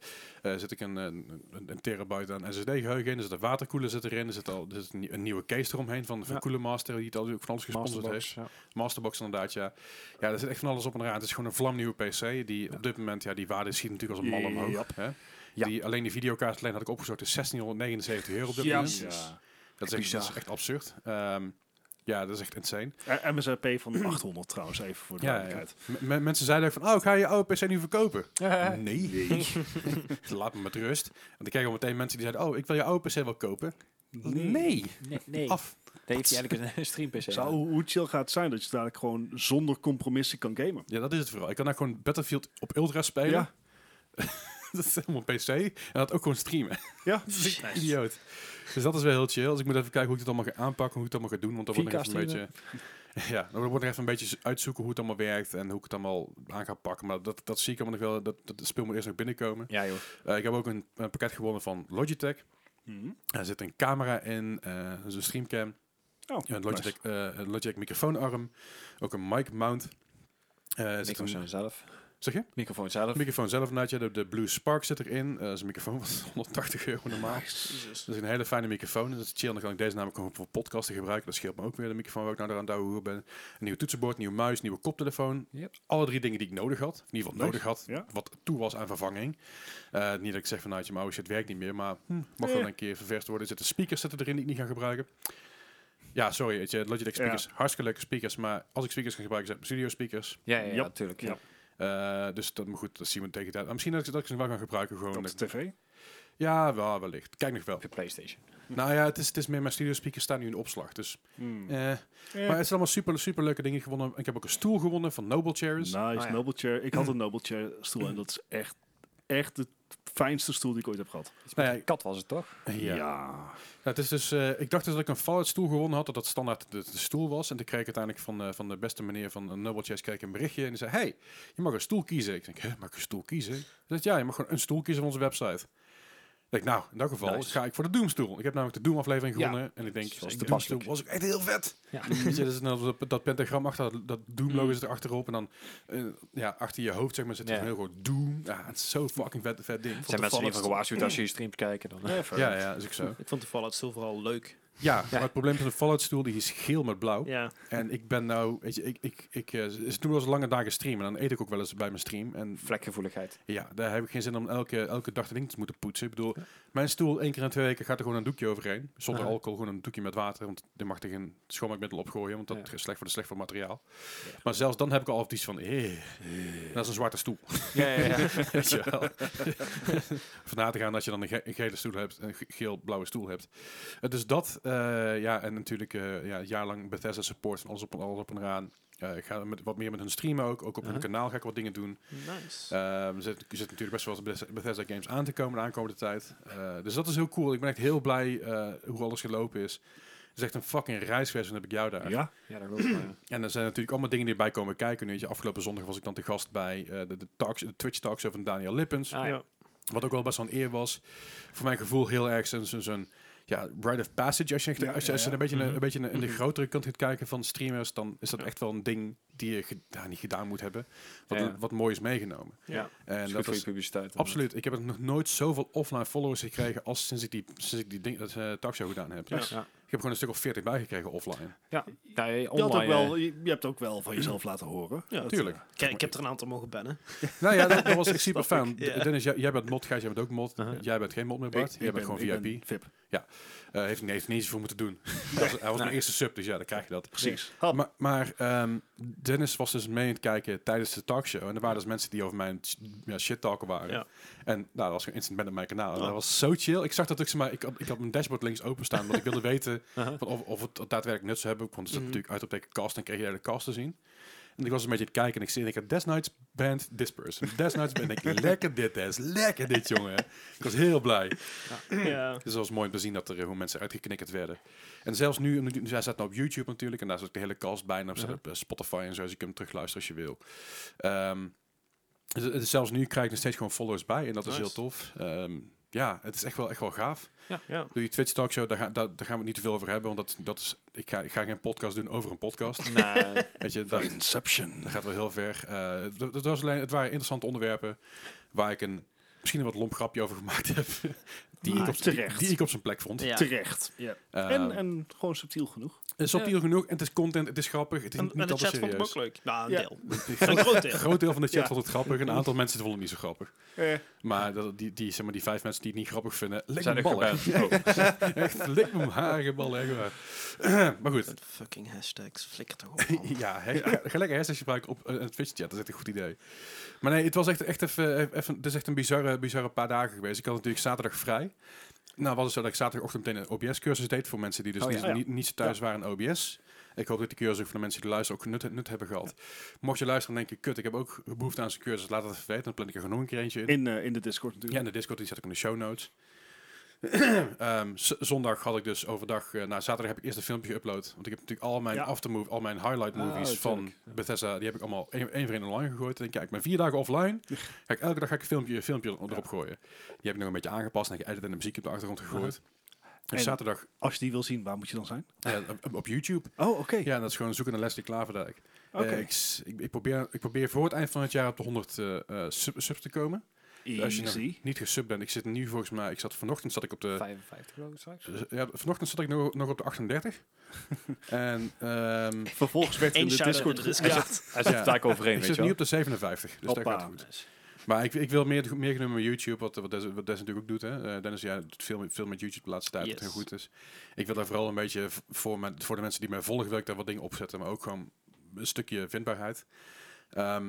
A: eh, zit ik een, een, een- een terabyte aan SSD-geheugen in. Er zit een waterkoeler zit erin. Er zit al er zit een, nie- een nieuwe case eromheen van, van
B: Ja.
A: Cooler Master, die het al ook van alles gesponsord heeft.
B: Masterbox, ja. [LAUGHS]
A: Masterbox inderdaad, ja. Ja, er zit echt van alles op en eraan. Het is gewoon een vlamnieuwe PC. Die op dit moment, ja, die waarde schiet natuurlijk als een mal omhoog.
D: Yep.
A: Hè?
B: Ja.
A: Die, alleen die videokaart alleen had ik opgezocht is 1679 euro op dit
D: Ja.
A: moment.
D: Ja.
A: Dat is echt, dat is echt absurd. Ehm, ja, dat is echt insane.
D: Eh, MSRP van 800 trouwens, even voor de
A: Ja,
D: duidelijkheid.
A: M- m- mensen zeiden ook van, oh, ga je oude PC nu verkopen?
B: Ja.
A: Nee. [LAUGHS] Laat me met rust. Want ik kreeg al meteen mensen die zeiden, oh, ik wil je oude PC wel kopen. Nee.
B: Nee, nee.
A: Mm. Af.
B: dat heeft hij eigenlijk een stream PC.
D: Zou, hoe chill gaat het zijn dat je dadelijk gewoon zonder compromissen kan gamen?
A: Ja, dat is het vooral. Ik kan daar gewoon Battlefield op Ultra spelen.
D: Ja.
A: [LAUGHS] dat is helemaal PC. En dat ook gewoon streamen.
D: Ja.
A: Dat is echt idioot. Dus dat is wel heel chill. Dus ik moet even kijken hoe ik dit allemaal ga aanpakken, hoe ik het allemaal ga doen. Want dan wordt nog
B: 4K
A: even een beetje... [LAUGHS] Ja, dan wordt nog even een beetje uitzoeken hoe het allemaal werkt en hoe ik het allemaal aan ga pakken. Maar dat, dat zie ik allemaal nog wel. Dat, dat speel moet eerst nog binnenkomen.
B: Ja joh.
A: Eh, ik heb ook een, een pakket gewonnen van Logitech.
D: Mhm.
A: Er zit een camera in, eh dus een streamcam,
D: Oh,
A: een
D: nice.
A: Logitech, eh, een Logitech microfoonarm, ook een mic mount. Eh, er zit
B: Ik was
A: een,
B: zelf.
A: Zeg je?
B: Microfoon zelf.
A: De microfoon zelf, inderdaad, ja, de, de Blue Spark zit erin. Eh zijn microfoon [LAUGHS] was 180 euro normaal.
C: Jezus.
A: Dat is een hele fijne microfoon. En dat is chill. En dan kan ik deze namelijk gewoon voor podcasten gebruiken. Dat scheelt me ook weer de microfoon waar ik nou daar aan het ouwe hoeren ben. Een nieuw toetsenbord, nieuwe muis, nieuwe koptelefoon.
B: Yep.
A: Alle drie dingen die ik nodig had. In ieder geval nodig
D: Nice.
A: had.
D: Ja.
A: Wat toe was aan vervanging. Eh, niet dat ik zeg van nou, je oude shit werkt niet meer. Maar hm, mag
D: Eh.
A: wel een keer ververst worden. Er zitten speakers zitten erin die ik niet ga gebruiken. Ja, sorry. weet je, Logitech speakers. Hartstikke leuke speakers. Maar als ik speakers ga gebruiken, zijn het studio speakers.
B: Ja, ja,
D: Yep.
B: natuurlijk. Ja.
D: Yep.
A: Eh, dus dat, maar goed, dat zien we tegen de tijd. Maar Misschien dat ik, dat ik ze wel gaan gebruiken. Gewoon
D: Op de tv.
A: Ja, wel, wellicht. Kijk [LAUGHS] nog wel.
B: Op je PlayStation.
A: Nou ja, het is, het is meer mijn studio speakers staan nu in opslag. Dus,
D: Hmm.
A: eh, Maar het zijn allemaal super, super leuke dingen gewonnen. Ik heb ook een stoel gewonnen van Noble Chairs.
D: Nice,
B: ja.
D: Noble
A: Ah,
D: Chair. Ik
A: [CLEARS THROAT]
D: had een Noble Chair stoel en dat is echt, echt de fijnste stoel die ik ooit heb gehad.
A: Nou ja,
B: Een kat was het toch?
A: ja. Nou, het is dus, eh, ik dacht dus dat ik een Fallout stoel gewonnen had, dat dat standaard de, de stoel was. En toen kreeg ik uiteindelijk van, eh, van de beste meneer van eh, Noble Chairs kreeg ik een berichtje. En die zei, hey, je mag een stoel kiezen. Ik denk, hè, mag ik een stoel kiezen? Hij zegt, ja, je mag gewoon een stoel kiezen van onze website. Ik denk, nou, in dat geval
B: Nice.
A: ga ik voor de Doom-stoel. Ik heb namelijk de Doom-aflevering
B: Ja.
A: gewonnen. En ik denk,
B: Dat is
A: de
B: toepasselijk.
A: Doom-stoel was ook echt heel vet.
B: Ja.
A: [LAUGHS] Weet je, dat, is net als dat, dat pentagram achter dat, dat Doom-logo
C: Mm.
A: zit er achterop. En dan eh, ja, achter je hoofd zeg maar, zit er
B: Ja.
A: een heel groot Doom. Ja, het is zo fucking vet, vet ding.
B: zijn mensen die van gewaarschuwd als je je streams kijken. Dan. eh, Ja,
A: Ja, ja, is ik zo.
C: Ik vond de Fallout Stil vooral leuk.
A: Ja, maar het probleem is dat de Fallout-stoel die is geel met blauw.
C: Ja.
A: En ik ben nou, weet je, ik, ik, ik eh, ze ze doen wel eens lange dagen streamen. En dan eet ik ook wel eens bij mijn stream. En
B: Vlekgevoeligheid.
A: ja, daar heb ik geen zin om elke, elke dag dat ding te moeten poetsen. Ik bedoel, mijn stoel één keer in twee weken gaat er gewoon een doekje overheen. Zonder
B: Aha.
A: alcohol, gewoon een doekje met water. Want je mag er geen schoonmaakmiddel op gooien, want dat
B: Ja.
A: is slecht voor, de slecht voor het materiaal. Maar zelfs dan heb ik al of iets van, eh, dat is een zwarte stoel.
B: Ja, ja, ja.
A: Weet je [LAUGHS] wel. Van na te gaan dat je dan een, ge- een gele stoel hebt, een ge- geel-blauwe stoel hebt. Eh, dus dat, eh, ja, en natuurlijk eh ja, jaarlang Bethesda support en alles op, en- alles op en eraan. Eh, ik ga met, wat meer met hun streamen ook. Ook op hun
B: Aha.
A: kanaal ga ik wat dingen doen.
C: Nice.
A: Ehm, er zitten zit natuurlijk best wel wat Bethesda- Bethesda games aan te komen de aankomende tijd. Eh, dus dat is heel cool. Ik ben echt heel blij eh, hoe alles gelopen is. Het is echt een fucking reis geweest en heb ik jou daar.
D: Ja.
B: Ja, dat wil ik maar.
A: En er zijn natuurlijk allemaal dingen die erbij komen kijken. Nu, weet je, afgelopen zondag was ik dan te gast bij eh, de, de, talks, de Twitch talks van Daniel Lippens.
B: Ah, ja.
A: Wat ook wel best wel een eer was. Voor mijn gevoel heel erg zo'n... zo'n- zo'n, ja, rite of passage. Als je, echt,
D: Ja,
A: als je, als je
D: ja, ja.
A: een beetje, een,
C: Mhm.
A: een beetje in de- in de
C: Mhm.
A: grotere kant gaat kijken van streamers, dan is dat
C: Ja.
A: echt wel een ding die je gedaan, niet gedaan moet hebben. Wat,
B: Ja.
A: wat mooi is meegenomen.
C: Ja.
A: En
B: is goed
A: dat
B: voor je
A: is
B: publiciteit.
A: absoluut. Ik heb nog nooit zoveel offline followers gekregen als sinds ik die, sinds ik die ding, dat, eh, talkshow gedaan heb.
C: Ja.
B: Ja.
A: Ik heb gewoon een stuk of 40 bijgekregen offline.
B: Ja, ja je-
D: Je, had ook
B: online, eh,
D: wel, je, je hebt ook wel van jezelf laten horen.
C: Ja,
A: Tuurlijk.
C: Kijk, ik heb er een aantal mogen bannen.
A: Nou ja, dat, dat was echt super
C: Snap
A: fijn.
C: ik, ja.
A: Dennis, jij, jij bent mod, Gijs, jij bent ook mod.
B: Uh-huh.
A: Jij bent geen mod meer,
D: Ik-
A: Bart.
D: ik
A: jij
D: ben-
A: bent gewoon
D: ik
A: VIP.
D: ben VIP.
A: Eh, heeft, heeft er niet zoveel moeten doen. hij was, hij was mijn eerste sub, dus ja, dan krijg je dat.
D: Precies.
A: Maar, maar ehm, Dennis was dus mee aan het kijken tijdens de talkshow. En er waren dus mensen die over mijn sh- ja, shit talken waren.
C: Ja.
A: En nou, dat was gewoon instant ban op mijn kanaal. En
C: Oh.
A: dat was zo chill. Ik zag dat ik, zeg maar, ik, had, ik had mijn dashboard links openstaan. want ik wilde weten
B: Aha.
A: van of, of het daadwerkelijk nut zou hebben. Want er zat
C: Mhm.
A: natuurlijk uit op teken cast. En kreeg je de hele cast te zien. En ik was een beetje aan het kijken. En ik zie en ik had Desnights band this person. Desnights band. En ik [LAUGHS] lekker dit, Des. Lekker dit, jongen. Ik was heel blij.
C: ja.
A: Dus het was mooi om te zien dat er eh, hoe mensen uitgeknikkerd werden. En zelfs nu, nu- nu- zij staat nou op YouTube natuurlijk. En daar zit ook de hele cast bij. En op
B: Mhm.
A: op eh, Spotify en zo. Dus je kunt hem terugluisteren als je wil. Ehm, dus, eh, dus zelfs nu krijg ik nog steeds gewoon followers bij. En dat is
C: Nice.
A: heel tof. Ehm, ja, het is echt wel, echt wel gaaf.
C: Ja.
A: Doe je Twitch Talkshow, daar, ga- daar, daar gaan we het niet te veel over hebben. Want dat, dat is, ik, ga, ik ga geen podcast doen over een podcast.
B: eh. Nee.
A: Weet je, daar,
D: Inception.
A: dat gaat wel heel ver. Eh, het- het, was alleen, het waren interessante onderwerpen waar ik een, misschien een wat lomp grapje over gemaakt heb. Die, ik
D: Maar
A: op, die,
D: terecht.
A: die ik op zijn plek vond.
C: Ja.
D: Terecht.
A: Eh,
D: En, en gewoon subtiel genoeg.
A: Het is subtiel genoeg en het is content, het is grappig, het is
C: En,
A: niet
C: en de
A: altijd
C: chat vond ik
A: serieus.
C: ook leuk. Nou, een
D: Ja.
C: deel. [LAUGHS] Een
A: [LAUGHS] Een
C: groot deel.
A: groot deel van de chat
D: Ja.
A: vond het grappig, een aantal mensen vonden het niet zo grappig.
D: Eh.
A: Maar dat, die, die, zeg maar, die vijf mensen die het niet grappig vinden, lik
B: Zijn
A: me
B: er
A: ballen.
B: geband? Oh.
A: [LAUGHS] Echt, lik me haren ballen. echt waar. [CLEARS THROAT] maar goed,
C: Met fucking hashtags. Flikker toch
A: [LAUGHS]
C: op. man.
A: ja, he, ga, ga lekker hersens gebruiken op eh, een Twitch-chat, dat is echt een goed idee. Maar nee, het was echt, echt even, eh, even, het is echt een bizarre, bizarre paar dagen geweest. Ik had natuurlijk zaterdag vrij. Nou was het zo dat ik zaterdagochtend meteen een OBS-cursus deed voor mensen die dus
B: Oh ja.
A: niet, niet, niet zo thuis waren in OBS. Ik hoop dat die cursus ook voor de mensen die luisteren ook nut, nut hebben gehad. Mocht je luisteren en denken, kut, ik heb ook behoefte aan zo'n cursus, laat het even weten. Dan plan ik er gewoon nog een keer eentje in.
D: In, eh, in de Discord
A: Ja,
D: natuurlijk.
A: en de Discord die zet ik in de show notes. [CLEARS THROAT] Ehm, z- zondag had ik dus overdag, eh nou zaterdag heb ik eerst een filmpje geüpload. Want ik heb natuurlijk al mijn
D: Ja.
A: aftermove, al mijn highlight
B: Ah,
A: movies van
B: tuurlijk. Ja.
A: Bethesda, die heb ik allemaal één één voor één online gegooid. En ik kijk, ik ben vier dagen offline. Ga ik elke dag ga ik een filmpje, een filmpje erop gooien. Die heb ik nog een beetje aangepast en ik edit en de muziek op de achtergrond gegooid. En
D: En-
A: zaterdag
D: Als je die wil zien, waar moet je dan zijn?
A: eh, op, op YouTube.
D: Oh, oké.
A: Ja, en dat is gewoon zoeken naar Leslie Klaverdijk. Eh,
D: Oké.
A: ik, s- ik, ik probeer, ik probeer voor het eind van het jaar op de 100 eh, eh, sub- subs te komen. Als je nog
D: Easy.
A: niet gesub bent, ik zit nu volgens mij, ik zat vanochtend zat ik op
B: eh.
A: de
B: 55 euro straks.
A: Ja, vanochtend zat ik nog, nog op de
D: [LAUGHS]
A: 38. en ehm
D: Vervolgens werd in
C: Eén
D: de
C: shout-out
D: Discord
C: in de
D: gezegd-
C: Discord.
B: Hij zit
A: Ja.
B: er vaak overheen,
A: ik
B: weet
A: zit
B: je
A: nu
B: wel.
A: op de 57, dus
D: Hoppa.
A: dat gaat goed. Maar ik, ik wil meer, meer doen met YouTube, wat, wat, Dennis, wat Dennis natuurlijk ook doet. Hè. Eh, Dennis, ja, doet veel, met- veel met YouTube de laatste tijd, wat
C: Yes.
A: heel goed is. Ik wil daar vooral een beetje, v- voor, mijn- voor de mensen die mij volgen, wil ik daar wat dingen opzetten. Maar ook gewoon een stukje vindbaarheid. Ehm,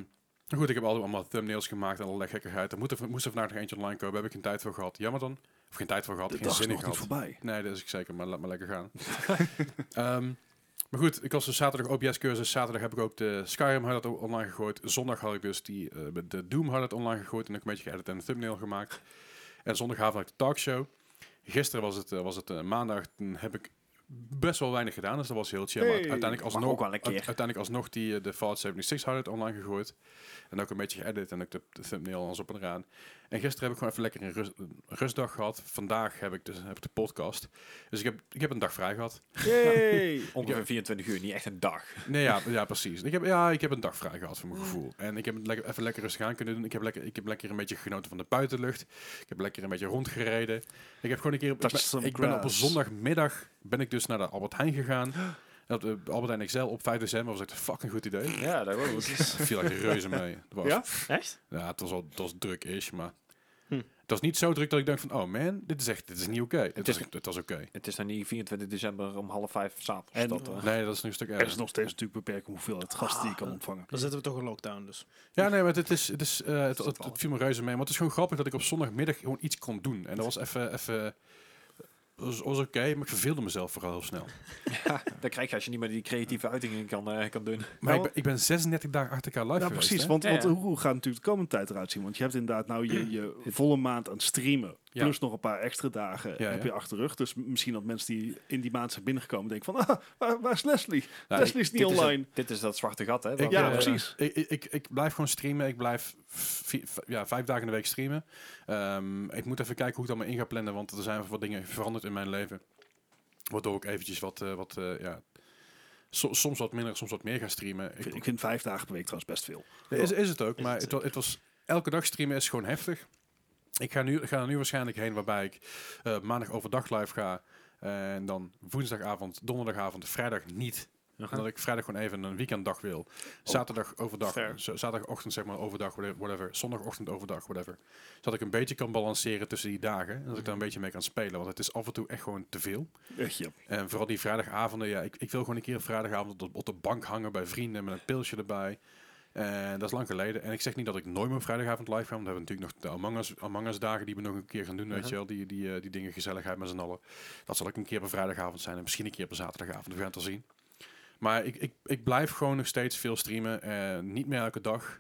A: maar goed, ik heb al- allemaal thumbnails gemaakt en allerlei gekkigheid. Er moet er, moest er vandaag nog eentje online komen, daar heb ik geen tijd voor gehad. Jammer dan. Of geen tijd voor gehad,
D: De
A: geen
D: dag is
A: zin in
D: nog niet
A: gehad.
D: voorbij.
A: Nee, dat is ik zeker, maar laat maar lekker gaan. [LAUGHS] Ehm, maar goed, ik was dus zaterdag OBS-cursus. Zaterdag heb ik ook de Skyrim hard online gegooid. Zondag had ik dus die, eh, de Doom hard online gegooid. En ook een beetje geëdit en een thumbnail gemaakt. En zondagavond had ik de talkshow. Gisteren was het, eh, was het eh, maandag. Toen heb ik best wel weinig gedaan. Dus dat was heel chill. Maar
D: Hey,
A: uiteindelijk
B: mag
A: alsnog,
B: ook wel een keer.
A: uite- uiteindelijk alsnog die, eh, de Fallout 76 hard online gegooid. En ook een beetje geëdit. En ook de, de thumbnail alles op en eraan. En gisteren heb ik gewoon even lekker een, rust- een rustdag gehad. Vandaag heb ik, dus, heb ik de podcast. Dus ik heb, ik heb een dag vrij gehad.
D: Yay!
B: Ongeveer 24 uur, niet echt een dag.
A: Nee, ja, ja precies. Ik heb, ja, ik heb een dag vrij gehad voor mijn
D: Mm.
A: gevoel. En ik heb het lekker, even lekker rustig aan kunnen doen. Ik heb, lekker, ik heb lekker een beetje genoten van de buitenlucht. Ik heb lekker een beetje rondgereden. Ik heb gewoon een keer... op- Ik
D: Touch
A: ben,
D: some
A: ik ben op een
D: grass.
A: zondagmiddag ben ik dus naar de Albert Heijn gegaan. En op de Albert Heijn Excel op 5 december was echt een fucking goed
D: [LAUGHS]
A: idee.
B: Ja, dat wel.
A: Er viel echt reuze mee. Het was,
D: Ja?
C: Echt?
A: ja, het was, al, het was druk is, maar...
C: Hm.
A: Het was niet zo druk dat ik dacht van... Oh man, dit is echt dit is niet oké. Het,
B: is-
A: was- het was oké.
B: Het is dan niet 24 december om half vijf s'avonds.
D: En-
B: dat, eh.
A: Nee, dat is nu een stuk
D: Ah. Er
A: erger.
D: is nog steeds natuurlijk beperkt hoeveel het gas die je
A: Ah.
D: kan ontvangen.
C: Dan zitten we toch in lockdown, dus.
A: Ja, nee, maar het is, het is, eh, het,
B: dat
A: het,
B: wel?
A: het viel me reuze mee. Maar het is gewoon grappig dat ik op zondagmiddag gewoon iets kon doen. En dat was even, even, was, was oké, maar ik verveelde mezelf vooral heel snel.
B: dat krijg je als je niet meer die creatieve uitingen kan, eh, kan doen.
A: Maar
D: Nou,
A: ik ben, ik ben 36 dagen achter elkaar live
D: Ja,
A: geweest,
D: precies.
A: hè?
D: Want,
B: Ja,
D: want
B: ja.
D: hoe hoe gaat natuurlijk de komende tijd eruit zien? Want je hebt inderdaad nou je, je volle maand aan streamen.
A: Ja.
D: Plus nog een paar extra dagen
A: Ja,
D: heb
A: ja.
D: je achter de rug. Dus misschien dat mensen die in die maand zijn binnengekomen denken van... Ah, waar, waar is Leslie?
A: Nou,
D: Leslie is niet
B: dit
D: online.
B: Is dat, dit is dat zwarte gat, hè?
A: Ik,
D: Ja,
A: eh,
D: precies.
A: Ik, ik- ik, ik blijf gewoon streamen. Ik blijf vi- v- ja, vijf dagen in de week streamen. Ehm, ik moet even kijken hoe ik dat maar in ga plannen. Want er zijn wat dingen veranderd in mijn leven. Waardoor ik eventjes wat, eh, wat eh, ja, so- soms wat minder, soms wat meer ga streamen.
D: Ik vind, ik vind vijf dagen per week trouwens best veel.
A: Nee, Is, is het ook,
C: Is
A: maar
C: het
A: het, wa- het was elke dag streamen is gewoon heftig. Ik ga, nu, ga er nu waarschijnlijk heen waarbij ik eh, maandag overdag live ga. En dan woensdagavond, donderdagavond, vrijdag niet. Omdat ik vrijdag gewoon even een weekenddag wil. Zaterdag overdag,
C: Oh, fair.
A: z- zaterdagochtend zeg maar overdag, whate- whatever. Zondagochtend overdag, whatever. Zodat ik een beetje kan balanceren tussen die dagen. En dat
C: Mhm.
A: ik daar een beetje mee kan spelen. Want het is af en toe echt gewoon te veel.
D: Echt, ja.
A: En vooral die vrijdagavonden, ja, ik, ik wil gewoon een keer op vrijdagavond op de, op de bank hangen bij vrienden met een pilsje erbij. En dat is lang geleden. En ik zeg niet dat ik nooit meer op vrijdagavond live ga, want we hebben natuurlijk nog de Among Us, Among Us dagen die we nog een keer gaan doen, weet
B: Mhm.
A: je wel. Die, die, eh, die dingen, gezelligheid met z'n allen. Dat zal ook een keer op een vrijdagavond zijn en misschien een keer op een zaterdagavond. We gaan het al zien. Maar ik, ik, ik blijf gewoon nog steeds veel streamen. eh, niet meer elke dag.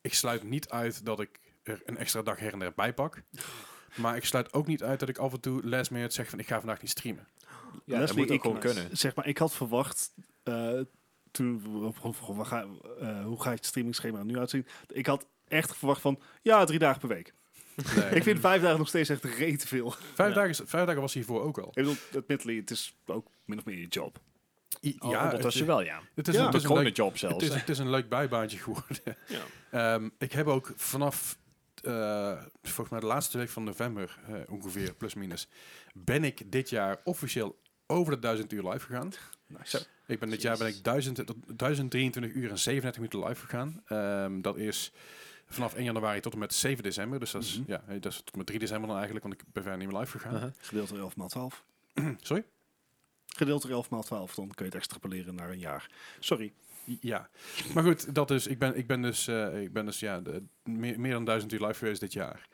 A: Ik sluit niet uit dat ik er een extra dag her en der bij pak. Maar ik sluit ook niet uit dat ik af en toe last minute zeg van ik ga vandaag niet streamen.
B: Ja, dat
D: Leslie,
B: moet ook
D: ik-
B: gewoon kunnen.
D: Zeg maar, ik had verwacht... eh, toen we op- op- op- we gaan, eh, hoe gaat je streamingsschema er nu uitzien? Ik had echt verwacht van... Ja, drie dagen per week.
A: Nee.
D: Ik vind vijf dagen nog steeds echt reet veel.
A: Vijf,
C: Ja.
A: dagen, is- vijf dagen was hij hiervoor ook al.
D: Ik bedoel, admittedly, het is ook min of meer je job.
B: Oh, ja,
A: het,
B: ondertussen wel, ja.
A: het is
D: Ja.
A: een, het
B: Dat
A: is
B: is
A: een
B: gewoon een
A: leuk,
B: job
A: het
B: zelfs.
A: is, het is een leuk bijbaantje geworden. [LAUGHS]
C: Ja.
A: Ehm, ik heb ook vanaf, eh, volgens mij de laatste week van november, eh, ongeveer, plus minus, ben ik dit jaar officieel over de 1000 uur live gegaan.
D: Nice.
A: Ik ben dit jaar ben ik 1000, tot 1023 uur en 37 minuten live gegaan. Ehm, dat is vanaf 1 januari tot en met 7 december. Dus dat is,
D: Mhm.
A: ja, eh, dat is tot en met 3 december dan eigenlijk, want ik ben verder niet meer live gegaan.
B: Uh-huh.
D: Gedeeld door 11 maal 12.
A: Sorry?
D: Gedeeld door 11 maal 12, dan kun je het extrapoleren naar een jaar. Sorry.
A: Ja, maar goed, dat is, ik, ben, ik ben dus, eh, ik ben dus ja, de- meer, meer dan duizend uur live geweest dit jaar.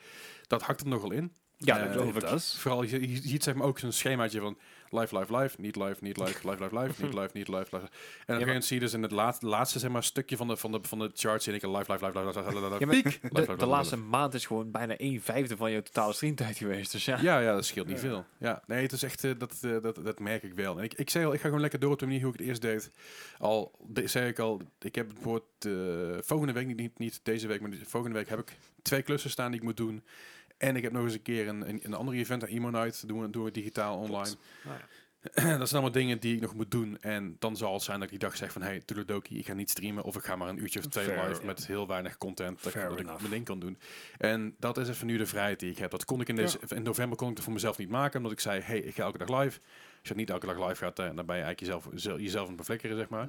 A: Dat hakt hem nogal in.
B: Ja,
A: Eh,
B: dat geloof ik.
D: is.
A: Vooral, je, je ziet zeg maar ook zo'n schemaatje van live, live, live, niet live, niet live, live, live, live, niet live, niet live, live. En op een gegeven moment zie je dus in het laat- laatste zeg maar, stukje van de, van, de, van de chart zie ik een live, live, live, live, live, live, live, live.
B: Ja, maar
A: piek. Live, live,
B: De,
A: live,
B: de
A: live,
B: laatste maand is gewoon bijna een vijfde van je totale streamtijd geweest. Dus ja,
A: Ja, ja, dat scheelt niet
D: Ja.
A: veel. Ja, nee, het is echt, eh, dat, eh, dat, dat merk ik wel. En ik, ik zei al, ik ga gewoon lekker door op de manier hoe ik het eerst deed. Al de, zei ik al, ik heb het woord eh, volgende week, niet, niet, niet deze week, maar die- volgende week heb ik twee klussen staan die ik moet doen. En ik heb nog eens een keer een, een, een ander event aan Emo Night. Doen we, doen we digitaal online.
B: Nou ja.
A: [CLEARS THROAT] dat zijn allemaal dingen die ik nog moet doen. En dan zal het zijn dat ik die dag zeg van... Hey, Tulodoki, ik ga niet streamen. Of ik ga maar een uurtje of twee
D: Fair,
A: live
D: ja.
A: met heel weinig content. Dat, ik-
D: Fair
A: dat ik
D: enough.
A: mijn ding kan doen. En dat is even nu de vrijheid die ik heb. Dat kon ik in, deze, in november kon ik dat voor mezelf niet maken. Omdat ik zei, hey, ik ga elke dag live. Als je niet elke dag live gaat, eh, dan ben je eigenlijk jezelf, zel- jezelf aan het beflikkeren, zeg
D: Mm.
A: maar.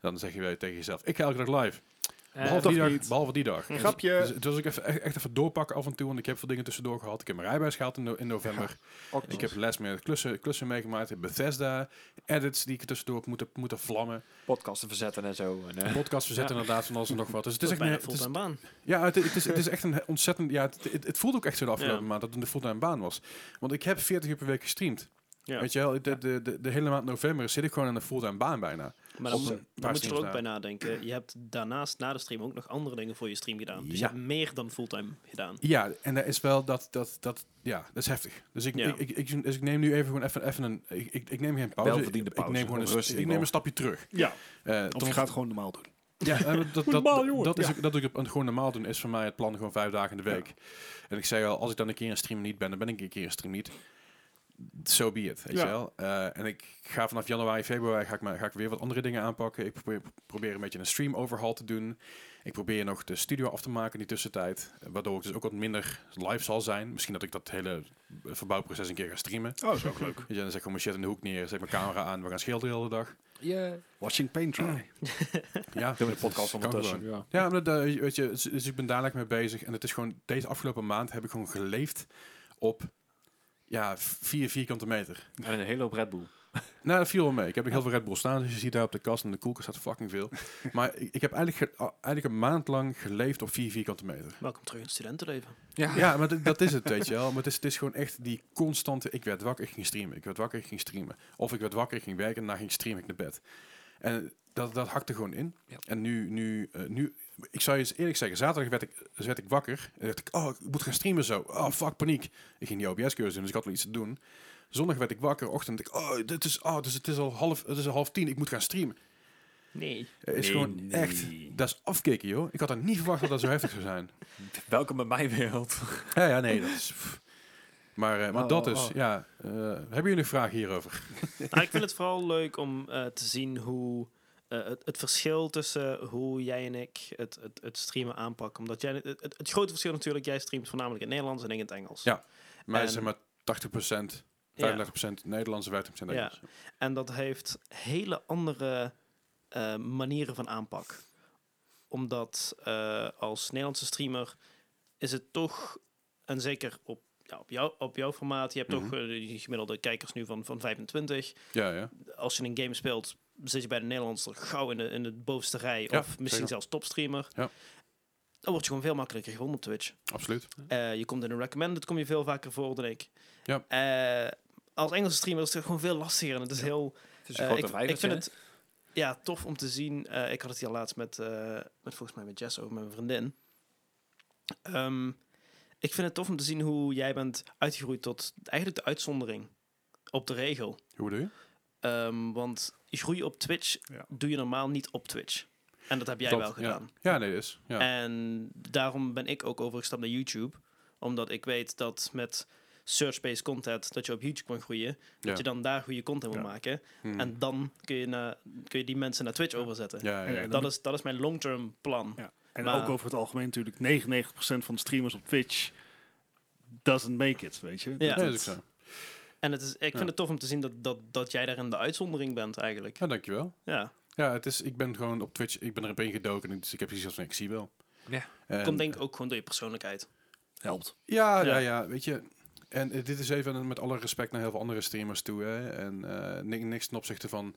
A: Dan zeg je weer tegen jezelf, ik ga elke dag live. Behalve,
D: toch
A: die dag,
D: Eh, niet. Mm.
A: behalve die dag.
D: Grapje.
A: Dus, dus ik even, echt echt even doorpakken af en toe. Want ik heb veel dingen tussendoor gehad. Ik heb mijn rijbewijs gehaald in, no- in november. Ik heb les met klussen, klussen meegemaakt. Ik heb Bethesda. Edits die ik tussendoor heb moeten, moeten vlammen.
B: podcasten verzetten en zo. En, eh,
A: Podcast verzetten
B: Ja.
A: inderdaad van alles en nog wat. Dus het is echt
C: bijna
A: een- het is-
C: fulltime baan.
A: ja, het, het, is, het is echt een ontzettend... Ja, het, het, het voelde ook echt zo de afgelopen
C: Ja.
A: maand dat het een fulltime baan was. Want ik heb 40 uur per week gestreamd.
C: Ja.
A: Weet je wel, de, de, de, de hele maand november zit ik gewoon aan een fulltime baan bijna.
C: Maar
A: Op
C: dan,
A: een
C: moet-
A: paar
C: dan moet je er
A: streams
C: ook
A: na.
C: bij nadenken. Je hebt daarnaast, na de stream, ook nog andere dingen voor je stream gedaan. Dus je
A: Ja.
C: hebt meer dan fulltime gedaan.
A: Ja, en dat is wel dat, dat, dat, ja, dat is heftig. Dus ik,
C: Ja.
A: ik, ik, ik- dus ik neem nu even gewoon even, even een, ik, ik, ik neem geen pauze.
B: Welverdiende
A: Ik, ik
B: pauze.
A: neem gewoon een,
B: Rust in
A: st-
B: de
A: ik neem een
B: bal.
A: stapje terug.
D: Ja,
A: Eh,
D: of
A: tot-
D: je gaat gewoon normaal doen.
A: ja, eh, dat, dat,
D: normaal,
A: dat,
D: jongen.
A: dat is
D: Ja.
A: ook- dat ik het gewoon normaal doen is voor mij het plan gewoon vijf dagen in de week. En ik zei al, als ik dan een keer een stream niet ben, dan ben ik een keer een stream niet. So be it, weet
D: Ja.
A: je wel. Eh, en ik ga vanaf januari, februari ga ik, maar, ga ik weer wat andere dingen aanpakken. Ik probeer, probeer een beetje een stream overhaul te doen. Ik probeer nog de studio af te maken in die tussentijd. eh, Waardoor ik dus ook wat minder live zal zijn. Misschien dat ik dat hele verbouwproces een keer ga streamen.
D: Oh, dat is ook [LAUGHS] leuk.
A: Weet je, dan zet ik gewoon mijn shit in de hoek neer, zet mijn camera aan, we gaan schilderen de hele dag.
D: Watching paint dry.
A: Ja,
B: Doen we de podcast
A: kan
B: ondertussen.
A: gewoon.
B: Ja.
A: Ja, maar dat, eh, weet je, dus, dus ik ben daar lekker mee bezig. En het is gewoon, deze afgelopen maand heb ik gewoon geleefd op ja, v- vier vierkante meter.
B: En een hele hoop Red Bull.
A: Nou, dat viel wel mee. Ik heb nog heel veel Red Bull staan, dus je ziet daar op de kast en de koelkast staat fucking veel. maar ik, ik heb eigenlijk, ge- a- eigenlijk een maand lang geleefd op vier vierkante meter.
C: Welkom terug in het studentenleven.
A: Ja, maar dat- dat is het, weet je wel. Maar het is, het is gewoon echt die constante, ik werd wakker, ik ging streamen. Ik werd wakker, ik ging streamen. Of ik werd wakker, ik ging werken en daarna ging ik streamen, ik naar bed. En dat, dat hakte gewoon in.
B: Ja.
A: En nu, nu, eh, nu, ik zou je eens eerlijk zeggen, zaterdag werd ik, dus werd ik wakker. En dacht ik, oh, ik moet gaan streamen zo. Oh, fuck, paniek. Ik ging die OBS-cursus doen, dus ik had wel iets te doen. Zondag werd ik wakker, ochtend. dacht Ik, oh, dit is, oh, dus het is al half, het is al half tien, ik moet gaan streamen.
C: Nee.
A: Het is gewoon echt, dat is afkicken, joh. Ik had er niet verwacht dat dat zo heftig zou zijn.
B: Welkom bij mijn wereld.
A: Ja, ja, nee, dat is... pff. Maar, eh, maar
B: Oh,
A: dat
B: oh,
A: is,
B: oh.
A: ja. eh, hebben jullie nog vragen hierover?
C: Maar Nou, ik vind het vooral leuk om eh, te zien hoe eh, het, het verschil tussen hoe jij en ik het, het, het streamen aanpakken. Omdat jij, het, het, het grote verschil natuurlijk, jij streamt voornamelijk in het Nederlands en ik in het Engels.
A: Ja, Mij
C: En-
A: zijn maar 80%, 35%
C: Ja.
A: Nederlandse, 50% Engels.
C: En dat heeft hele andere eh, manieren van aanpak. Omdat eh, als Nederlandse streamer is het toch, en zeker op, ja, op, jou, op jouw formaat, je hebt
A: Mhm.
C: toch eh, die gemiddelde kijkers nu van, van 25.
A: Ja, ja.
C: Als je een game speelt, zit je bij de Nederlandse gauw in de, in de bovenste rij.
A: Ja,
C: of misschien
A: zeker.
C: zelfs topstreamer.
A: Ja.
C: Dan word je gewoon veel makkelijker gewonnen op Twitch.
A: Absoluut.
C: Eh, je komt in een recommended, kom je veel vaker voor dan ik.
A: Ja.
C: Eh, als Engelse streamer is het gewoon veel lastiger. En het is heel
B: Het is
A: Dus
C: eh,
B: een grote
C: ik, ik
B: vijvertje,
C: vind
B: hè?
C: het ja, tof om te zien. Eh, ik had het hier laatst met, eh, met volgens mij met Jess over mijn vriendin. Ehm, ik vind het tof om te zien hoe jij bent uitgegroeid tot eigenlijk de uitzondering op de regel.
A: Hoe bedoel je?
C: Ehm, want groei op Twitch
D: Ja.
C: doe je normaal niet op Twitch. En dat heb jij
A: Dat,
C: wel gedaan.
A: Ja, nee, dat is. Ja.
C: En daarom ben ik ook overgestapt naar YouTube. Omdat ik weet dat met search-based content dat je op YouTube kan
A: ja.
C: groeien. Dat je dan daar goede content wil
D: Ja.
C: maken.
A: Hmm.
C: En dan kun je, naar, kun je die mensen naar Twitch overzetten.
A: ja, ja, ja.
D: En
C: Dat, is, dat is mijn long-term plan.
D: Ja. En
C: Maar-
D: ook over het algemeen natuurlijk, 99% van de streamers op Twitch doesn't make it, weet je.
A: Ja,
C: Ja.
A: dat is ook zo.
C: En het is, ik vind
A: Ja.
C: het tof om te zien dat, dat, dat jij daarin de uitzondering bent eigenlijk.
A: Ja, dankjewel.
C: Ja.
A: Ja, het is, ik ben gewoon op Twitch, ik ben er een gedoken, dus ik heb precies van, ik zie wel.
B: Ja.
A: En-
C: Komt denk ik ook gewoon door je persoonlijkheid.
D: Helpt.
A: Ja, ja,
C: Ja.
A: ja, weet je. En eh, dit is even een- met alle respect naar heel veel andere streamers toe. Hè. En eh, ni- niks ten opzichte van,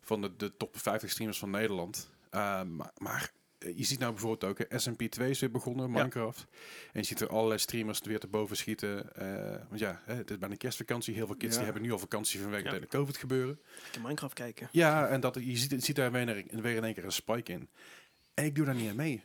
A: van de, de top 50 streamers van Nederland. Eh, maar maar eh, je ziet nou bijvoorbeeld ook, hè, SMP 2 is weer begonnen, Minecraft. En je ziet er allerlei streamers weer te boven schieten. eh, want ja, hè, het is bijna kerstvakantie. Heel veel kids die
D: Ja.
A: hebben nu al vakantie vanwege
C: Ja.
A: het hele COVID gebeuren.
C: Lekker Minecraft kijken.
A: Ja, en dat, je ziet, je ziet daar weer, een- weer in één keer een spike in. En ik doe daar niet aan mee.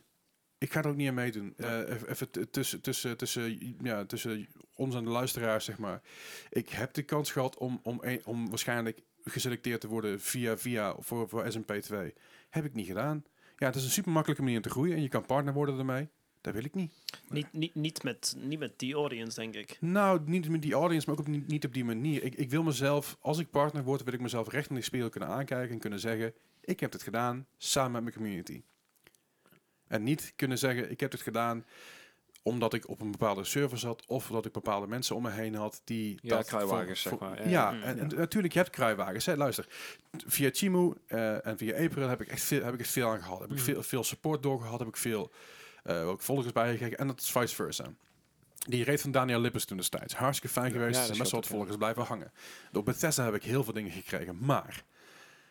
A: Ik ga er ook niet aan meedoen. Eh even- even t- tussen, tussen, tussen, ja, tussen ons en de luisteraars, zeg maar. Ik heb de kans gehad om, om, een- om waarschijnlijk geselecteerd te worden via, via voor, voor SMP2. Heb ik niet gedaan. Ja, het is een super makkelijke manier om te groeien en je kan partner worden ermee. Dat wil ik niet.
C: Niet, niet, niet, met, niet met die audience, denk ik.
A: Nou, niet met die audience, maar ook op, niet, niet op die manier. Ik, ik wil mezelf, als ik partner word, wil ik mezelf recht in die spiegel kunnen aankijken en kunnen zeggen: Ik heb dit gedaan samen met mijn community. En niet kunnen zeggen: Ik heb dit gedaan omdat ik op een bepaalde server zat of omdat ik bepaalde mensen om me heen had die.
B: Ja,
A: dat
B: kruiwagens,
A: voor-
B: zeg
A: voor-
B: maar.
A: Ja,
B: Ja,
A: en,
D: ja.
A: en natuurlijk, je hebt kruiwagens. Hè. Luister, t- via Chimu eh, en via April heb ik echt veel, heb ik echt veel aan gehad. Heb ik
B: Mhm.
A: veel, veel support doorgehad, heb ik veel eh, ook volgers bijgekregen en dat is vice versa. Die reed van Daniel Lippers toen destijds. Hartstikke fijn
B: Ja,
A: geweest.
B: ja,
A: Er
B: dat
A: zijn best wel wat
B: snap ik,
A: volgers blijven hangen. Door Bethesda heb ik heel veel dingen gekregen. Maar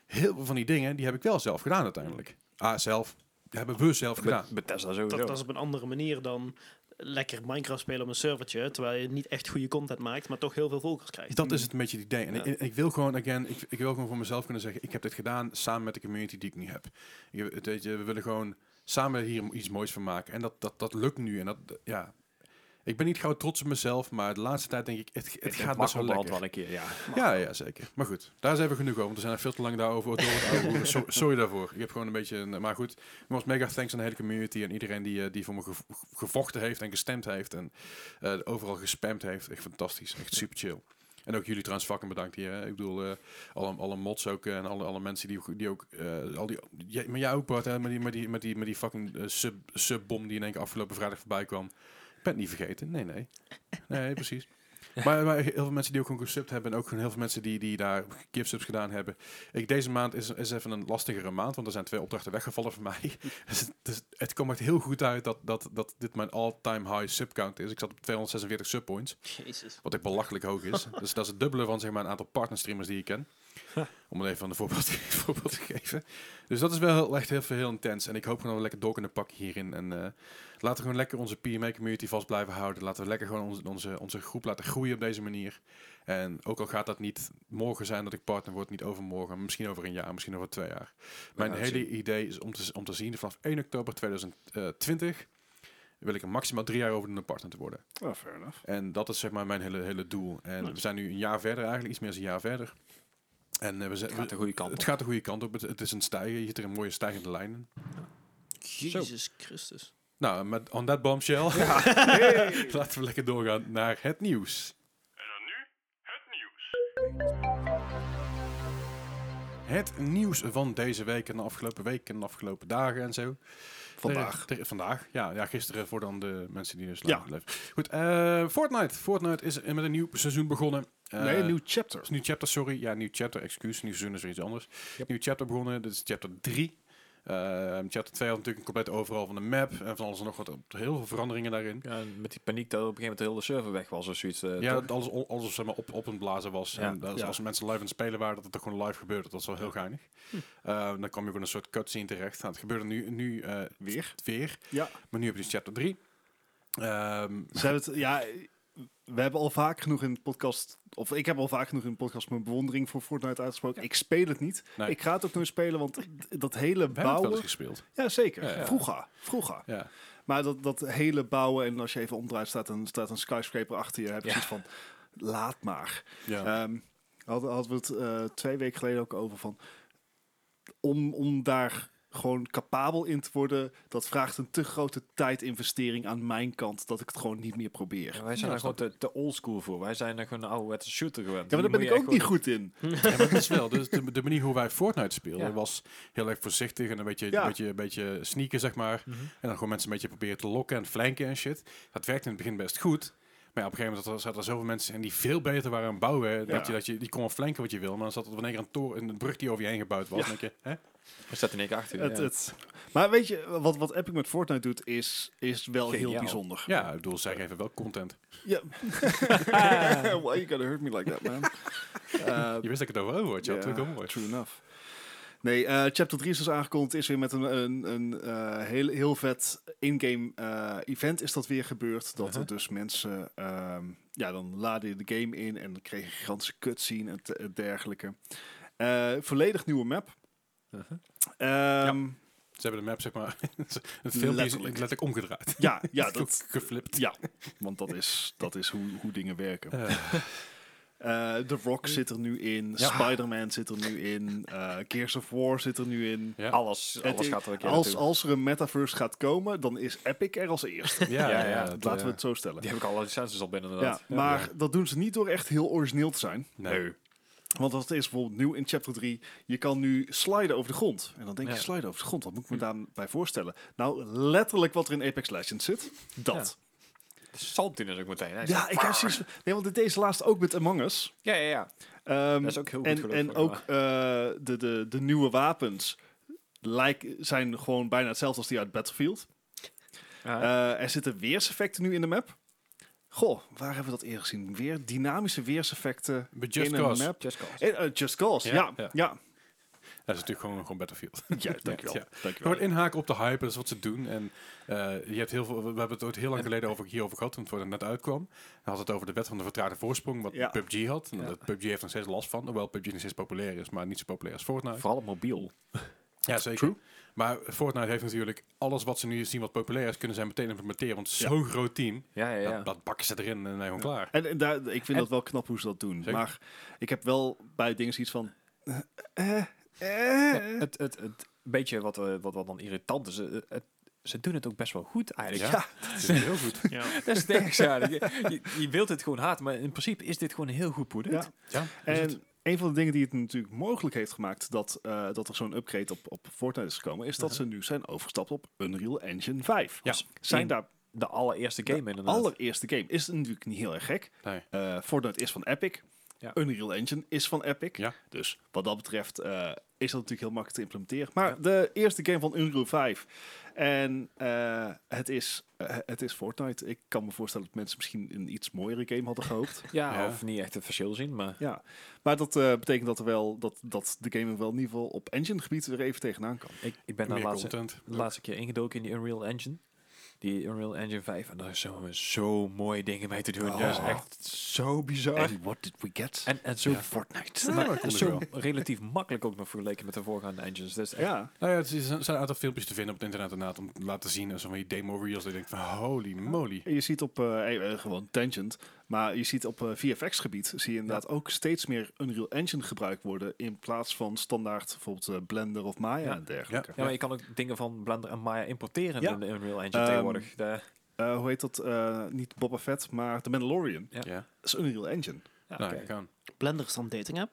A: heel veel van die dingen, die heb ik wel zelf gedaan uiteindelijk. Ah, zelf. Die hebben we zelf gedaan.
B: Met Tesla sowieso.
C: Dat, dat is op een andere manier dan lekker Minecraft spelen op een servertje, terwijl je niet echt goede content maakt, maar toch heel veel volgers krijgt.
A: Dat is het een beetje het idee. En
C: Ja.
A: ik, ik wil gewoon, again, ik, ik wil gewoon voor mezelf kunnen zeggen, ik heb dit gedaan samen met de community die ik nu heb. Ik, het- weet je, we willen gewoon samen hier iets moois van maken. En dat, dat, dat lukt nu. En dat, ja. Ik ben niet gauw trots op mezelf, maar de laatste tijd denk ik, het, het gaat best wel lekker.
B: wel een keer, ja.
A: Ja, ja, zeker. Maar goed, daar zijn we genoeg over. Want we zijn er veel te lang daarover door het oude hoeren. So- Sorry daarvoor. Ik heb gewoon een beetje... Een, maar goed, nogmaals mega thanks aan de hele community en iedereen die, eh, die voor me gevo- gevochten heeft en gestemd heeft. En eh, overal gespamd heeft. Echt fantastisch. Echt super chill. En ook jullie trouwens fucking bedankt hier. Hè. Ik bedoel, eh, alle, alle mods ook eh, en alle, alle mensen die, ook- die ook... eh, al die, jij- maar jij ook, Bart, hè, met, die, met, die, met, die, met die fucking eh, sub, subbom die in één keer afgelopen vrijdag voorbij kwam. Ik ben het niet vergeten. Nee, nee. Nee, precies. [LAUGHS] Maar, maar heel veel mensen die ook gewoon gesubt hebben en ook gewoon heel veel mensen die, die daar gifsubs gedaan hebben. Ik, deze maand is, is even een lastigere maand, want er zijn twee opdrachten weggevallen voor mij. [LAUGHS] dus, het- dus het komt echt heel goed uit dat, dat, dat dit mijn all-time high subcount is. Ik zat op 246 subpoints,
C: Jezus.
A: wat echt belachelijk hoog is. dus dat is het dubbele van zeg maar, een aantal partnerstreamers die ik ken. Om het even een voorbeeld, voorbeeld te [LAUGHS] geven. Dus dat is wel heel- echt heel, veel- heel intens. En ik hoop gewoon dat we lekker door kunnen pakken hierin. En eh, laten we gewoon lekker onze PMA-community vast blijven houden. Laten we lekker gewoon onze, onze, onze groep laten groeien op deze manier. En ook al gaat dat niet morgen zijn dat ik partner word, niet overmorgen, maar misschien over een jaar, misschien over twee jaar. Mijn
B: gaan het
A: hele idee is om te, om te zien, vanaf 1 oktober 2020 wil ik er maximaal drie jaar over doen om partner te worden.
D: Oh, fair enough.
A: En dat is zeg maar mijn hele, hele doel. En
C: Nice.
A: we zijn nu een jaar verder eigenlijk, iets meer dan een jaar verder. En eh, we zijn,
B: Het gaat de goede kant
A: het
B: op.
A: gaat de goede kant op. Het, het is een stijgen. Je zit er een mooie stijgende lijn in.
C: Jezus
A: [LAUGHS]
C: Christus.
A: Nou, met on that bombshell. [LAUGHS] Laten we lekker doorgaan naar het nieuws. En dan nu het nieuws. Het nieuws van deze week en de afgelopen week en de afgelopen dagen en zo.
D: Vandaag.
A: Er- er- vandaag, ja, ja. Gisteren voor dan de mensen die dus
D: Ja.
A: later leven. Goed, eh, Fortnite. Fortnite is met een nieuw seizoen begonnen.
D: nee,
A: Eh,
D: een nieuw chapter.
A: is nieuw chapter, sorry. Ja, nieuw chapter, excuus. Nieuw seizoen is weer iets anders.
B: Yep.
A: Nieuw chapter begonnen, dit is chapter 3. Ehm, chapter 2 had natuurlijk een compleet overal van de map en van alles en nog wat. Heel veel veranderingen daarin.
B: Ja, en met die paniek dat op een gegeven moment de hele server weg was of zoiets. eh,
A: Ja,
B: toch?
A: dat alles, o- alles zeg maar, op, op een blazen was.
B: Ja.
A: En dat,
D: Ja.
A: als mensen live aan het spelen waren, dat het er gewoon live gebeurde. Dat was wel heel geinig. Ehm, dan kwam je gewoon een soort cutscene terecht. Nou, het gebeurde nu, nu eh,
D: Weer.
A: weer.
D: Ja.
A: Maar nu heb je dus chapter 3. Ehm,
D: Ze hebben het, ja, we hebben al vaak genoeg in de podcast, of ik heb al vaak genoeg in de podcast mijn bewondering voor Fortnite uitgesproken. Ik speel het niet.
A: Nee.
D: Ik ga het ook nooit spelen, want d- dat hele
A: we hebben het wel eens
D: bouwen.
A: gespeeld.
D: Ja, zeker.
A: Ja, ja.
D: Vroeger. Vroeger.
A: Ja.
D: Maar dat, dat hele bouwen en als je even omdraait, staat een, staat een skyscraper achter je. Dan heb je
B: Ja.
D: zoiets van, laat maar.
A: Ja.
D: Ehm, hadden, hadden we het eh, twee weken geleden ook over van... Om, om daar gewoon capabel in te worden... dat vraagt een te grote tijdinvestering aan mijn kant... dat ik het gewoon niet meer probeer.
B: Ja, wij zijn
A: Ja,
B: er gewoon te, te oldschool voor. Wij zijn er gewoon een ouderwetse shooter gewend.
D: Ja, maar daar ben ik ook niet goed in.
A: Ja, maar dat is wel. Dus de, de manier hoe wij Fortnite speelden
B: Ja.
A: was heel erg voorzichtig en een beetje,
D: Ja. Mhm.
A: een beetje, een beetje sneaken, zeg maar. En dan gewoon mensen een beetje proberen te lokken en flanken en shit. Dat werkte in het begin best goed. Maar ja, op een gegeven moment zaten er zoveel mensen en die veel beter waren aan het bouwen. Dat je, dat je, die kon wel flanken wat je wil. Maar dan zat er wanneer een toren, een brug die over je heen gebouwd was.
D: Ja.
A: Dan denk je, hè?
B: Er staat in één keer achter je,
D: Het,
B: ja.
D: het. Maar weet je, wat, wat Epic met Fortnite doet... is, is wel heel
B: Geniaal.
D: bijzonder.
A: Ja, ik bedoel, zij geven wel content.
D: Ja. [LAUGHS] Why you gotta hurt me like that, [LAUGHS] man? Uh, Eh,
A: Je wist dat ik het over Overwatch had.
D: Ja,
A: Toen kom
D: True enough. Nee, eh, chapter 3 is dus aangekondigd. Is weer met een, een, een eh, heel, heel vet in-game eh, event is dat weer gebeurd. Dat er
A: Uh-huh.
D: dus mensen... ehm, ja, dan laden je de game in en dan kreeg je een gigantische cutscene en te- en dergelijke. Eh, volledig nieuwe map.
B: Uh-huh.
D: Ehm,
A: Ze hebben de map, zeg maar, [LAUGHS] het filmpje is
D: Letterlijk.
A: letterlijk omgedraaid.
D: ja.
A: [LAUGHS]
D: [LAUGHS] ja, dat...
A: geflipt.
D: Ja, want dat is, dat is hoe, hoe dingen werken.
A: Eh,
D: Eh, The Rock zit er nu in.
B: Ja.
D: Spider-Man zit er nu in. eh Gears of War zit er nu in.
A: Ja.
B: Alles,
D: Het
B: alles
D: is-
B: gaat er een keer
D: Als,
B: naartoe.
D: als er een metaverse gaat komen, dan is Epic er als eerste.
A: Ja,
B: Ja,
A: ja,
B: ja,
A: dat,
D: Laten we
A: eh,
D: het zo stellen.
B: Die heb ik alle licenties al binnen
D: Ja,
B: inderdaad.
D: maar dat doen ze niet door echt heel origineel te zijn.
A: Nee.
D: Want dat is bijvoorbeeld nieuw in chapter 3. Je kan nu sliden over de grond. En dan denk je,
B: Ja.
D: sliden over de grond, wat moet ik me daarbij voorstellen? Nou, letterlijk wat er in Apex Legends zit. Dat.
B: Saltine is ook meteen. hè.
D: Ja, ik heb precies... Nee, want dit deze laatst ook met Among Us.
B: ja, ja, ja.
D: Ehm,
B: Dat is ook heel goed
D: en,
B: gelukt,
D: en
B: vond ik
D: ook eh, de, de, de nieuwe wapens lijken, zijn gewoon bijna hetzelfde als die uit Battlefield.
B: Ja.
D: Eh, er zitten weerseffecten nu in de map. Goh, waar hebben we dat eerder gezien? Weer dynamische weerseffecten
A: Bij Just
D: in
A: Cause.
D: een map.
B: Just Cause.
D: Eh, eh, Just Cause,
A: Ja,
D: ja.
A: ja.
D: Ja,
A: Dat is natuurlijk gewoon, gewoon Battlefield.
D: [LAUGHS] Ja, dankjewel.
A: [LAUGHS] Ja.
D: dankjewel.
A: Gewoon inhaken op de hype, dat is wat ze doen. En eh, je hebt heel veel, we hebben het ooit heel lang geleden over, hierover gehad, toen het voor het net uitkwam. Hij had het over de wet van de vertraagde voorsprong, wat
D: Ja.
A: PUBG had. En dat PUBG heeft nog steeds last van, hoewel PUBG nog steeds populair is, maar niet zo populair als Fortnite.
B: Vooral op mobiel.
A: Ja, zeker. Maar Fortnite heeft natuurlijk alles wat ze nu zien wat populair is, kunnen zij meteen implementeren. Want zo'n groot team,
B: Ja, ja, ja.
A: dat, dat bakken ze erin en dan gewoon klaar.
D: En, en daar, ik vind dat wel knap hoe ze dat doen.
A: Zeker.
D: Maar ik heb wel bij dingen iets van... eh, eh,
B: Ja,
D: eh.
B: het, het, het beetje wat, eh, wat, wat dan irritant is, eh, het- ze doen het ook best wel goed eigenlijk. [LAUGHS]
A: Ja, dat is heel goed.
C: Ja.
B: Dat is niks eigenlijk. Je, je, je wilt het gewoon haten, maar in principe is dit gewoon heel goed product.
D: Ja.
A: Ja, is het.
D: En een van de dingen die het natuurlijk mogelijk heeft gemaakt dat, eh, dat er zo'n upgrade op, op Fortnite is gekomen, is dat ze nu zijn overgestapt op Unreal Engine 5.
A: Ja.
D: Ze Zijn
B: In
D: daar
B: De allereerste game inderdaad.
D: allereerste game. Is het natuurlijk niet heel erg gek.
A: Nee.
D: Eh, Fortnite is van Epic.
B: Ja.
D: Unreal Engine is van Epic.
A: Ja.
D: Dus wat dat betreft eh, is dat natuurlijk heel makkelijk te implementeren. Maar de eerste game van Unreal 5. En eh, het, is, eh, het is Fortnite. Ik kan me voorstellen dat mensen misschien een iets mooiere game hadden gehoopt.
B: Ja,
A: Ja.
B: of niet echt het verschil zien, maar...
D: Ja, maar dat eh, betekent dat, er wel, dat, dat de game er wel in ieder geval op engine-gebied weer even tegenaan kan.
B: Ik, ik ben daar
A: Meer
B: laatste,
A: content.
B: laatste keer ingedoken in die Unreal Engine. Die Unreal Engine 5. En daar is zo, zo mooie dingen mee te doen.
D: Oh.
B: Dat is echt zo bizar.
D: And what did we get?
B: En, en zo,
D: Fortnite.
A: Ja,
B: maar
A: dat kon ik
B: zo
A: wel.
B: relatief makkelijk ook nog vergeleken met de voorgaande engines. Dus echt,
D: Ja,
A: Nou ja, het is- er zijn een aantal filmpjes te vinden op het internet inderdaad om te laten zien. en Zo van die demo reels. Dat je denkt van holy moly.
D: je ziet op, eh, eh, eh, gewoon tangent, maar je ziet op eh, VFX-gebied zie je inderdaad ook steeds meer Unreal Engine gebruikt worden in plaats van standaard bijvoorbeeld eh, Blender of Maya
B: Ja.
D: en dergelijke.
B: ja, maar je kan ook dingen van Blender en Maya importeren
D: Ja.
B: in de Unreal Engine
D: Ehm,
B: tegenwoordig. De-
D: Eh, hoe heet dat? Eh, niet Boba Fett, maar The Mandalorian.
B: Ja.
A: Ja,
D: Dat is Unreal Engine.
B: ja,
A: nou,
B: oké.
A: kijk aan.
C: Blender is dan een dating app.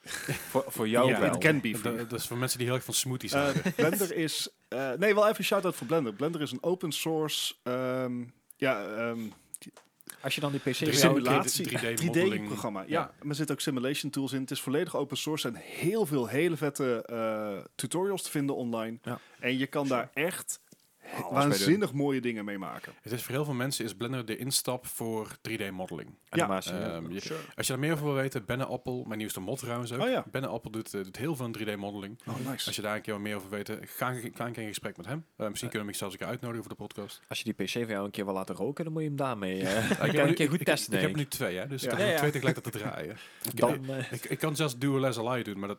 B: Voor, voor jou
D: Ja,
B: wel.
D: It can be
A: Dat,
D: free.
A: dat is voor mensen die heel erg van smoothies
D: Eh,
A: houden.
D: Blender is. eh, nee, wel even een shout-out voor Blender. Blender is een open source. ehm, ja, ehm,
B: Als je dan die PC
A: Er is
B: weer-
A: ook 3D
D: 3D,
A: modeling.
D: programma. Ja.
A: Ja.
D: maar er zitten ook simulation tools in. Het is volledig open source en heel veel hele vette eh, tutorials te vinden online.
B: Ja.
D: En je kan daar echt
B: Alles mee
D: waanzinnig mooie dingen mee maken.
A: Het is voor heel veel mensen is Blender de instap voor 3D modeling.
B: doen.
D: Ja.
B: Animatie, ja.
A: Ehm, je- als je daar meer over wil weten, Benne Appel, mijn nieuwste mod trouwens ook.
D: Oh ja.
A: Benne Appel doet, eh, doet heel veel 3D modeling.
D: Oh,
A: Als
D: nice.
A: je daar een keer wat meer over wil weten, ga, een- ga een keer in gesprek met hem. Eh, misschien kunnen we hem zelfs een keer uitnodigen voor de podcast.
B: Als je die PC van jou een keer wil laten roken, dan moet je hem daarmee. [LAUGHS] eh
A: Ik heb
B: kan
A: nu-
B: een keer goed
A: ik-
B: testen.
A: Ik,
B: denk
A: heb nu twee, hè, dus ik
D: Ja.
A: kan er
B: Ja, ja.
A: twee tegelijkertijd te draaien.
D: [LAUGHS]
A: Ik,
B: Dan, eh,
A: ik, ik kan zelfs Dual SLI doen, maar dat,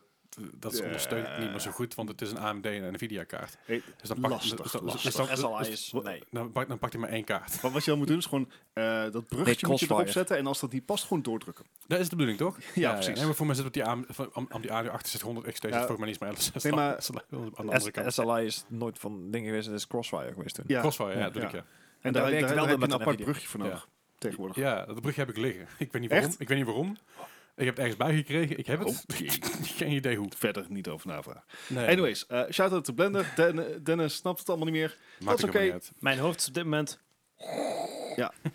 A: dat is
D: Ja.
A: ondersteunt het niet meer zo goed, want het is een AMD en een Nvidia kaart.
D: Hey,
A: Dus dan pak,
D: Lastig,
A: dus dan- dus-
D: lastig.
A: dus dan-
B: SLI
A: dus-
B: is.
A: dus-
B: Nee.
A: Dan, pak- dan pakt hij maar één kaart.
D: maar wat je dan moet doen is gewoon eh, dat bruggetje moet je
B: Crossfire.
D: erop zetten. En als dat niet past, gewoon doordrukken.
A: Dat is de bedoeling, toch?
D: [LAUGHS]
A: Ja,
D: precies.
A: Nee, maar voor mij zit op die, AM, van, am, am die AD 6800 XT zit
D: Ja.
A: volgens mij niet maar [LAUGHS] 11
D: Nee, maar-
A: aan de andere kant.
B: SLI is nooit van dingen geweest, het is Crossfire geweest toen.
D: Ja.
A: Crossfire, ja, dat doe
D: Ja.
A: ik ja.
D: En
B: daar
D: daar,
B: werkt
D: daar,
B: wel
D: daar
B: weer
D: heb je
B: met
D: een
B: een
D: apart
B: NVIDIA.
D: brugje voor nodig. Tegenwoordig.
A: Ja, dat brugje heb ik liggen. [LAUGHS] Ik weet niet
D: Echt?
A: waarom. Ik weet niet waarom. Ik heb het ergens bijgekregen. [LAUGHS] Ik heb het.
D: Oh,
A: Geen idee hoe.
D: Verder niet over navragen.
A: Nee,
D: Anyways, eh, shout-out to Blender. Den- Dennis snapt het allemaal niet meer.
A: maakt
D: dat is
A: ook helemaal
D: oké.
A: niet uit.
C: Mijn hoofd is op dit moment...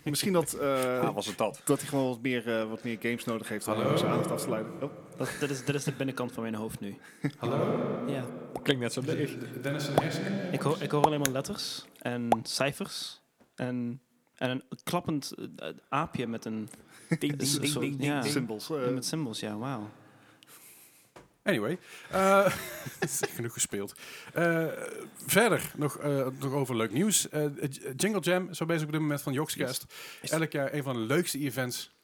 D: Misschien dat, eh,
B: [LAUGHS] Ah, was het dat?
D: dat hij gewoon wat meer, eh, wat meer games nodig heeft
A: Hallo?
D: om zijn aandacht af te leiden. Oh.
C: Dat, dat, is, dat is de binnenkant van mijn hoofd nu.
A: Hallo?
C: Ja.
B: Klinkt net zo leeg.
A: Dennis en Hersenen.
C: Ik hoor, ik hoor alleen maar letters en cijfers en, en een klappend eh, aapje met een...
B: Ding, ding, ding, ding,
C: Ja.
B: ding.
D: Symbols. eh,
C: met symbols, ja, wauw.
A: Anyway. eh, [LAUGHS] genoeg gespeeld. Eh, verder nog, eh, nog over leuk nieuws. Eh, J- Jingle Jam, zo bezig op dit moment van Joxcast. Elk jaar een van de leukste events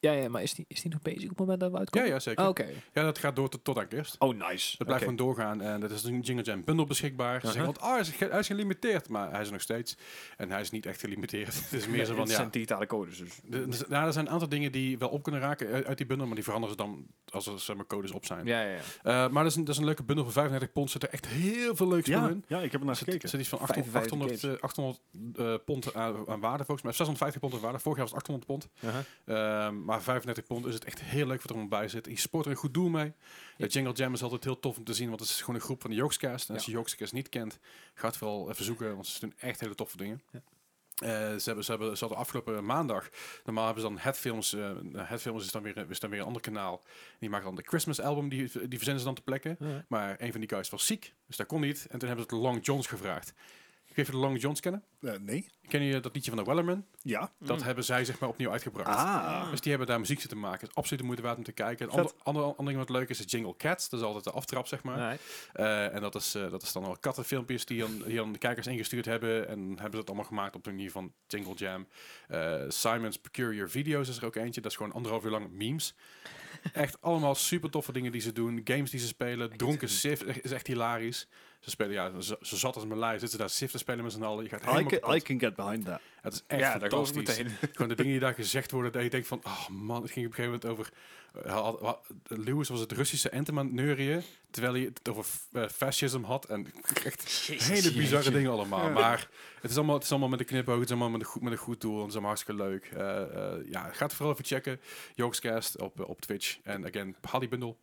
B: Ja, ja, maar is die, is die nog bezig op het moment dat we
A: Ja,
B: uitkomen?
A: ja, zeker.
B: Ah, Oké.
A: Ja, dat gaat door tot, tot aan kerst.
B: Oh, nice.
A: Dat blijft
B: Oké. Uh-huh.
A: gewoon doorgaan. En dat is een Jingle Jam bundle beschikbaar. Ze zeggen,
B: Aha.
A: want ah, hij, is, ge- hij is gelimiteerd. Maar hij is er nog steeds. En hij is niet echt gelimiteerd. [LAUGHS] Het is meer zo
B: Nee,
A: van,
B: het
A: ja...
B: zijn digitale codes, dus...
A: de- de- nou, er zijn een aantal dingen die wel op kunnen raken uit, uit die bundel. Maar die veranderen ze dan als er zeg maar, codes op zijn.
B: Ja, ja, ja.
A: Eh, maar dat is, een, dat is een leuke bundel van 35 pond. Zit er echt heel veel leuks spullen
D: Ja,
A: in.
D: ja, ik heb er naar
A: Er zit
D: gekeken.
A: zit iets van 800,
B: 55
A: 800, eh, 800 eh, pond aan, aan waarde volgens mij. 650 pond aan waarde. Vorig jaar was het 800 pond.
B: Uh-huh.
A: Ehm, maar 35 pond is het echt heel leuk wat er allemaal bij zit. Je sport er een goed doel mee. De Jingle Jam is altijd heel tof om te zien, want het is gewoon een groep van de Jokescast. En als
B: Ja.
A: je Jokescast niet kent, ga het vooral even zoeken, want ze doen echt hele toffe dingen. Eh, ze, hebben, ze, hebben, ze hadden afgelopen maandag, normaal hebben ze dan het films, eh, het films is, dan weer, is dan weer een ander kanaal. Die maken dan de Christmas album, die, die verzenden ze dan te plekken.
B: Ja.
A: Maar een van die guys was ziek, dus dat kon niet. En toen hebben ze de Long Johns gevraagd. Ik weet niet of je de Long Johns kennen.
D: Eh, nee?
A: Ken je dat liedje van de Wellerman?
D: Ja.
A: Dat
B: Mm.
A: hebben zij zeg maar opnieuw uitgebracht.
D: Ah.
A: Dus die hebben daar muziek zitten maken. is absoluut de moeite waard om te kijken. Een
D: Vet.
A: ander, ander, ander ding wat leuk is, is Jingle Cats. Dat is altijd de aftrap, zeg maar.
B: Alright.
A: Eh, en dat is, eh, dat is dan al kattenfilmpjes die dan, die dan de kijkers ingestuurd hebben. En hebben ze dat allemaal gemaakt op de manier van Jingle Jam. Eh, Simon's Peculiar Videos is er ook eentje. Dat is gewoon anderhalf uur lang memes. Echt allemaal super toffe dingen die ze doen. Games die ze spelen. Dronken Sif is echt hilarisch. Ze spelen, ja, ze, ze zat als mijn lijst. Zitten ze daar Sif te spelen met z'n allen. Je gaat helemaal
D: I can, I
A: kapot.
D: can get behind that.
A: Het is echt
B: ja, daar komen we
A: fantastisch.
B: meteen.
A: Gewoon de dingen die daar gezegd worden, dat je denkt van, oh man, het ging op een gegeven moment over... eh, had- had- Lewis was het Russische anthem aan het neurien, terwijl hij het over f- eh, fascism had. En [LAUGHS] echt hele bizarre dingen allemaal. Maar het is allemaal, het is allemaal met een knipoog, het is allemaal met een goed, met een goed doel. En het is allemaal hartstikke leuk. Eh, eh, ja, ga het vooral even checken. Jokescast op, eh, op Twitch. En again, haal die bundel.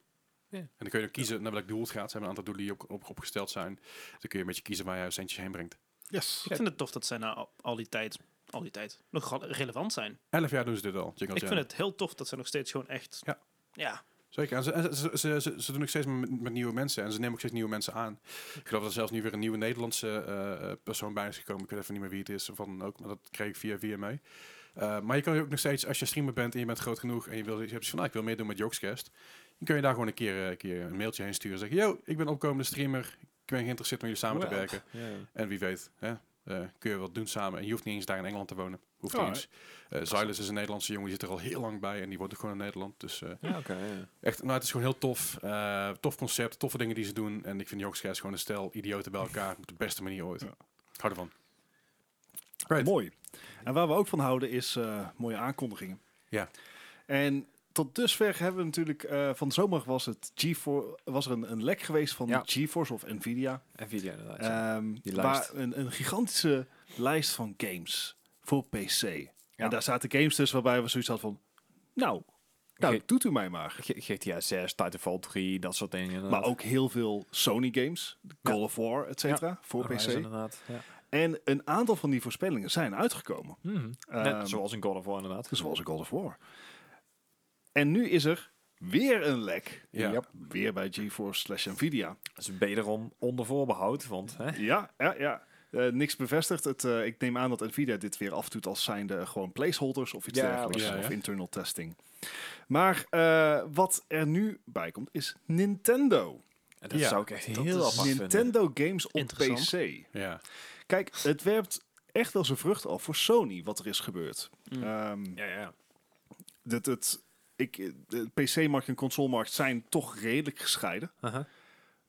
B: Ja.
A: En dan kun je ook kiezen naar welk doel het gaat. Er zijn een aantal doelen die ook op, opgesteld zijn. Dan kun je een beetje kiezen waar je centjes heen brengt.
D: Yes.
C: Ik vind het tof dat zij na al- al die tijd, al die tijd nog gal- relevant zijn.
A: Elf jaar doen ze dit al. Jingle
C: Ik
A: Jam.
C: vind het heel tof dat ze nog steeds gewoon echt...
A: Ja.
C: Ja,
A: Zeker. En ze, en ze, ze, ze, ze doen ook steeds met, met nieuwe mensen. En ze nemen ook steeds nieuwe mensen aan. Ik geloof dat er zelfs nu weer een nieuwe Nederlandse eh, eh, persoon bij is gekomen. Ik weet even niet meer wie het is of wat dan ook. Maar dat kreeg ik via via mee. Eh, maar je kan je ook nog steeds, als je streamer bent en je bent groot genoeg... en je, wil, je hebt zoiets van, nou, ik wil meedoen met Jokescast... dan kun je daar gewoon een keer, eh, een keer een mailtje heen sturen. Zeggen, yo, ik ben opkomende streamer. Ik ben geïnteresseerd om jullie samen te
B: Wow.
A: werken.
B: Ja.
A: En wie weet, hè, eh, kun je wat doen samen. En je hoeft niet eens daar in Engeland te wonen. Hoeft niet eens.
D: Alright.
A: Eh, Silas is een Nederlandse jongen, die zit er al heel lang bij. En die woont ook gewoon in Nederland. Dus eh,
B: Ja, oké. ja.
A: Echt, nou, het is gewoon heel tof. Eh, tof concept, toffe dingen die ze doen. En ik vind Jokescast gewoon een stel idioten bij elkaar op de beste manier ooit.
D: Ja.
A: Ik hou ervan.
D: Mooi. En waar we ook van houden is eh, mooie aankondigingen.
A: Ja.
D: En tot dusver hebben we natuurlijk... eh, van de zomer was, het G4, was er een, een lek geweest van
B: Ja.
D: GeForce of Nvidia.
B: Nvidia inderdaad. ja.
D: Ehm
B: Die
D: waar
B: lijst.
D: een, een gigantische lijst van games voor PC. En daar zaten games tussen waarbij we zoiets hadden van... Nou, nou
B: Ge-
D: doet u mij maar.
B: G- GTA 6, Titanfall 3, dat soort dingen.
D: Maar
B: inderdaad.
D: ook heel veel Sony games. Call of War, et cetera, voor
B: Horizon
D: PC.
B: Inderdaad, ja.
D: En een aantal van die voorspellingen zijn uitgekomen. Ehm,
B: Mhm. Net zoals in God of War inderdaad.
D: Zoals Call of War. En nu is er weer een lek.
A: Ja.
B: Yep.
D: Weer bij GeForce slash Nvidia.
B: Dat is wederom onder voorbehoud, want... Hè?
D: Ja, ja, ja. Eh, niks bevestigd. Het, eh, ik neem aan dat Nvidia dit weer afdoet als zijnde gewoon placeholders of iets
B: Ja,
D: dergelijks.
A: ja, ja.
D: Of internal testing. Maar eh, wat er nu bij komt is Nintendo.
B: En dat
A: Ja,
B: zou ik echt
C: dat
B: heel
C: is
B: apart vinden.
D: Nintendo games op
C: Interessant.
D: PC.
A: Ja.
D: Kijk, het werpt echt wel zijn vrucht af voor Sony wat er is gebeurd.
C: Mm.
D: Ehm,
B: Ja, ja.
D: dat het, ik, de PC-markt en consolemarkt zijn toch redelijk gescheiden.
B: Aha.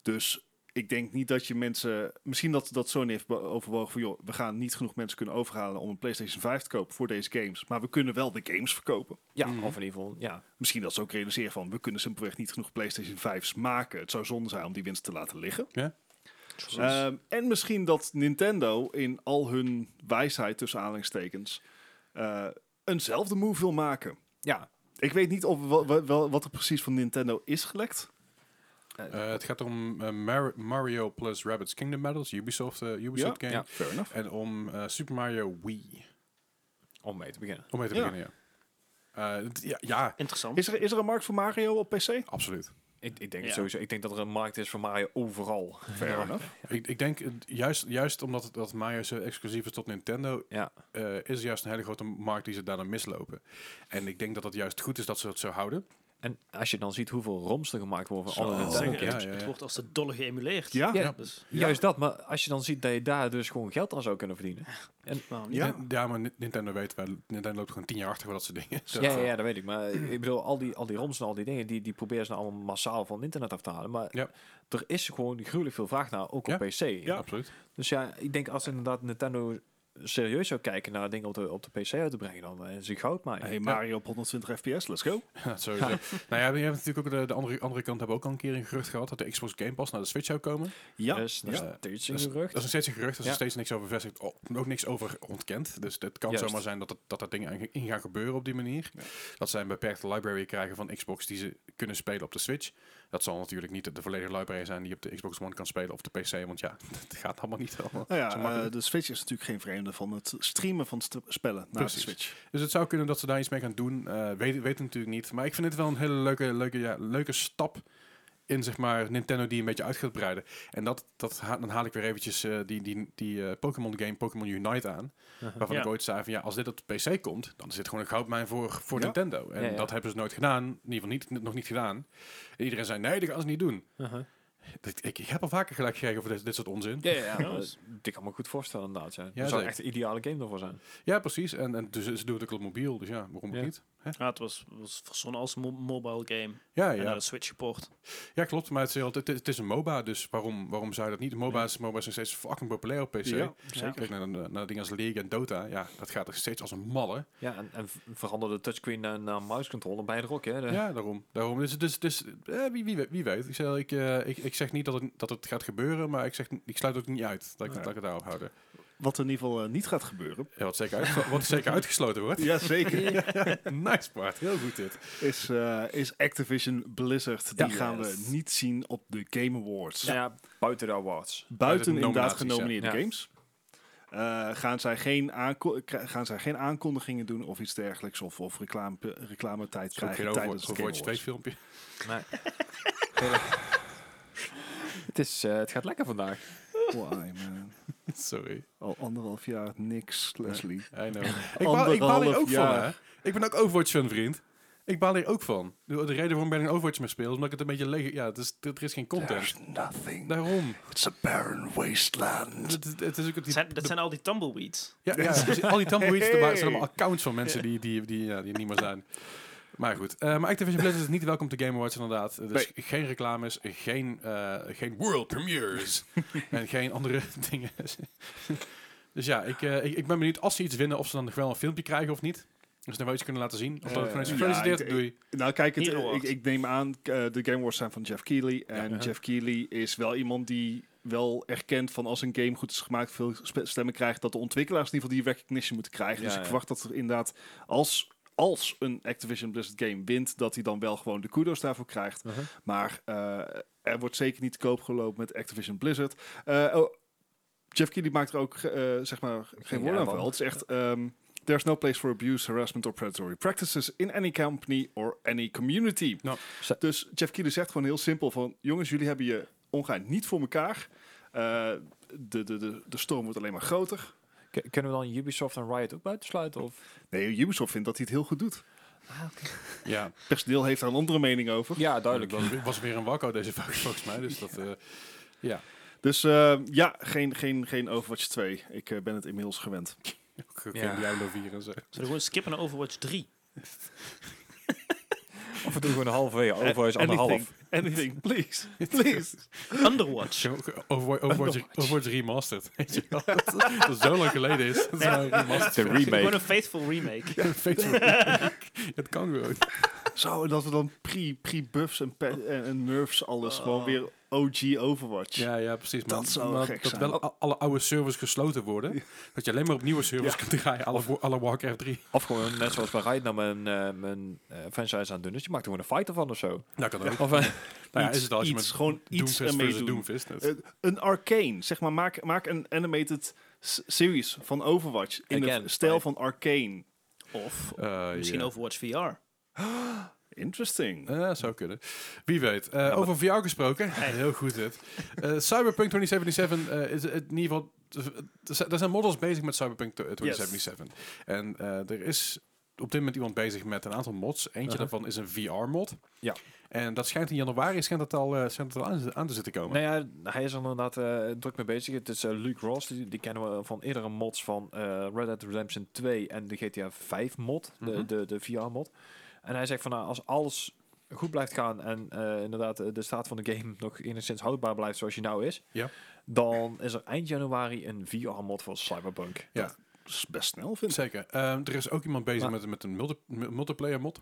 D: Dus ik denk niet dat je mensen... Misschien dat, dat Sony heeft be- overwogen van... joh, we gaan niet genoeg mensen kunnen overhalen om een PlayStation 5 te kopen voor deze games. Maar we kunnen wel de games verkopen.
B: Ja, of in ieder geval, ja.
D: Misschien dat ze ook realiseren van... we kunnen simpelweg niet genoeg PlayStation 5's maken. Het zou zonde zijn om die winst te laten liggen.
A: Ja.
D: Ehm, en misschien dat Nintendo in al hun wijsheid tussen aanhalingstekens eh, eenzelfde move wil maken.
B: Ja,
D: Ik weet niet of wa- wa- wa- wat er precies van Nintendo is gelekt.
A: Eh, het gaat om eh, Mar- Mario plus Rabbit's Kingdom Battles, Ubisoft, eh, Ubisoft game.
B: ja.
D: Fair enough.
A: En om eh, Super Mario Wii.
B: om mee te beginnen.
A: Om mee te
D: Ja.
A: beginnen, ja. Eh, d- ja. Ja,
C: interessant.
D: Is er, is er een markt voor Mario op PC?
A: absoluut.
B: Ik, ik denk
C: Ja.
B: sowieso, ik denk dat er een markt is voor Mario overal.
D: Fair enough.
A: Ik, ik denk, eh, juist, juist omdat het- dat Mario zo exclusief is tot Nintendo,
B: Ja.
A: eh, is er juist een hele grote markt die ze daarna mislopen. En ik denk dat het juist goed is dat ze dat zo houden.
B: En als je dan ziet hoeveel roms er gemaakt worden van alle
A: Zo.
B: Nintendo
A: Zeker, ja,
B: games.
A: ja.
C: Oh, Het wordt als de dolle geëmuleerd.
D: Ja,
B: Ja.
C: Dus,
B: Juist dat, maar als je dan ziet dat je daar dus gewoon geld aan zou kunnen verdienen.
C: waarom niet?
D: Ja.
A: Ja, ja maar Ni- Nintendo weet wel, Nintendo loopt gewoon tien jaar achter voor dat soort dingen. [LAUGHS]
B: Ja, ja, ja, dat weet ik. Maar ik bedoel, al die, al die roms en al die dingen, die, die proberen ze nou allemaal massaal van het internet af te halen. Maar
A: Ja.
B: er is gewoon gruwelijk veel vraag naar, ook
A: Ja.
B: op PC.
A: Ja, absoluut. [LAUGHS]
B: Dus ja, ik denk als inderdaad Nintendo serieus zou kijken naar dingen op de, op de PC uit te brengen, dan eh, is het goud maar.
D: Hey, Mario op 120 fps, let's go.
B: [LAUGHS]
A: Ja, sowieso. nou ja, we hebben natuurlijk ook de, de andere, andere kant hebben we ook al een keer een gerucht gehad dat de Xbox Game Pass naar de Switch zou komen.
D: Ja,
B: Dus, dat is nog
A: ja.
B: steeds
A: Dat
B: een
A: is, dat
B: gerucht.
A: is nog steeds een gerucht, er is nog
B: Ja.
A: steeds niks over bevestigd, o- ook niks over ontkend. Dus het kan
B: Juist.
A: zomaar zijn dat het- dat, dat dingen in gaan gebeuren op die manier. Dat zij een beperkte library krijgen van Xbox die ze kunnen spelen op de Switch. Dat zal natuurlijk niet de, de volledige library zijn die je op de Xbox One kan spelen of de PC, want ja, [LAUGHS] dat gaat allemaal niet allemaal.
D: Nou
A: zo
D: ja,
A: makkelijk.
D: eh, de Switch is natuurlijk geen vreemde van het streamen van st- spellen naar
A: Precies.
D: de Switch.
A: Dus het zou kunnen dat ze daar iets mee gaan doen. Eh weet, weet natuurlijk niet. Maar ik vind het wel een hele leuke, leuke, ja, leuke stap in zeg maar, Nintendo die een beetje uit gaat breiden. En dat, dat ha- dan haal ik weer eventjes eh, die, die, die eh, Pokémon game Pokémon Unite aan.
B: Uh-huh.
A: Waarvan
C: Ja.
A: ik ooit zei van ja, als dit op de PC komt, dan is dit gewoon een goudmijn voor, voor
D: Ja.
A: Nintendo. En
B: Ja, ja.
A: dat hebben ze nooit gedaan. In ieder geval niet, n- nog niet gedaan. En iedereen zei nee, dat gaan ze niet doen.
B: Uh-huh.
A: Dat- Ik, ik heb al vaker gelijk gekregen over dit, dit soort onzin.
B: Ja, ja, ja.
C: Ja,
B: maar
C: dus-
B: dit kan me goed voorstellen inderdaad. Ja.
A: Ja,
B: dat zou
A: zeker.
B: echt de ideale game ervoor zijn.
A: Ja, precies. En, en dus, ze doen het ook op mobiel. Dus ja, waarom ook
B: Ja.
A: niet?
C: Ja, het was, was verzonnen als mo- mobile game.
A: Ja,
C: En
A: ja.
C: naar de Switch geport.
A: Ja, klopt. Maar het is, heel- het is- het is een MOBA, dus waarom, waarom zou je dat niet? MOBA's, MOBA's zijn steeds fucking populair op PC.
D: Ja,
A: Kijk naar, naar, naar dingen als League en Dota. Ja, dat gaat er steeds als een malle.
B: Ja, en, en v- verander de touchscreen naar, naar mousecontroller bij de rock, hè. De-
A: Ja, daarom. daarom. Dus, dus, dus eh, wie, wie, weet- wie weet. Ik, zeg, ik, eh, ik, ik zeg niet dat het, dat het gaat gebeuren, maar ik, zeg, ik sluit ook niet uit dat ik, dat ik het daarop houden.
D: Wat in ieder geval eh, niet gaat gebeuren.
A: [LAUGHS] Ja, wat, zeker uit, wat zeker uitgesloten
D: [LAUGHS]
A: wordt.
D: Jazeker.
A: Nice part. Heel goed dit.
D: is, eh, is Activision Blizzard. Die
B: Ja.
D: gaan
B: Yes.
D: we niet zien op de Game Awards.
B: Ja, buiten de awards.
A: Buiten
D: Buiten
A: de
D: inderdaad
A: nominaties,
D: genomineerde
B: ja. Ja.
D: games. Eh, gaan, zij geen aanko- kri- gaan zij geen aankondigingen doen of iets dergelijks? Of, of reclame, reclametijd
A: Ook geen
D: krijgen tijdens de
A: over,
D: Game
A: Overwatch 2
D: Awards?
A: filmpje.
B: Nee. [LAUGHS] het, is, eh, het gaat lekker vandaag.
D: Why, man?
A: [LAUGHS] Sorry.
D: Al anderhalf jaar niks, Leslie.
A: I
D: [LAUGHS]
A: know. ik, baal, ik baal hier
D: Anderhalf
A: ook van,
D: jaar.
A: hè. Ik ben ook Overwatch fan, vriend. Ik baal hier ook van. De de reden waarom ik bijna geen Overwatch meer speel, is omdat ik het een beetje leeg... Ja, het is, er is geen content.
D: nothing.
A: Daarom.
D: It's a barren wasteland.
A: Het, het- het is ook het-
C: Dat
A: die,
C: zijn, dat zijn al die tumbleweeds.
A: ja, ja, [LAUGHS] precies. al die tumbleweeds, er waren- er zijn allemaal accounts van mensen die, die, die, ja, die niet meer zijn. Maar goed. Eh, maar Activision Blizzard is niet welkom te Game Awards, inderdaad. Dus geen reclames, geen, eh, geen world premieres en geen andere [LAUGHS] dingen. dus ja, ik, eh, ik, ik ben benieuwd als ze iets winnen, of ze dan nog wel een filmpje krijgen of niet. Dus dan wel iets kunnen laten zien. Of dat het gewoon is
D: Ja,
A: gefeliciteerd,
D: ik- ik-
A: doei.
D: Nou, kijk, het,
C: Hero
D: eh, ik,
C: Awards.
D: ik neem aan, eh, de Game Awards zijn van Jeff Keighley. En
B: uh-huh.
A: Ja.
D: Jeff Keighley is wel iemand die wel erkent van als een game goed is gemaakt, veel spe- stemmen krijgt, dat de ontwikkelaars in ieder geval die recognition moeten
B: Ja,
D: krijgen. dus ik
B: ja.
D: verwacht dat er inderdaad, als, als een Activision Blizzard game wint, dat hij dan wel gewoon de kudos daarvoor krijgt.
B: Uh-huh.
D: Maar eh, er wordt zeker niet te koop gelopen met Activision Blizzard. Eh, oh, Jeff Keighley maakt er ook eh, zeg maar geen woord aan
B: aanval.
D: vuil. Het is echt... ehm, There's no place for abuse, harassment or predatory practices in any company or any community.
A: Nou,
B: ze-
D: Dus Jeff Keighley zegt gewoon heel simpel van... jongens, jullie hebben je ongein niet voor elkaar. Eh, de, de, de, de storm wordt alleen maar groter.
B: K- kunnen we dan Ubisoft en Riot ook buitensluiten? Of?
D: Nee, Ubisoft vindt dat hij het heel goed doet.
A: Ja,
D: Personeel heeft daar een andere mening over.
B: Ja,
A: duidelijk. was, was weer een wakko deze vak volgens mij. Dus dat, eh, ja,
D: Dus eh, ja, geen, geen, geen Overwatch 2. Ik eh, ben het inmiddels gewend.
A: ook geen
B: Ja.
A: Diablo 4 en zo.
C: Zullen we gewoon skippen naar Overwatch 3?
B: Of we doen gewoon een halve jaar. Over is
D: Anything,
B: anderhalf.
D: anything, please. please.
C: Underwatch.
A: Overwatch, Overwatch, Overwatch [LAUGHS] remastered. Weet je wel? dat het zo lang geleden is. Dat is nou een remastered.
B: De
C: Gewoon
B: remake.
C: een faithful remake.
A: Facebook. het kan gewoon.
D: Zo, en dat we dan pre- pre-buffs en, pe- en, en nerfs alles
B: Oh.
D: gewoon weer OG Overwatch.
A: Ja, ja, precies.
D: Dat zou gek
A: dat
D: zijn.
A: wel a- alle oude servers gesloten worden. Dat je alleen maar op nieuwe servers kunt draaien. Alle, wo- alle Warcraft 3.
B: Of gewoon net zoals bij Riot naar mijn, eh, mijn eh, franchise aan het doen is. Je maakt er gewoon een fighter van of zo.
A: Dat kan ook.
B: Of, eh,
A: Nou ja,
D: Iets-
A: is het als je
D: iets,
A: met
D: gewoon iets
A: Doomfist
D: ermee
A: versus
D: doen.
A: Doomfist. Dat-
D: Eh, een arcane, zeg maar, maak, maak een animated s- series van Overwatch in
B: Again,
D: de stijl
B: right.
D: van arcane.
C: Of
A: Eh,
C: misschien
A: ja.
C: Overwatch VR.
D: Interesting.
A: Eh, zou kunnen. Wie weet. Eh, over VR gesproken. [LAUGHS] Heel goed dit. Eh, Cyberpunk 2077 eh, is het in ieder geval... Er zijn models bezig met Cyberpunk 2077. En eh, er is op dit moment iemand bezig met een aantal mods. Eentje
B: Uh-huh.
A: daarvan is een VR-mod.
B: Ja.
A: En dat schijnt in januari schijnt dat al, eh, schijnt dat al aan, aan te zitten komen.
B: Nou ja, hij is er inderdaad eh, druk mee bezig. Het is eh, Luke Ross, die, die kennen we van eerdere mods van eh, Red Dead Redemption 2 en de GTA 5 mod, de,
A: Mhm.
B: de, de VR mod. En hij zegt van nou, als alles goed blijft gaan en eh, inderdaad eh, de staat van de game nog enigszins houdbaar blijft zoals je nou is,
A: Ja.
B: dan is er eind januari een VR mod voor Cyberpunk.
D: Dat is best snel, vind ik.
A: Zeker. Ehm, er is ook iemand bezig
B: Maar-
A: met, met een multi- mu- multiplayer mod.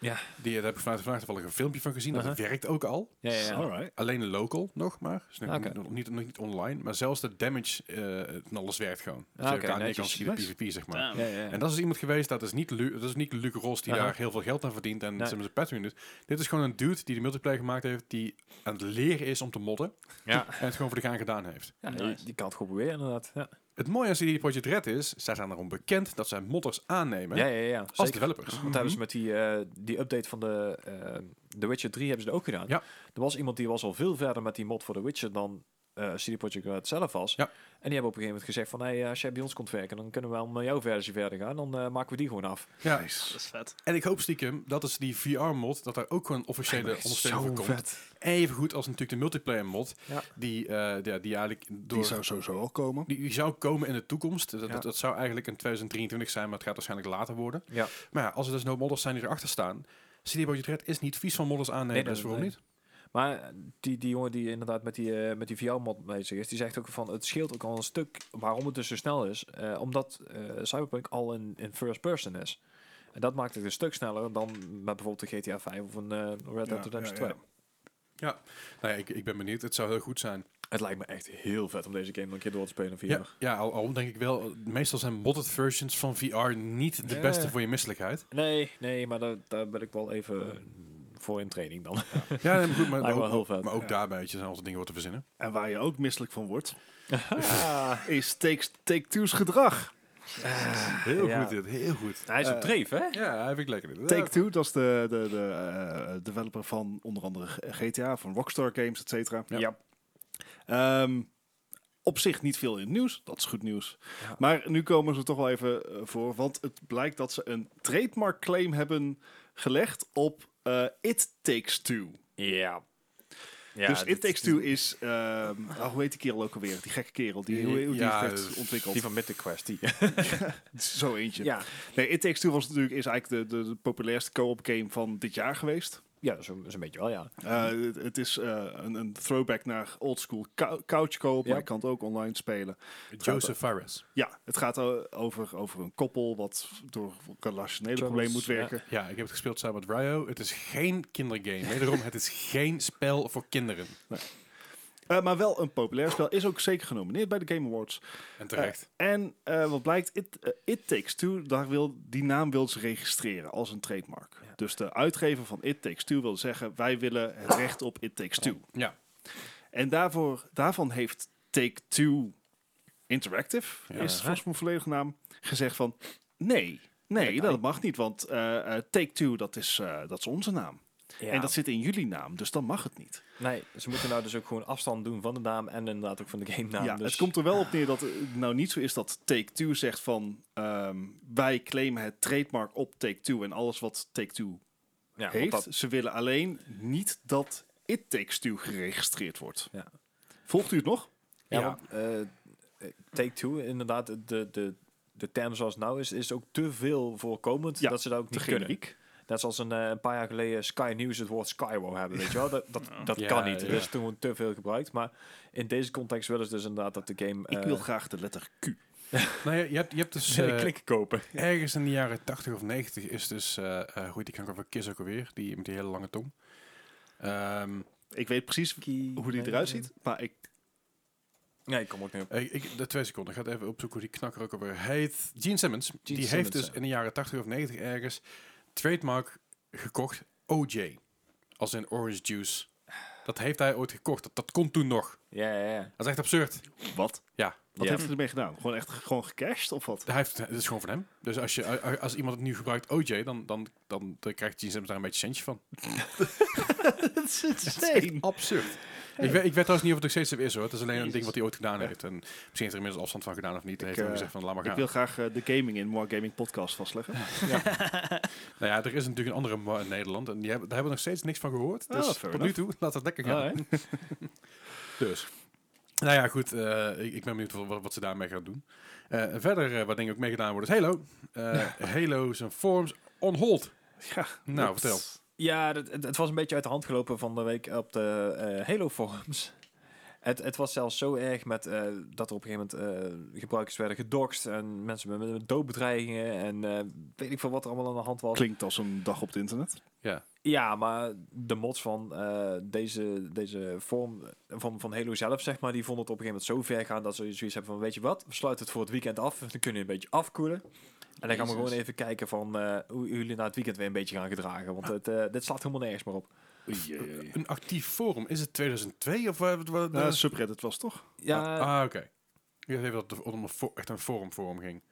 B: Ja.
A: Die, daar heb ik vandaag vandaag toevallig een filmpje van gezien. Dat
B: Uh-huh.
A: werkt ook al.
B: Ja, ja, ja.
D: Alright.
A: Alleen local nog maar. Dus nog,
B: Oké.
A: nog niet, nog niet online. Maar zelfs de damage eh, en alles werkt gewoon. Dus
B: Ah,
A: je
B: oké,
A: elkaar neer kan
B: netjes.
A: schieten
D: Nice.
A: PvP, zeg maar.
C: Damn.
B: Ja, ja, ja.
A: En dat is iemand geweest, dat is niet, Lu dat is niet Luc Ros die
B: Aha.
A: daar heel veel geld aan verdient en
B: Nee.
A: zijn zijn patroon is. Dit is gewoon een dude die de multiplayer gemaakt heeft, die aan het leren is om te modden
B: Ja.
A: en het gewoon voor de gaan gedaan heeft.
B: Ja,
C: Nice.
B: die, die kan het goed proberen inderdaad. Ja,
A: Het mooie aan CD Projekt Red is, zij zijn erom bekend dat zij modders aannemen
B: ja, ja. ja,
A: als
B: zeker. Oh,
A: developers.
B: Want hebben ze met die, eh, die update van de, eh, The Witcher 3 hebben ze dat ook gedaan.
A: Ja.
B: Er was iemand die was al veel verder met die mod voor The Witcher dan eh CD Projekt Red zelf was.
A: Ja.
B: En die hebben op een gegeven moment gezegd van... Hey, eh, als jij bij ons komt werken, dan kunnen we wel met jouw versie verder gaan. Dan eh, maken we die gewoon af.
A: Ja.
D: Nice.
C: Dat is vet.
A: En ik hoop stiekem dat is die VR-mod, dat daar ook gewoon een officiële ondersteuning voor komt. Even goed als natuurlijk de multiplayer-mod,
B: Ja.
A: die, eh, die, die eigenlijk door...
D: Die zou sowieso al komen.
A: Die, die zou komen in de toekomst. Dat,
B: Ja.
A: dat, dat zou eigenlijk in 2023 zijn, maar het gaat waarschijnlijk later worden.
B: Ja.
A: Maar ja, als er dus no modders zijn die erachter staan... CD Projekt Red is niet vies van modders aannemen,
B: Nee, nee,
A: dus waarom
B: nee.
A: niet?
B: Maar eh, die, die jongen die inderdaad met die, eh, met die VR-mod bezig is... die zegt ook van... het scheelt ook al een stuk waarom het dus zo snel is. eh, omdat eh, Cyberpunk al in, in first person is. En dat maakt het een stuk sneller dan met bijvoorbeeld de GTA 5 of een eh, Red Dead
D: Ja,
B: Redemption
D: ja,
B: 2.
D: ja.
A: Nou ja, ik, ik ben benieuwd. Het zou heel goed zijn.
B: Het lijkt me echt heel vet om deze game nog een keer door te spelen via.
A: Ja, ja al, al denk ik wel. eh, Meestal zijn modded versions van VR niet de
B: Ja.
A: beste voor je misselijkheid.
B: Nee, nee, maar daar, daar ben ik wel even eh, voor in training [LAUGHS] dan.
A: Ja, nee, maar goed. Maar,
B: [LAUGHS] Lijkt me wel
A: ook,
B: heel vet.
A: maar ook
D: Ja.
A: daarbij weet je, zijn altijd dingen wat te verzinnen.
D: En waar je ook misselijk van
B: [LAUGHS]
D: wordt,
B: Ah.
D: is Take, Take Two's gedrag.
A: Heel
B: ja. Nou,
A: goed dit, heel goed.
B: Hij is op
D: Eh,
B: dreef, hè?
A: Ja, hij vind ik lekker. dit.
D: Take Two, dat is de, de, de eh, developer van onder andere GTA, van Rockstar Games, et cetera.
A: Ja.
D: Ehm, op zich niet veel in het nieuws, dat is goed nieuws.
B: Ja.
D: Maar nu komen ze toch wel even eh, voor, want het blijkt dat ze een trademark claim hebben gelegd op eh, It Takes Two.
B: Ja.
D: dus It Takes Two is, ehm, nou, hoe heet die kerel ook alweer? Die gekke kerel die, hoe, hoe die
A: Ja,
D: het heeft
A: eh,
D: ontwikkeld.
B: Die van Mythic Quest, die.
D: Zo eentje.
B: Ja,
D: Nee, It Takes Two was natuurlijk is eigenlijk de, de, de populairste co-op game van dit jaar geweest.
B: ja zo'n zo'n beetje wel, ja.
D: Eh, het, het is eh, een, een throwback naar oldschool cou- couch co-op,
B: Ja.
D: maar je kan het ook online spelen.
A: Joseph Fares.
D: Ja, het gaat eh, over, over een koppel wat door
B: Troubles,
D: relationele problemen moet
B: ja.
D: werken.
A: Ja, ik heb het gespeeld samen met Ryo. Het is geen kindergame. Wederom, het is geen spel voor kinderen.
D: Eh, maar wel een populair spel, is ook zeker genomineerd bij de Game Awards.
A: En terecht.
D: En eh, wat blijkt, It, eh, It Takes Two, daar wil, die naam wil ze registreren als een trademark.
B: Ja.
D: Dus de uitgever van It Takes Two wil zeggen, wij willen het recht op It Takes Two.
A: ja.
D: En daarvoor, daarvan heeft Take Two Interactive,
A: Ja.
D: is het volgens mijn volledige naam, gezegd van nee, nee, dat mag niet, want eh, eh, Take Two, dat is, eh, dat is onze naam. En dat zit in jullie naam, dus dan mag het niet.
B: Nee, ze moeten nou dus ook gewoon afstand doen van de naam en inderdaad ook van de game naam.
D: ja,
B: dus
D: Het komt er wel
B: [SIGHS]
D: op neer dat het nou niet zo is dat Take Two zegt van ehm, wij claimen het trademark op Take Two en alles wat Take Two
B: ja, want
D: heeft.
B: dat-
D: Ze willen alleen niet dat It Takes Two geregistreerd wordt.
B: Ja.
D: Volgt u het nog?
B: Ja,
A: Ja.
B: want, eh, eh, Take Two, inderdaad, de, de, de term zoals het nou is, is ook te veel voorkomend
D: Ja,
B: dat ze dat ook
D: Te
B: niet kunnen.
D: generiek.
B: Net zoals een, eh, een paar jaar geleden Sky News het woord Skyro hebben, weet je wel. Dat, dat, dat
A: Ja,
B: kan niet,
A: ja.
B: er is toen gewoon te veel gebruikt. Maar in deze context willen ze dus inderdaad dat de game...
D: Ik
B: eh,
D: wil graag de letter Q.
A: Nou ja, je hebt, je hebt
B: [LAUGHS]
A: dus...
B: willen
A: eh,
B: klikken kopen.
A: Ergens in de jaren 80 of 90 is dus, eh eh, hoe heet die kanker van Kiss ook alweer? Die met die hele lange tong. Ehm,
D: Ik weet precies hoe die eruit ziet, maar ik...
B: Nee, ik kom ook niet op.
A: ik, ik, de twee seconden, ik ga het even opzoeken hoe die knakker ook alweer heet. Gene Simmons, die
B: Simmons,
A: heeft dus
B: ja.
A: in de jaren 80 of 90 ergens trademark gekocht OJ. Als in orange juice. Dat heeft hij ooit gekocht. Dat, dat kon toen nog.
B: Ja, ja, ja.
A: Dat is echt absurd.
D: Wat?
A: Ja.
D: Wat
B: Ja.
D: heeft hij ermee gedaan? Gewoon echt gewoon gecashed of wat?
A: Hij heeft, het is gewoon van hem. Dus als, je, als iemand het nu gebruikt, OJ, dan, dan, [LAUGHS]
D: [LAUGHS]
A: dan, dan krijgt Gene Simmons daar een beetje centje van.
D: Het is insane.
A: Absurd. Ik, weet, ik weet trouwens niet of het nog steeds zo is hoor. Het is alleen een ding wat hij ooit gedaan heeft. En misschien heeft er inmiddels afstand van gedaan of niet. Hij heeft
D: eh,
A: hij gezegd van laat maar
D: Ik
A: gaan.
D: wil graag eh, de gaming in More Gaming podcast vastleggen.
A: Nou ja, er is natuurlijk een andere ma- in Nederland. En die hebben, daar hebben we nog steeds niks van gehoord.
D: Ah,
A: Dus
D: fair
A: tot
D: enough.
A: nu toe, [LAUGHS] laat het lekker gaan. dus. Nou ja, goed. eh, ik, ik ben benieuwd wat, wat ze daarmee gaan doen. Eh, verder, eh, wat dingen ook mee gedaan worden, is Halo. Eh, Halo zijn forms on hold.
D: Ja,
A: Nou, vertel.
B: Ja, dat- het, het was een beetje uit de hand gelopen van de week op de eh, Halo forums. Het, het was zelfs zo erg met, eh, dat er op een gegeven moment eh, gebruikers werden gedoxt en mensen met, met doodbedreigingen en eh, weet ik veel wat er allemaal aan de hand was.
D: Klinkt als een dag op het internet.
B: Ja, maar de mods van eh, deze, deze vorm van, van Halo zelf, zeg maar, die vonden het op een gegeven moment zo ver gaan dat ze zoiets hebben van, weet je wat, we sluiten het voor het weekend af, dan kunnen we een beetje afkoelen. En dan gaan we
C: Jezus.
B: gewoon even kijken van eh, hoe jullie na het weekend weer een beetje gaan gedragen, want het, eh, dit slaat helemaal nergens meer op.
A: Een actief forum. Is het 2002 of wat? wat-
D: Nou, subreddit was toch?
B: Ja,
A: ah, oké. Ik dacht even dat het om een fo- echt een forum forum ging.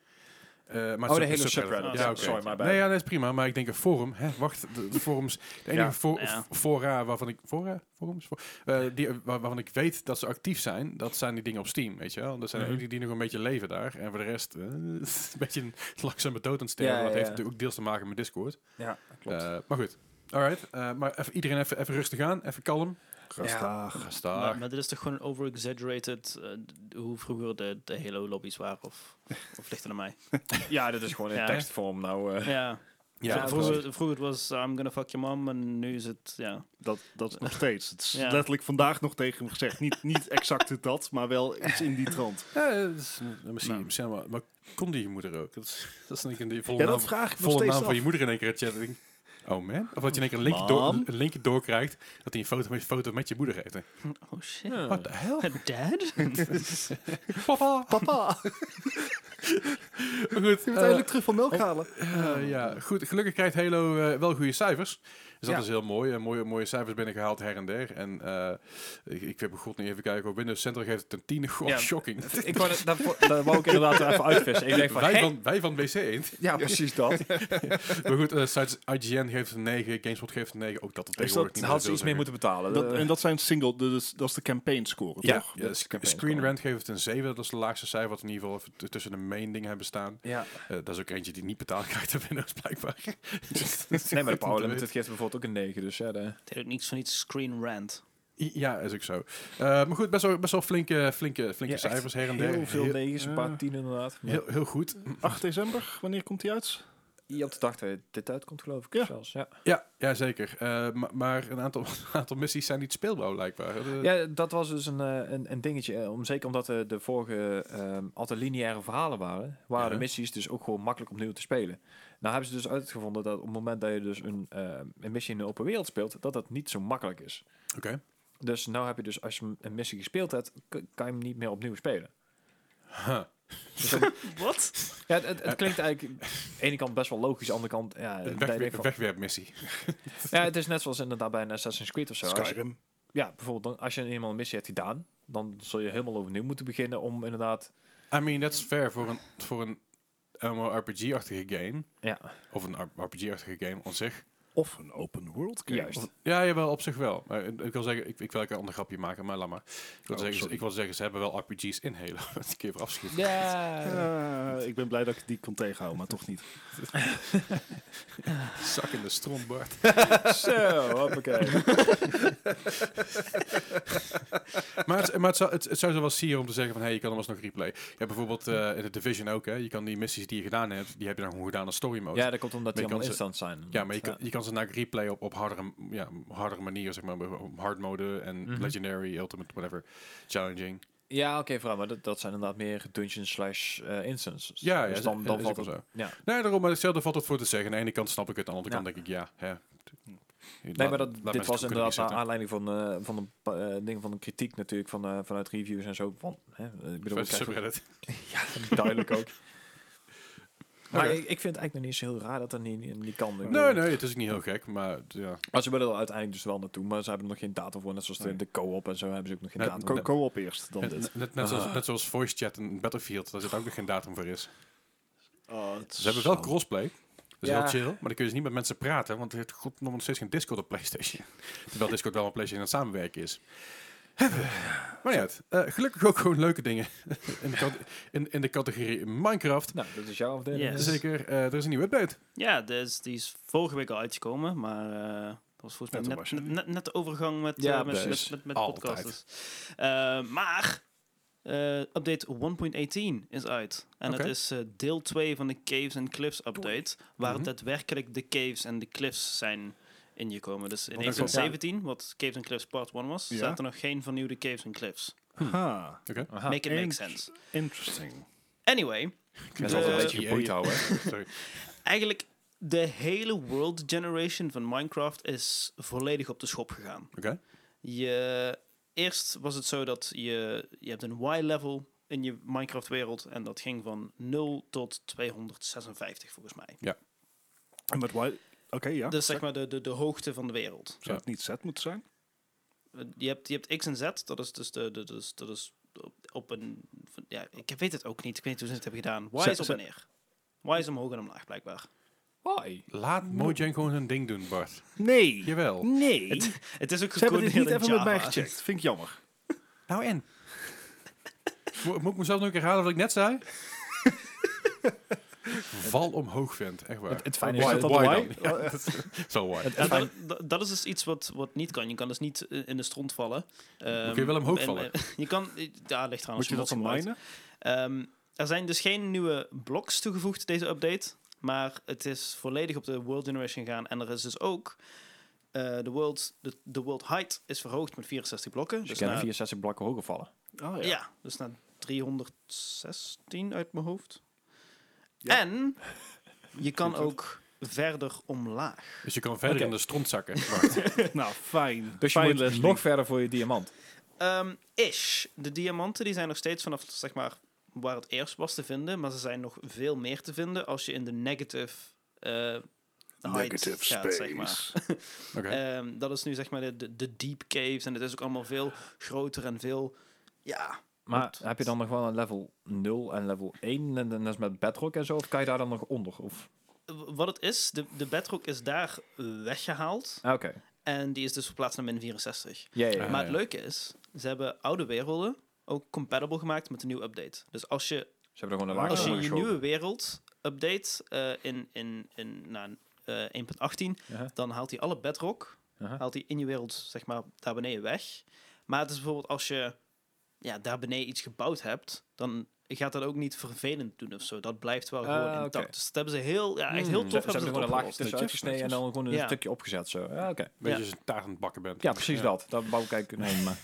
A: Eh, maar het
B: Oh,
A: is
B: de
A: ook een
B: hele subreddit.
A: Ja,
B: Ah,
A: oké.
B: sorry, my bad.
A: Nee, ja, dat is prima. Maar ik denk een forum. Hè? Wacht, de, de forums.
B: [LAUGHS]
A: De enige
D: Ja,
A: fo-
C: ja.
A: f- fora waarvan ik... Fora? Forums? For- eh, die, waar- waarvan ik weet dat ze actief zijn, dat zijn die dingen op Steam, weet je wel. Dat zijn de
B: Mhm.
A: enige die nog een beetje leven daar. En voor de rest eh, [LAUGHS] het is een beetje een langzame dood aan het sterven.
B: Ja,
A: Dat
B: ja,
A: heeft
B: ja.
A: natuurlijk ook deels te maken met Discord.
B: ja, klopt.
A: Eh, maar goed. Alright. Eh, maar even, iedereen even, even rustig aan. Even kalm.
D: Rustig.
A: Rustig.
B: Nou,
C: Maar, maar dit is toch gewoon overexaggerated eh, d- hoe vroeger de, de Halo-lobby's waren? Of, of ligt het aan mij?
B: ja, dit is gewoon in
C: Ja.
B: tekstvorm nou. eh.
C: Ja,
A: Ja,
C: Vro-
A: precies.
C: vroeger, vroeger was eh, I'm gonna fuck your mom en nu is het, ja.
D: Dat, dat is nog steeds. Het is
C: Ja.
D: letterlijk vandaag nog tegen hem gezegd. Niet, niet exact dat, maar wel iets in die trant.
A: Ja, dat is,
D: Nou.
A: eh, misschien, misschien wel, maar kon die je moeder ook? Dat is, dat is denk ik een die volle
D: Ja,
A: naam,
D: dat vraag ik nog
A: volle
D: steeds
A: naam van
D: af.
A: je moeder in één keer in de chat. Ik denk, Oh man? Of dat je in één keer een linkje, door,
D: Mam?
A: een linkje doorkrijgt dat hij een foto met, foto met je moeder heeft.
C: Oh shit.
A: What the
D: [LAUGHS]
A: hell?
C: Dad?
A: Papa! [LAUGHS]
D: Papa, je
A: Goed,
D: moet
A: eh,
D: eindelijk terug van melk halen.
A: eh, ja, goed, gelukkig krijgt Halo eh, wel goede cijfers. Dus dat is
D: Ja.
A: heel mooi. Eh, mooie, mooie cijfers binnengehaald her en der. En eh, ik, ik heb god niet even kijken. Op Windows Central geeft het een [LAUGHS] 10. God,
B: Ja.
A: shocking.
B: ik wou, dat, dat, dat wou ik inderdaad even uitvissen. Ik denk van,
A: Wij
B: hè?
A: van, wij van WC Eend.
B: ja,
A: [LAUGHS]
B: precies dat.
A: Maar goed, eh, sites IGN geeft een 9, GameSpot geeft een 9. Ook dat het
D: Is
A: tegenwoordig
D: dat-
A: niet
B: Daar Dus had ze
A: veel
B: iets meer
A: zeggen.
B: moeten betalen.
D: Dat,
B: Eh,
D: en dat zijn single, dat is, dat is de campaign score,
A: Ja,
D: toch?
A: ja,
D: Dat is de
A: Sc-
D: campaign
A: Screen
D: score.
A: Rant geeft een 7. Dat is de laagste cijfer wat in ieder geval even t- tussen de main dingen hebben staan.
B: ja.
A: Eh, dat is ook eentje die niet betaald krijgt op Windows blijkbaar.
B: [LAUGHS] Nee,
A: [LAUGHS]
B: maar de Power
A: Goed om te
B: Limited geeft bijvoorbeeld ook een 9, dus ja. De...
C: Deed ook niets van iets screen rant.
A: weten. I- Ja, is ook zo. Eh, maar goed, best wel, best wel flinke, flinke, flinke
B: Ja, echt
A: cijfers her en der.
B: Heel veel
A: Heel-
B: 9's, een
A: eh,
B: paar 10 inderdaad. Maar
A: Heel, heel goed.
D: 8 december, wanneer komt die uit?
B: Je had gedacht dat dit uitkomt geloof ik
D: Ja.
B: zelfs. Ja.
A: Ja, ja zeker. Eh, ma- maar een aantal, [LAUGHS] aantal missies zijn niet speelbaar blijkbaar. Eh,
B: ja, dat was dus een, eh, een, een dingetje. eh, Om, zeker omdat eh, de vorige ehm altijd lineaire verhalen waren, waren
A: Ja.
B: de missies dus ook gewoon makkelijk opnieuw te spelen. Nou hebben ze dus uitgevonden dat op het moment dat je dus een, ehm, een missie in de open wereld speelt, dat dat niet zo makkelijk is.
A: Oké.
B: Dus nou heb je dus, als je hem- een missie gespeeld hebt, k- kan je hem niet meer opnieuw spelen.
A: Huh.
B: Dus dan-
C: Wat?
B: ja, het, het- het klinkt eigenlijk aan de ene kant best wel logisch, aan de andere kant... Ja,
A: Een
B: dat je
A: wegwer-
B: denkt
A: een
B: van-
A: wegwerpmissie.
B: Ja, het is net zoals inderdaad bij een Assassin's Creed of zo. Als je-
D: Skyrim.
B: ja, bijvoorbeeld dan, als je eenmaal een missie hebt gedaan, dan zul je helemaal overnieuw moeten beginnen om inderdaad...
A: I mean, that's fair voor een, voor een MMORPG-achtige game.
B: Ja,
A: Of een RPG-achtige game op zich.
D: Of een open world game.
B: juist.
A: Ja, jawel, op zich wel. Maar ik ik wil zeggen, ik, ik wil ook een ander grapje maken, maar laat maar. Ik wil,
D: Oh,
A: zeggen, ze-
D: sorry.
A: ik wil zeggen, ze hebben wel RPG's in Halo. [LAUGHS] Dat ik even afschieten.
B: Ja.
D: Eh, ik ben blij dat ik die kon tegenhouden, maar toch niet.
A: [LAUGHS] Zak in de strombart.
B: [LAUGHS] Zo, hoppakee.
A: [LAUGHS] maar het, maar het, zou, het, het zou zo wel sieren om te zeggen van, hey, je kan hem alsnog replay. Je hebt bijvoorbeeld eh, in de Division ook, hè. Je kan die missies die je gedaan hebt, die heb je dan gewoon gedaan als story mode.
B: Ja, dat komt omdat
A: Maar
B: die
A: je kan
B: allemaal
A: ze-
B: instant zijn.
A: Ja, maar je kan, je kan ze na replay op, op hardere, ja, hardere manier, zeg maar, op hard mode en
B: Mhm.
A: legendary, ultimate, whatever, challenging.
B: Ja, oké, vooral, maar dat, dat zijn inderdaad meer dungeon slash eh, instances.
A: Ja, ja,
B: dus
A: is-
B: dan,
A: is
B: dan
A: ook
B: valt
A: wel
B: het... Ja.
A: Nee, daarom, maar hetzelfde valt het voor te zeggen. Aan de ene kant snap ik het, aan de andere
B: Ja.
A: kant denk ik ja. Hè.
B: Nee,
A: Laat- laat
B: maar dat,
A: mensen
B: dit was
A: het kunnen
B: inderdaad naar
A: inzetten.
B: aanleiding van, eh, van een pa- eh, ding van een kritiek natuurlijk van, eh, vanuit reviews en zo. Van, hè, ik bedoel, ik
A: Versus
B: krijg-
A: subreddit.
B: [LAUGHS] ja, duidelijk
A: [LAUGHS]
B: ook. Maar
A: Oké.
B: ik, ik vind het eigenlijk nog niet zo heel raar dat dat niet, niet kan. Ik bedoel,
A: Nee, nee, het is ook niet heel gek, maar ja.
B: Maar ze willen er uiteindelijk dus wel naartoe, maar ze hebben er nog geen datum voor. Net zoals de-
D: Nee.
B: de co-op en zo hebben ze ook nog geen
A: Ja,
B: datum
D: Ko-
B: voor.
D: Co-op eerst, dan dit.
A: Net, net, net zoals,
B: Ah.
A: net zoals voice chat en Battlefield, daar zit ook nog geen datum voor is.
D: Oh, het
A: Ze
D: is
A: hebben wel crossplay, dat is
B: Ja.
A: heel chill, maar dan kun je dus niet met mensen [LAUGHS] praten, want het god nog steeds geen Discord op PlayStation. Terwijl Discord wel een PlayStation aan het samenwerken is. Maar niet uit. Eh, gelukkig ook gewoon leuke dingen [LAUGHS] in, de cat- in, in de categorie Minecraft.
B: Nou, dat is jouw afdeling.
C: Yes.
A: Zeker, eh, er is een nieuwe update.
C: Ja, dus, die is vorige week al uitgekomen, maar eh, dat was volgens mij
D: Net
C: net,
D: een wasje.
C: net, net, net de overgang met,
B: Ja,
C: eh, met,
A: precies.
C: met, met, met
A: Altijd.
C: podcasters. Eh, maar eh, update 1.18 is uit. En
A: Oké.
C: het is eh, deel 2 van de Caves and Cliffs update, waar
A: Mhm.
C: daadwerkelijk de caves en de cliffs zijn ingekomen. Dus in
A: Oké.
C: 1917, wat Caves and Cliffs part 1 was,
D: Ja.
C: zaten nog geen vernieuwde Caves and Cliffs.
D: Ha,
A: Ah,
B: Aha.
C: Make it make
D: Int-
C: sense.
D: interesting.
C: Anyway,
A: Ik
B: ben
C: Eh, altijd een beetje
A: geboeid houden. [LAUGHS] Sorry.
C: eigenlijk de hele world generation van Minecraft is volledig op de schop gegaan.
A: Oké.
C: Je, eerst was het zo dat je, je hebt een Y-level in je Minecraft-wereld en dat ging van 0 tot 256 volgens mij.
D: En met why- Oké, ja.
C: dus zeg maar de, de, de hoogte van de wereld.
D: Zou het niet Z moeten zijn?
C: Eh, Je hebt, je hebt X en Z, dat is dus de, de, dus, dat is op, op een... van- Ja, ik weet het ook niet, ik weet niet hoe ze het hebben gedaan. Y
D: Ze-
C: is op
D: ze-
C: en neer. Y is omhoog en omlaag blijkbaar.
B: Hoi.
A: Laat Mojang gewoon zijn ding doen, Bart.
D: Nee.
A: Jawel.
D: Nee.
C: Het is ook
D: Ze hebben dit
C: gecoördineerd
D: niet
C: in
D: even met mij
C: Java.
D: gecheckt. Vind ik jammer.
A: Nou en? Mo- Moet ik mezelf nog een keer herhalen wat ik net zei? Val omhoog, vent. Echt waar.
B: Het, het fijne is
A: Why-
B: dat
A: why
B: why?
A: dan? Ja, dat is- Zo why.
B: Het-
C: Ja,
B: het
C: dat,
B: fijn-
C: dat- dat is dus iets wat, wat niet kan. Je kan dus niet eh, in de stront vallen. Ehm,
A: Kun je wel omhoog
C: en,
A: vallen?
C: eh, je kan, eh, daar ligt trouwens
D: Moet je dat dan
C: mods
B: Dus
D: minen?
C: voor uit. Ehm, er zijn dus geen nieuwe blocks toegevoegd deze update. Maar het is volledig op de World Generation gegaan. En er is dus ook... eh, de, world, de, de world height is verhoogd met 64 blokken.
B: Dus je
C: Dus
B: kan
A: nou,
C: naar-
B: 64 blokken hoger vallen.
D: Oh,
C: ja. dus naar 316 uit mijn hoofd.
D: Ja. [LAUGHS]
C: En je kan ook verder omlaag.
A: Dus je kan verder
B: Oké.
A: in de stront zakken. Bart.
D: [LAUGHS] Nou, fijn.
B: Dus je
D: fijn
B: moet
D: Leslie.
B: nog verder voor je diamant.
C: Ehm, ish. De diamanten die zijn nog steeds vanaf zeg maar, waar het eerst was te vinden, maar ze zijn nog veel meer te vinden als je in de negative, eh, height
D: Negative
C: gaat,
D: space.
C: zeg maar.
A: Oké.
C: Ehm, dat is nu zeg maar de, de, de deep caves en het is ook allemaal veel groter en veel, ja.
B: Maar
C: Goed.
B: heb je dan nog wel een level 0 en level 1 en dan is met bedrock en zo? Of kan je daar dan nog onder? Of?
C: W- Wat het is, de, de bedrock is daar weggehaald
B: Ah, Oké.
C: en die is dus verplaatst naar min 64.
B: Ja, ja,
A: Ah,
B: ja.
C: maar het
A: ja.
C: leuke is, ze hebben oude werelden ook compatible gemaakt met de nieuwe update. Dus als je
B: Ze hebben er gewoon een laag
C: Als je
B: onder
C: je
B: geschoven.
C: nieuwe wereld update eh, in, in, in nou, eh, 1.18,
B: Aha,
C: dan haalt hij alle bedrock,
B: aha.
C: haalt hij in je wereld, zeg maar, daar beneden weg. Maar het is bijvoorbeeld als je ja, daar beneden iets gebouwd hebt, dan gaat dat ook niet vervelend doen of zo. Dat blijft wel
B: Ah,
C: gewoon
B: oké.
C: intact. Dus dat hebben ze heel, ja, echt heel
A: Mm.
B: Hmm, Ze,
C: tof
B: ze hebben er
C: hebben ze
B: gewoon een
C: dat
B: laagje
C: opgelost.
B: tussenuit
D: Netjes,
B: gesneden en dan gewoon een
C: Ja.
B: stukje opgezet. Zo. Ja, oké.
A: Beetje
C: Ja.
A: als je een taart aan het bakken bent.
B: ja precies
A: Ja.
B: dat. Daar bouw ik eigenlijk nee, maar.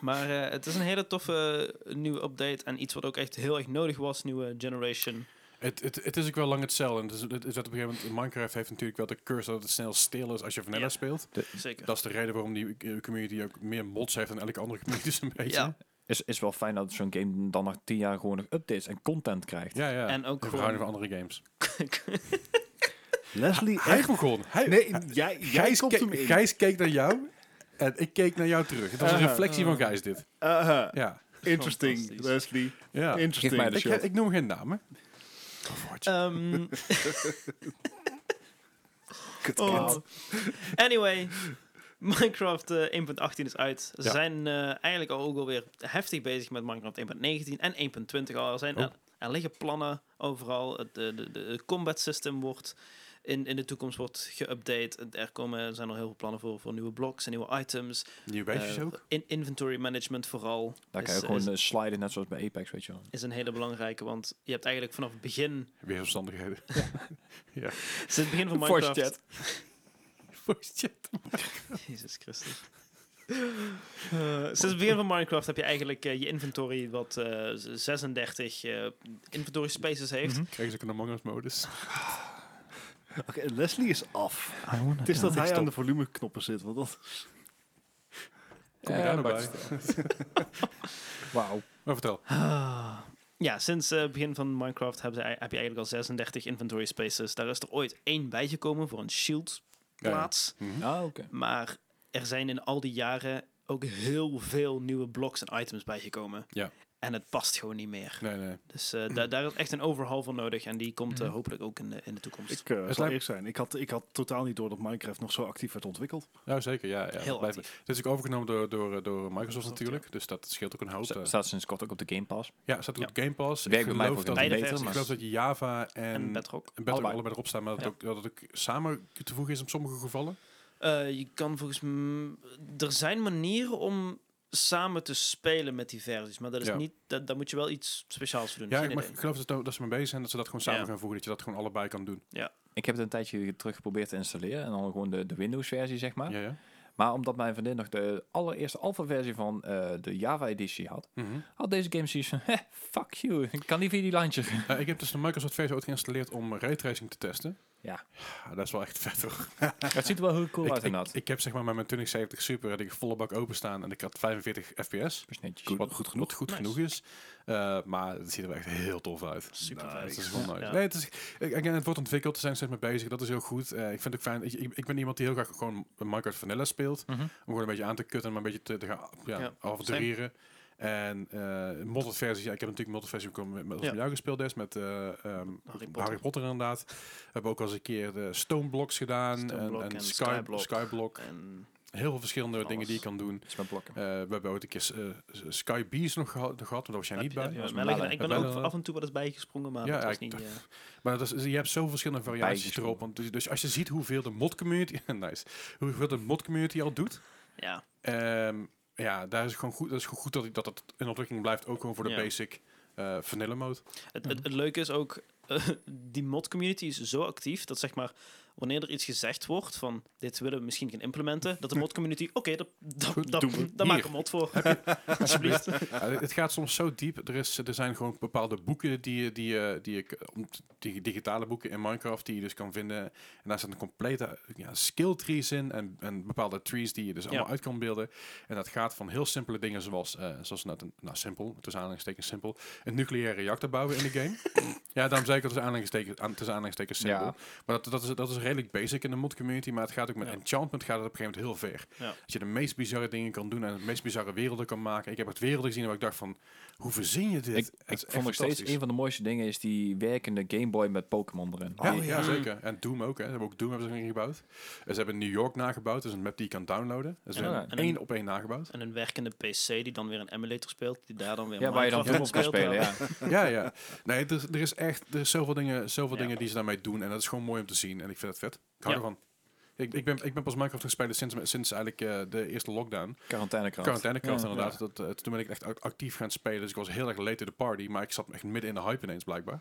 C: Maar eh, het is een hele toffe eh, nieuwe update en iets wat ook echt heel erg nodig was, nieuwe generation.
A: Het, het, het is ook wel lang hetzelfde. Het is, het is dat op een gegeven moment, Minecraft heeft natuurlijk wel de curse dat het snel stil is als je vanilla
C: Ja.
A: speelt.
C: Zeker.
A: Dat is de reden waarom die eh, community ook meer mods heeft dan elke andere community zo'n beetje.
C: Ja.
B: Is, is wel fijn dat zo'n game dan na 10 jaar gewoon nog updates en content krijgt.
A: Ja, ja.
C: En ook
A: in
C: gewoon-
A: verhouding van andere games.
D: Leslie,
A: Hij
D: echt.
A: begon. Hij,
D: Nee, jij, jij
A: Gijs,
D: komt
A: keek-
D: hem in.
A: Gijs keek naar jou en ik keek naar jou terug. Het was een
D: Aha.
A: reflectie van Gijs dit.
D: Aha.
A: Ja.
D: Interesting,
C: Fantastisch.
D: Leslie.
A: ja.
D: Interesting.
B: Geef mij de
A: Ik, ik noem geen namen.
C: Ehm,
D: [LAUGHS] Kut,
C: Oh.
D: kind.
C: Anyway, Minecraft eh, 1.18 is uit. Ze
A: Ja.
C: zijn eh, eigenlijk al ook alweer heftig bezig met Minecraft 1.19 en 1.20 al. Er, zijn,
A: Oh.
C: er, er liggen plannen overal. Het de, de, de combat system wordt in, in de toekomst wordt geüpdate. Er, komen, er zijn al heel veel plannen voor, voor nieuwe blocks en nieuwe items.
A: Nieuwe wijsjes
C: Eh,
A: ook.
C: In inventory management vooral.
B: Daar kan
C: is,
B: je ook gewoon
C: is,
B: eh, sliden, net zoals bij Apex, weet je wel.
C: is een hele belangrijke, want je hebt eigenlijk vanaf het begin...
A: Weer omstandigheden.
C: Sinds het begin van
B: Voice
C: Minecraft...
B: chat.
C: Jezus Christus. Eh, sinds het begin van Minecraft heb je eigenlijk eh, je inventory wat eh, z- 36 eh, inventory spaces heeft.
A: Krijgen ze ook een Among Us modus.
D: Oké, Leslie is af. Het is dat hij aan de volumeknoppen zit. Want dat
A: Kom je daar
B: Eh,
A: nou
B: maar-
A: bij?
B: Wauw.
A: Maar vertel.
C: Ah. Ja, sinds eh, het begin van Minecraft heb, ze, ei- heb je eigenlijk al 36 inventory spaces. Daar is er ooit één bijgekomen voor een shield
A: Ja, ja.
C: plaats.
A: Mhm.
B: Ah, oké.
C: Maar er zijn in al die jaren ook heel veel nieuwe blocks en items bijgekomen.
A: Ja.
C: En het past gewoon niet meer.
A: Nee, nee.
C: Dus eh, da- daar is echt een overhaul voor nodig. En die komt eh,
A: Mhm.
C: hopelijk ook in de, in de toekomst.
D: Ik eh,
A: lijkt-
D: zal eerlijk zijn, ik had, ik had totaal niet door dat Minecraft nog zo actief werd ontwikkeld.
A: Nou, zeker, ja. ja.
C: Heel
A: Blijf-
C: actief.
A: Het is ook overgenomen door, door, eh, door Microsoft
C: ja.
A: natuurlijk, dus dat scheelt ook een hoop. eh.
B: Staat sinds kort ook op de Game Pass.
A: ja, staat ook op Game Pass. Ik
B: Werkt bij mij
A: geloof,
B: voor
A: dat,
C: Beide
A: ik
B: beter,
C: versies.
B: maar-
A: geloof dat Java en,
C: en
A: en
C: Bedrock.
A: Bedrock
B: Allebei.
A: allebei erop staan, maar dat,
C: Ja.
A: het ook, dat het ook samen te voegen is in sommige gevallen.
C: Eh, je kan volgens mij... Er zijn manieren om samen te spelen met die versies. Maar dat is
A: Ja.
C: niet... Dat, daar moet je wel iets speciaals voor doen.
A: Ja,
C: Geen
A: ik mag-
C: idee.
A: ik geloof dat, dat ze mee bezig zijn, dat ze dat gewoon samen
C: Ja.
A: gaan voegen, dat je dat gewoon allebei kan doen.
B: Ik heb het een tijdje terug geprobeerd te installeren. En dan gewoon de, de Windows-versie, zeg maar.
A: Ja, ja.
B: Maar omdat mijn vriendin nog de allereerste alpha-versie van eh, de Java-editie had,
A: Mhm.
B: had deze game zoiets van, [LAUGHS] "Heh, fuck you, ik kan niet via die landje.
A: [LAUGHS] Eh, ik heb dus de Microsoft versie ooit geïnstalleerd om raytracing te testen. Ah,
B: Ja.
A: Dat is wel echt vet hoor.
B: Het ziet er wel heel cool uit
A: ik,
B: inderdaad.
A: ik, ik heb zeg maar met mijn 2070 Super had ik volle bak openstaan en ik had 45 fps.
B: Best netjes.
A: Dus wat goed genoeg, goed
C: Nice.
A: genoeg is. Eh, maar het ziet er wel echt heel tof uit.
C: Super
A: Nice.
C: vet.
A: Dat is gewoon nice.
C: Ja.
A: Nee, Nou, het, is, ik- again, het wordt ontwikkeld, er zijn er steeds mee bezig. Dat is heel goed. Eh, ik vind het ook fijn. Ik, ik, ik ben iemand die heel graag gewoon Minecraft Vanilla speelt.
B: Mhm.
A: Om gewoon een beetje aan te kutten, maar een beetje te, te gaan ja,
C: Ja,
A: avontureren. En eh modded versie, ja, ik heb natuurlijk modded versie ook met, met,
C: Ja.
A: met jou gespeeld des, met eh, ehm, Harry,
C: Potter.
A: Potter. inderdaad. We hebben ook al eens een keer de Stone Blocks gedaan
C: Stone Block
A: en, en
C: en
A: Sky,
C: Skyblock.
A: Skyblock.
C: En
A: Heel veel verschillende
C: Alles.
A: dingen die je kan doen.
B: Dat is mijn blokken.
A: Eh, we hebben ooit een keer eh, Sky Bees nog geha- nog gehad, maar daar was jij niet bij.
C: Ja,
B: was
C: maar
B: Melle.
C: ik- ik ben
A: Melle,
C: ook
A: eh,
C: af en toe wat eens bijgesprongen, maar
A: Ja,
C: dat was
A: ik
C: niet...
A: dacht-
C: eh,
A: Maar dat is, je hebt zoveel verschillende variaties
B: Bijtjes,
A: erop. Want dus, dus als je ziet hoeveel de mod community, [LAUGHS] nice, hoeveel de mod community al doet,
C: ja,
A: ehm, ja, daar is het gewoon goed. Dat is gewoon goed dat dat het in ontwikkeling blijft, ook gewoon voor de
C: Ja.
A: basic eh vanilla mode.
C: Het, het, het leuke is ook, eh, [LAUGHS] die mod community is zo actief dat zeg maar, wanneer er iets gezegd wordt van dit willen we misschien gaan implementen, dat de mod community, oké, dat, dat,
A: Goed,
C: dat,
A: doen we.
C: daar maak ik
A: Hier.
C: een mod voor. [LAUGHS] Alsjeblieft.
A: Ja, het gaat soms zo diep. Er, is, er zijn gewoon bepaalde boeken die je, die je, die je k- om- die digitale boeken in Minecraft die je dus kan vinden. En daar staan complete ja, skill trees in en, en bepaalde trees die je dus allemaal uit kan beelden. En dat gaat van heel simpele dingen zoals, eh, zoals net een, nou simpel, tussen aanhalingstekens simpel, een nucleaire reactor bouwen in de
C: [LAUGHS]
A: game. ja, daarom zei ik dat tussen aanhalingstekens, aan, tussen aanhalingstekens simpel.
B: Ja.
A: Maar dat, dat, is, dat is redelijk basic in de mod community, maar het gaat ook met
C: Ja.
A: enchantment gaat het op een gegeven moment heel ver.
C: Ja.
A: Dat je de meest bizarre dingen kan doen en de meest bizarre werelden kan maken. Ik heb het werelden gezien waar ik dacht van, hoe verzin je dit?
B: Ik,
A: Het
B: ik
A: is
B: vond
A: echt
B: nog steeds
A: fantastisch.
B: een van de mooiste dingen is die werkende Game Boy met Pokémon erin.
A: Oh, Ja,
B: Die-
A: ja, zeker. En Doom ook. Hè. Ze hebben ook Doom hebben ze erin gebouwd. En ze hebben New York nagebouwd. Dat is een map die je kan downloaden. Dat is
B: Ja.
A: een
B: En
C: een-
A: één op één nagebouwd.
C: En een werkende PC die dan weer een emulator speelt, die daar dan weer
B: Ja, waar je dan
C: Minecraft
B: film op kan
C: speelt.
B: spelen, ja.
A: ja, ja. Nee, er, is- er is echt er is zoveel, dingen, zoveel
C: Ja.
A: dingen die ze daarmee doen. En dat is gewoon mooi om te zien. En ik vind het vet. Ik hou
C: Ja.
A: ervan. Ik, ik, ben, ik ben pas Minecraft gespeeld sinds, sinds eigenlijk eh, de eerste lockdown.
B: Quarantainekrant.
A: Quarantainekrant,
B: Ja,
A: inderdaad. Dat, eh, toen ben ik echt act- actief gaan spelen. Dus ik was heel erg late to the party. Maar ik zat echt midden in de hype ineens, blijkbaar.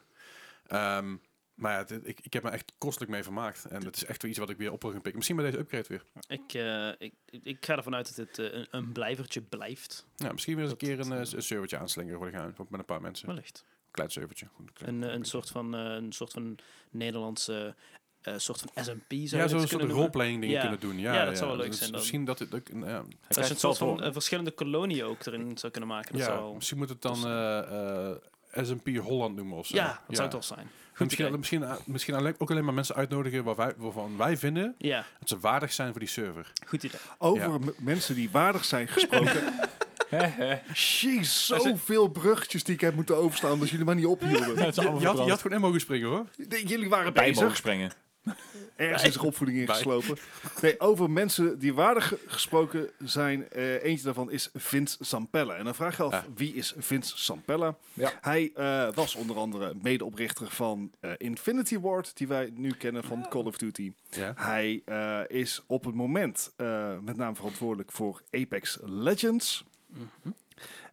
A: Ehm, maar ja, dit- ik, ik heb me echt kostelijk mee vermaakt. En het is echt weer iets wat ik weer op wil gaan pikken. Misschien bij deze upgrade weer.
C: Ik, eh, ik, ik- ik ga ervan uit dat dit eh, een, een blijvertje blijft,
A: Ja, misschien weer eens een
C: Dat-
A: keer een,
C: dat-
A: eh, s- een servertje aanslingeren voor de geheim. Met een paar mensen.
C: wellicht.
A: Klein servertje. Goed, klein-
C: Een, eh,
A: klein
C: een,
A: beetje.
C: soort van, eh, een soort van Nederlandse eh, soort van SMP zou je
A: Ja,
C: dit
A: zo'n
C: kunnen
A: soort
C: noemen.
A: roleplaying dingen
C: Ja.
A: kunnen doen. Ja,
C: Ja, dat zou wel leuk
A: Dus
C: zijn dan.
A: Misschien dat het ook... nou ja,
B: Hij
C: Als
B: krijgt
C: je
B: het
C: een soort
B: wel
C: van
B: voor.
C: eh, verschillende koloniën ook erin zou kunnen maken, dat zou
A: ja,
C: wel...
A: misschien moet het dan eh, eh, S&P Holland noemen of zo.
C: Ja, dat zou toch zijn.
A: En Misschien, misschien, misschien alleen, ook alleen maar mensen uitnodigen waar wij, waarvan wij vinden
C: Ja,
A: Dat ze waardig zijn voor die server.
C: goed idee.
D: Over m- mensen die waardig zijn
B: [LAUGHS]
D: gesproken. Jeez, zoveel bruggetjes die ik heb moeten overstaan, dat jullie Oh, maar niet ophielden.
B: Het is allemaal
A: je, had, je had
B: verbrand.
A: gewoon in mogen springen hoor.
D: De- jullie waren
B: Bij mogen
D: bezig.
A: [LAUGHS]
B: springen.
D: Ergens is er opvoeding ingeslopen. Nee, over mensen die waardig ge- gesproken zijn. eh, eentje daarvan is Vince Zampella. En dan vraag je af,
A: Ja.
D: wie is Vince Zampella?
B: Ja.
D: Hij eh, was onder andere medeoprichter van eh, Infinity Ward, die wij nu kennen van Call of Duty.
A: Ja.
D: Hij eh, is op het moment eh, met name verantwoordelijk voor Apex Legends.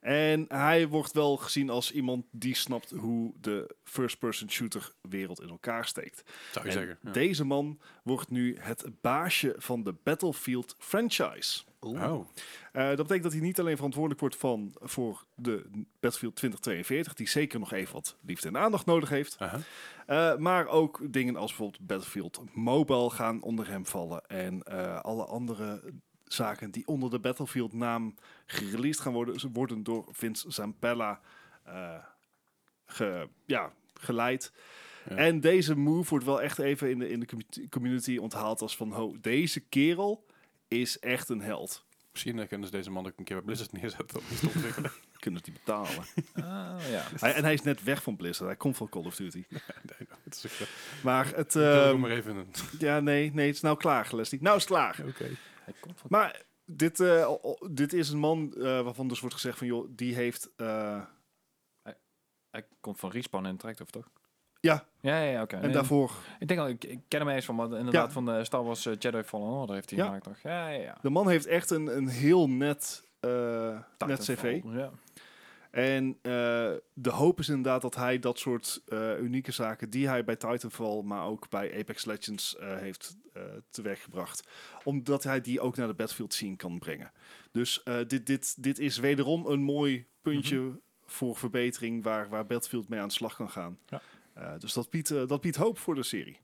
D: En hij wordt wel gezien als iemand die snapt hoe de first-person shooter wereld in elkaar steekt.
A: Zou je
D: En
A: zeggen. Ja.
D: Deze man wordt nu het baasje van de Battlefield franchise.
A: Oh.
D: Eh, dat betekent dat hij niet alleen verantwoordelijk wordt van, voor de Battlefield 2042, die zeker nog even wat liefde en aandacht nodig heeft.
A: aha.
D: Eh, maar ook dingen als bijvoorbeeld Battlefield Mobile gaan onder hem vallen. En eh, alle andere zaken die onder de Battlefield naam gereleased gaan worden, ze worden door Vince Zampella eh, ge- ja, geleid.
A: Ja.
D: En deze move wordt wel echt even in de, in de commu- community onthaald als van, ho, deze kerel is echt een held.
A: Misschien eh, kunnen ze deze man ook een keer bij Blizzard neerzetten om iets
D: [LAUGHS]
A: te ontwikkelen.
D: Kunnen ze die
A: [LAUGHS]
D: betalen?
B: Ah, ja.
D: Hij- en hij is net weg van Blizzard. Hij komt van Call of Duty.
A: nee, nou, het is
D: Ehm,
A: ook, eh,
D: Maar het...
A: ik wil
D: ehm,
A: er maar even
D: [LAUGHS]
A: een...
D: ja, nee, nee, het is nou klaar, Leslie. Nou is het klaar.
A: Oké.
B: Hij komt van...
D: Maar dit, eh, o- o- dit is een man eh, waarvan dus wordt gezegd van... joh, die heeft... eh,
B: Hij komt van Respawn en Tractor, toch?
D: Ja.
B: Ja, ja, ja, oké.
D: en
B: Nee,
D: daarvoor...
B: Ik denk al, ik, ik ken hem eens van, maar inderdaad
D: Ja.
B: van de Star Wars eh, Jedi Fallen Order heeft hij
D: Ja.
B: gemaakt, toch? Ja, ja, ja.
D: De man heeft echt een, een heel net, eh, net
B: Titanfall,
D: cv.
B: Ja.
D: En eh, de hoop is inderdaad dat hij dat soort eh, unieke zaken die hij bij Titanfall, maar ook bij Apex Legends eh, heeft eh teweeggebracht. Omdat hij die ook naar de Battlefield scene kan brengen. Dus eh, dit, dit, dit is wederom een mooi puntje
B: Mhm.
D: voor verbetering waar, waar Battlefield mee aan de slag kan gaan.
B: Ja.
D: Eh, dus dat biedt, eh, dat biedt hoop voor de serie.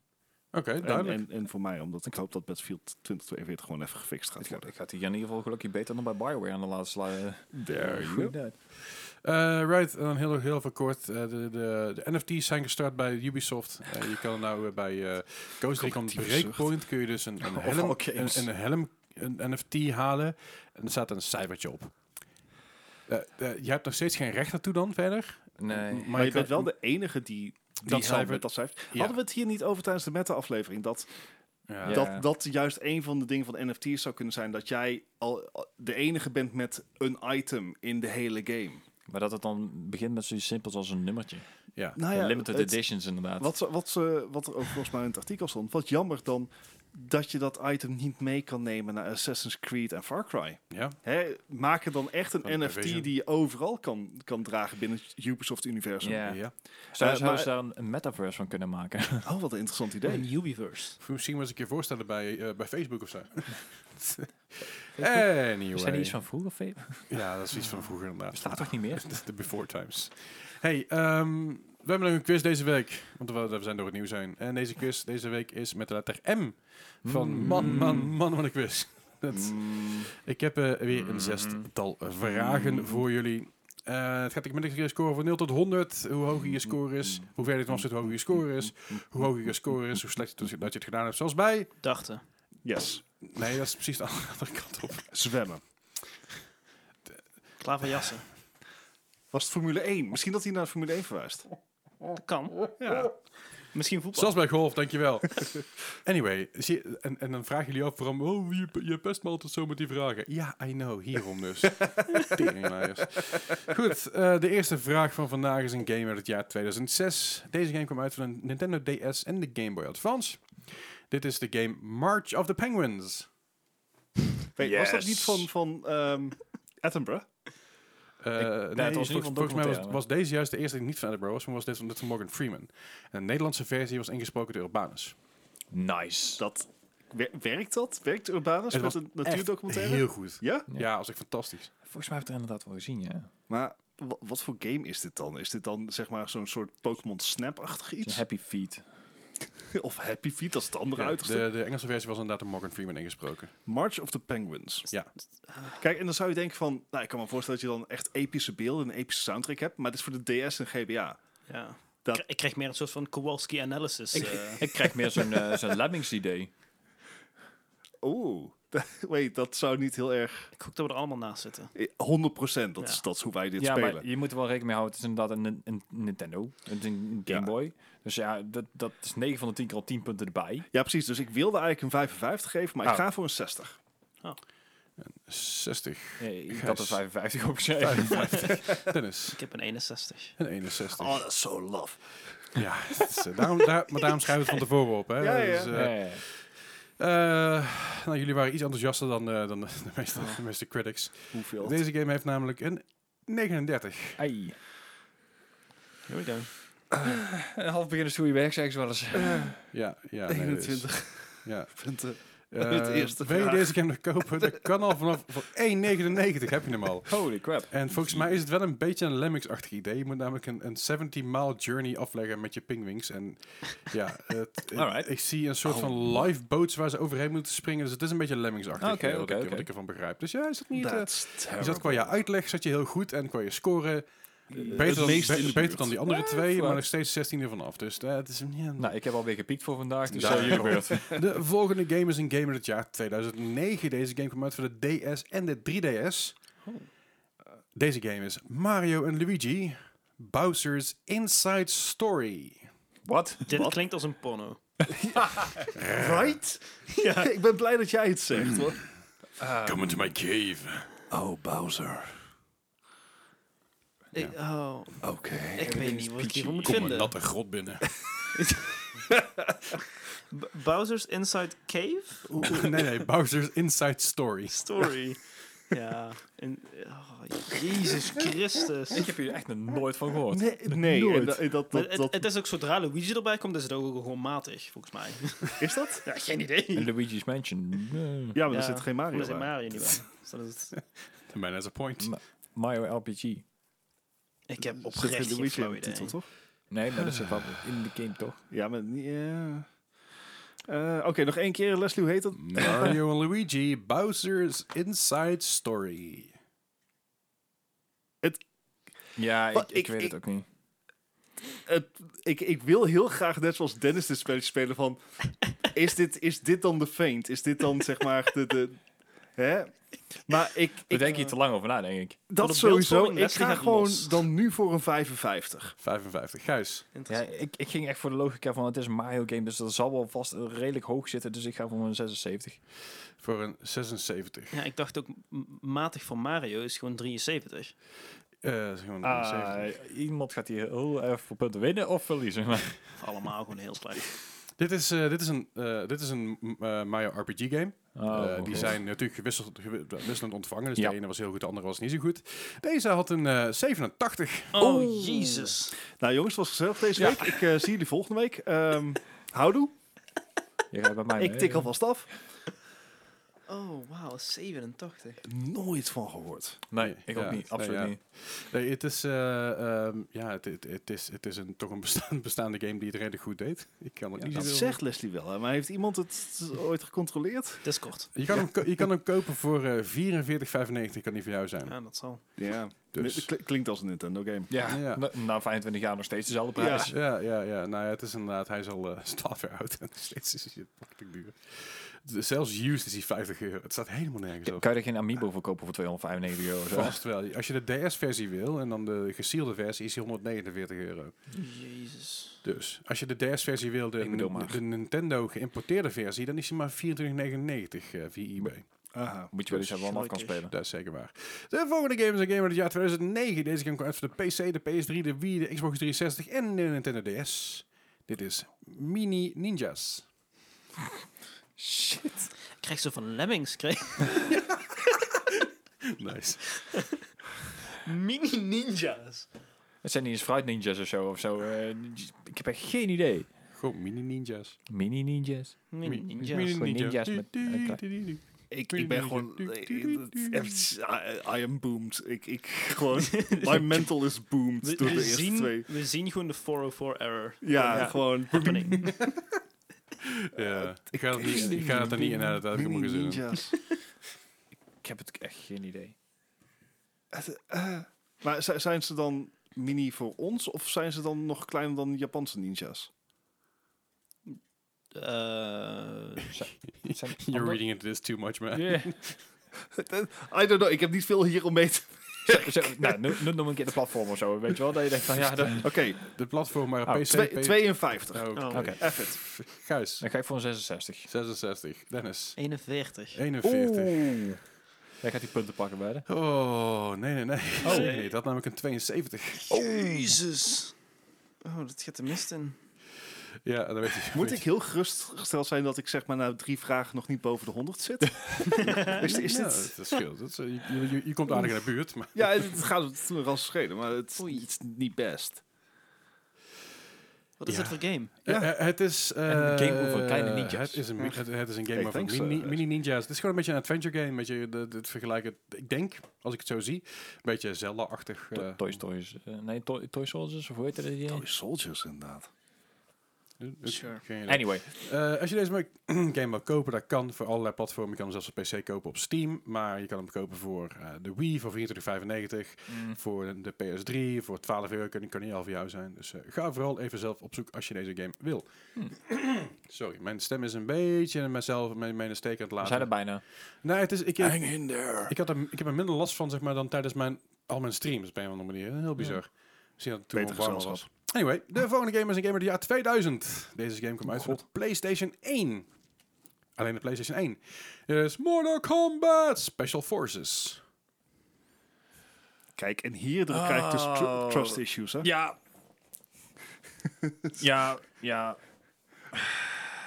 A: Oké,
D: En,
A: duidelijk.
D: en, en voor mij, omdat ik hoop dat Battlefield 2042 gewoon even gefixt
B: Ik
D: gaat
B: ga,
D: worden.
B: ik ga die in ieder geval gelukkig beter dan bij Bioware aan de laatste eh, slide. [LAUGHS]
D: There you go.
A: Eh, right, en dan heel, heel veel kort. eh, de, de, de NFT's zijn gestart bij Ubisoft. Eh, je kan nou eh, bij eh, Ghost Recon
D: Collectieve
A: Breakpoint kun je dus een, een
D: Of
A: helm,
D: alle
A: een,
D: games.
A: een helm een NFT halen. En er staat een cijfertje op. Eh, eh, je hebt nog steeds geen recht daartoe dan verder.
B: Nee.
D: Maar, je
A: kan-
D: bent wel de enige die dat
A: cijfer-
D: cijfer... met dat cijfer...
A: Ja.
D: Hadden we het hier niet over tijdens de meta-aflevering? Dat,
A: Ja.
B: Ja.
D: dat, dat juist een van de dingen van NFT's zou kunnen zijn... dat jij al al de enige bent met een item in de hele game.
B: Maar dat het dan begint met zoiets simpels als een nummertje.
A: ja.
D: Nou
B: De limited
D: het-
B: editions inderdaad.
D: Wat, ze- wat, ze- wat er ook volgens mij in het artikel stond. Wat jammer dan dat je dat item niet mee kan nemen naar Assassin's Creed en Far Cry.
A: Ja.
D: Hè, maak er dan echt een
A: Van
D: NFT
A: Division.
D: die je overal kan, kan dragen binnen het Ubisoft-universum.
B: Ja.
A: ja.
B: Zou zou
D: Eh,
B: ze
D: maar-
B: daar een- een metaverse van kunnen maken?
D: Oh, wat een interessant idee.
C: Een Ubiverse.
A: Misschien was ik je voorstellen bij, eh, bij Facebook
B: [LAUGHS]
A: of zo. [LAUGHS] anyway.
B: [LAUGHS] Zijn die iets van vroeger? Fee?
A: Ja, dat is iets van vroeger inderdaad.
B: Bestaat
A: [LAUGHS]
B: toch niet meer?
A: De before times. Hey, ehm, we hebben nog een quiz deze week. Want we, we zijn door het nieuws heen. En deze quiz deze week is met de letter M. Van
B: Mm.
A: man, man, man, wat een quiz. Dat-
B: Mm.
A: ik heb eh, weer een zestal vragen voor jullie. Eh, het gaat ik met een score van 0 tot 100. Hoe hoger je score
B: Mm.
A: is, hoe verder het nog zit, hoe hoger je score is. Hoe hoger je score is, hoe slecht je het- dat je het gedaan hebt. Zoals bij...
C: Dachten.
D: Yes.
A: Nee, dat is precies de [LAUGHS] andere kant op.
D: Zwemmen.
C: Klaverjassen.
D: Was het Formule 1? Misschien dat hij naar Formule 1 verwijst.
C: Dat kan.
D: Ja.
C: Misschien voetbal.
A: Zoals bij golf, dankjewel. [LAUGHS] anyway, zie je- en, en dan vragen jullie af waarom... Oh, je, je pest me altijd zo met die vragen. Ja, I know, hierom [LAUGHS] dus. Teringlaaiers. Goed, eh, de eerste vraag van vandaag is een game uit het jaar 2006. Deze game kwam uit van een Nintendo DS en de Game Boy Advance. Dit is de game March of the Penguins.
D: Weet, Was dat
B: Yes.
D: niet van, van ehm, Attenborough?
A: Eh, nee,
B: was in ieder
A: vol-
B: geval een
A: volgens mij was,
B: documentaire.
A: was deze juist de eerste die niet van Edinburgh was, maar was dit van dit van Morgan Freeman. En de Nederlandse versie was ingesproken door Urbanus.
B: Nice.
D: Dat, wer- werkt dat? Werkt Urbanus
A: Het
D: met
A: was
D: een natuurdocumentaire?
A: Heel goed.
D: Ja?
B: Ja.
A: Ja, als ik fantastisch.
B: Volgens mij heb ik het er inderdaad wel gezien, ja.
D: Maar wa- wat voor game is dit dan? Is dit dan zeg maar zo'n soort Pokémon Snap-achtig
B: Zo'n
D: iets?
B: Happy Feet.
D: of Happy Feet, dat is het andere
A: Ja,
D: uiterste.
A: de, de Engelse versie was inderdaad door Morgan Freeman ingesproken.
D: March of the Penguins.
A: Ja.
D: Kijk, en dan zou je denken van... Nou, ik kan me voorstellen dat je dan echt epische beelden en een epische soundtrack hebt. Maar dit is voor de DS en GBA.
C: Ja.
D: Dat-
C: Ik- Ik kreeg meer een soort van Kowalski analysis. eh.
B: Ik krijg meer zo'n eh, zo'n [LAUGHS] Lemmings idee.
D: Oeh. [LAUGHS] Wait, dat zou niet heel erg...
C: ik hoop dat we er allemaal naast zitten.
D: eh, 100% dat,
C: Ja.
D: is, dat is hoe wij dit
B: Ja,
D: spelen.
B: maar je moet er wel rekening mee houden. Het is inderdaad een, een- een Nintendo. Het is een Game
D: Ja.
B: Boy. Dus ja, dat, dat is 9 van de 10 keer al 10 punten erbij.
D: Ja, precies. Dus ik wilde eigenlijk een 55 geven, maar ik
B: Oh.
D: ga voor een 60.
B: [LAUGHS]
A: 60.
B: Eh, Ik
A: Gijs.
B: had er 55 op geschreven. [LAUGHS]
A: Dennis.
C: Ik heb een 61.
A: Een 61.
D: Oh, dat is zo love.
A: Ja, het is, eh, daarom, daar, maar daarom schrijven we het van tevoren op. Hè?
D: Ja, ja.
A: Dus, eh,
B: Ja, ja, ja.
A: eh, nou, jullie waren iets enthousiaster dan, eh, dan de, meeste, de meeste critics.
D: Hoeveel?
A: Deze game heeft namelijk een 39.
B: Ai.
C: Here we go.
B: Een half beginners goede werk, zeggen ze wel eens.
A: Ja, ja. nee, dus,
D: 21 [LAUGHS]
A: ja.
D: punten.
A: Eh,
D: Het eerste
A: wil je
D: vraag.
A: deze game nog kopen? Dat kan al vanaf voor 1,99 heb je hem al.
B: Holy crap.
A: En volgens mij is het wel een beetje een Lemmings-achtig idee. Je moet namelijk een, een 70-mile journey afleggen met je pingwings. En ja, het, ik-
B: Alright.
A: ik zie een soort van lifeboats waar ze overheen moeten springen. Dus het is een beetje Lemmings-achtig,
B: Oké,
A: eh, wat,
B: oké,
A: ik,
B: oké.
A: wat ik ervan begrijp. Dus ja, is dat niet... eh,
D: That's
A: je zat qua je uitleg zat je heel goed en qua je scoren
D: het
A: Beter, dan,
D: meest
A: be-
D: in de
A: beter
D: buurt.
A: dan die andere twee,
B: vooruit.
A: maar nog steeds 16 ervan af. Dus eh, het is een- ja,
B: Eh, Nou, ik heb alweer gepiekt voor vandaag, dus
A: Ja,
B: eh, jullie
A: daarom.
B: beurt.
A: De volgende game is een game uit het jaar 2009. Deze game kwam uit voor de DS en de 3DS. Deze game is Mario en Luigi Bowser's Inside Story.
B: [LAUGHS] Wat?
C: Dit klinkt als een porno.
D: Right? [LAUGHS] ik ben blij dat jij het zegt, [LAUGHS] hoor.
A: Come into my cave.
D: Oh, Bowser.
C: Ik, oh,
D: Oké.
C: ik weet niet wat ik hiervan moet
A: Kom een
C: vinden.
A: natte grot binnen.
C: B- Bowser's Inside Cave
A: Oeh, oeh, [LAUGHS] nee, nee, Bowser's Inside Story.
C: [LAUGHS] Story. ja. En, oh, Jezus Christus.
B: Ik heb hier echt nog nooit van gehoord.
D: Nee, nee en
A: Nooit.
D: da- en dat,
C: Maar
D: dat,
C: het,
D: dat,
C: het is ook zodra Luigi erbij komt, is het ook gewoon matig, volgens mij.
D: is dat?
C: [LAUGHS] Ja, geen idee.
B: En Luigi's Mansion. eh,
D: Ja, maar
C: Ja,
D: er zit geen Mario
C: Er zit
D: bij.
C: Mario niet bij. Dus dat is het.
A: Man has a point.
B: Mario RPG.
C: Ik heb
D: Er zit geen
C: oprecht geen
D: Luigi in
C: flauw
D: de titel,
C: idee.
D: toch?
B: Nee, maar dat zit wel in de game, toch?
D: Ja, maar... niet- ja. Eh, Oké, nog één keer. Leslie, hoe heet dat?
A: Mario en Luigi Bowser's Inside Story.
B: Ja,
D: Wat,
B: ik, ik,
D: ik-
B: weet
D: ik-
B: het ook niet.
D: Het- ik, ik wil heel graag, net zoals Dennis dit spelletje spelen, van... Is dit, is dit dan de feint? Is dit dan, zeg maar, de...
C: [LAUGHS]
D: de hè? Maar ik...
B: Daar
D: ik eh,
B: denk je te lang over na, denk ik.
D: dat
C: de beeldvorming,
D: sowieso. Ik
C: Leslie
D: ga
C: gaat
D: gewoon
C: los.
D: dan nu voor een 55.
A: 55. Gijs.
B: Ja, ik, ik ging echt voor de logica van het is een Mario game, dus dat zal wel vast redelijk hoog zitten. Dus ik ga voor een 76.
A: Voor een 76.
C: Ja, ik dacht ook, m- matig voor Mario is gewoon 73.
A: Eh, zeg maar een 70.
B: Ah, iemand gaat hier heel erg voor punten winnen of verliezen. [LAUGHS] Oh, Maar
C: Allemaal gewoon heel slecht.
A: Dit is, eh, dit is een, eh, dit is een m- eh, Mario RPG game. Eh, die
B: God.
A: zijn natuurlijk gewisseld, gewi- wisselend ontvangen. Dus
B: Oh, Ja.
A: de ene was heel goed, de andere was niet zo goed. Deze had een eh, 87.
C: Oh,
D: Oh.
C: jezus.
D: Nou jongens, het was gezellig deze week. Ik eh, zie jullie volgende week. Ehm houdoe.
B: Je rijdt bij mij
D: Ik
B: mee.
D: tik alvast af.
C: Oh, wauw, 87.
D: Nooit van gehoord.
B: Nee, ik ook
A: Ja,
B: niet.
A: nee,
B: Absoluut
A: ja.
B: niet.
A: Nee, het is, eh, ehm, ja, het, het, het is, het is een, toch een bestaan- bestaande game die het redelijk goed deed. Ik kan het niet
D: dat
A: zoveel-
D: zegt Leslie wel, hè, maar heeft iemand het ooit gecontroleerd?
C: Discord.
A: Je kan, hem, ko- je kan hem kopen voor eh 44,95. Kan die van jou zijn.
C: Ja, dat zal.
D: Ja.
A: Dus.
D: Klinkt als een Nintendo game.
B: Ja,
A: Ja.
B: na- na 25 jaar nog steeds dezelfde prijs.
A: Ja, ja, ja. Nou ja, het is inderdaad, hij is al eh 12 jaar oud [LAUGHS] en nog steeds is hij fucking duur. Dus Zelfs used is hij 50 euro. Het staat helemaal nergens op.
B: Kan je er geen Amiibo voor kopen voor 295 euro? of zo?
A: Vast wel. Als je de DS-versie wil en dan de gesealde versie is die 149 euro.
C: Jezus.
A: Dus als je de DS-versie wil, de,
B: Ik bedoel maar.
A: de Nintendo geïmporteerde versie, dan is die maar 24,99 eh, via eBay.
D: Aha.
B: Moet je wel eens hebben wat af kan
C: Gelukkig.
B: spelen.
A: Dat is zeker waar. De volgende game is een game uit het jaar 2009. Deze game kwam uit voor de PC, de PS3, de Wii, de Xbox 360 en de Nintendo DS. Dit is Mini Ninjas.
C: Ik krijg zo van Lemmings. Krijg...
A: Nice.
C: Mini ninjas.
B: Het zijn niet eens Fruit Ninjas of zo. Of zo. eh, ik heb echt geen idee.
A: Gewoon mini ninjas.
B: Mini Ninjas.
C: Mini
A: [LAUGHS]
C: ninjas.
B: Gewoon ninjas met-
D: Ik, ik ben gewoon... eh, I am boomed. Ik, ik gewoon... My [LAUGHS] mental is
C: We,
D: boomed door de
C: we
D: eerste
C: zien,
D: twee.
C: we zien gewoon de 404 error.
D: Ja, gewoon...
C: Happening.
A: Ja, ik ga het niet- ik ga het er niet in uit uit mijn gezin. [LAUGHS]
D: Ninjas.
B: Ik heb het echt geen idee.
D: Maar zi- zijn ze dan mini voor ons of zijn ze dan nog kleiner dan Japanse ninjas?
C: Eh,
B: Zijn
A: You're
B: andere-
A: reading into this too much, man.
B: Ja.
D: I don't know, ik heb niet veel hier om mee te...
B: Zo- zo- Nou, nu, nu noem een keer de platform of zo. Weet je wel? Dat je denkt van ja, dat-
D: Oké,
A: De platform maar
B: Oh,
A: PC...
D: twee-
A: P-
D: 52.
A: Oh, Oké.
C: Oh.
B: Oké.
D: F it.
A: Gijs,
B: dan ga ik voor een 66.
A: 66. Dennis,
C: 41.
A: 41.
B: Jij gaat die punten pakken bij de.
A: Oh, nee, nee, nee. Oh, nee. Dat namelijk een 72.
C: Jezus. Oh, dat gaat de mist in.
A: Ja, dat weet je.
D: Moet ik heel gerustgesteld zijn dat ik zeg maar na drie vragen nog niet boven de 100 zit?
B: [LAUGHS]
D: is, is
A: Ja,
D: dit...
A: dat scheelt. Dat is, eh, je, je- je, je komt aardig in de buurt, maar...
D: Ja, het het gaat het me ras schelen, maar het, het is niet best.
C: Wat is
A: Ja.
C: dat voor game?
A: Ja. eh, het is... eh,
B: Een game over kleine ninjas.
A: Het is een, mi- het, het is een game
D: Ik
A: over
D: denk
A: mini,
D: zo,
A: mini-
D: eh.
A: mini ninjas. Het is gewoon een beetje een adventure game. Een beetje de, de- het vergelijken... Ik denk, als ik het zo zie, een beetje Zelda-achtig. eh,
B: Toy Stories. eh, nee, Toy, Toy Soldiers of hoe heet dat? die?
D: Soldiers inderdaad.
E: Sure.
A: eh, Geen idee.
B: Anyway,
A: Eh, als je deze ma- [CLEARS THROAT] game wil kopen, dat kan voor allerlei platformen. Je kan hem zelfs op PC kopen op Steam. Maar je kan hem kopen voor eh, de Wii voor 24,95.
B: Hm. Mm.
A: Voor de PS3 voor 12 euro. Kan, kan niet al voor jou zijn. Dus eh, ga vooral even zelf op zoek als je deze game wil.
B: Hmm.
A: [CLEARS THROAT] Sorry, mijn stem is een beetje mezelf, mijn, mijn steek aan het
B: we
A: laten.
B: zijn er bijna.
A: Nee, het is, ik,
D: Hang in there.
A: ik, had er, ik heb er minder last van zeg maar, dan tijdens mijn, al mijn streams op een of andere manier. Heel bizar. Misschien dat het toen
D: Beter
A: wel warmer was.
D: gezelschap.
A: Anyway, de volgende game is een game uit het jaar 2000. Deze game komt uit voor de PlayStation 1. Alleen de PlayStation 1. Dit is Mortal Kombat Special Forces.
D: Kijk, en hier krijg ik dus tr-
B: Oh.
D: trust issues, hè?
B: Ja. ja, ja.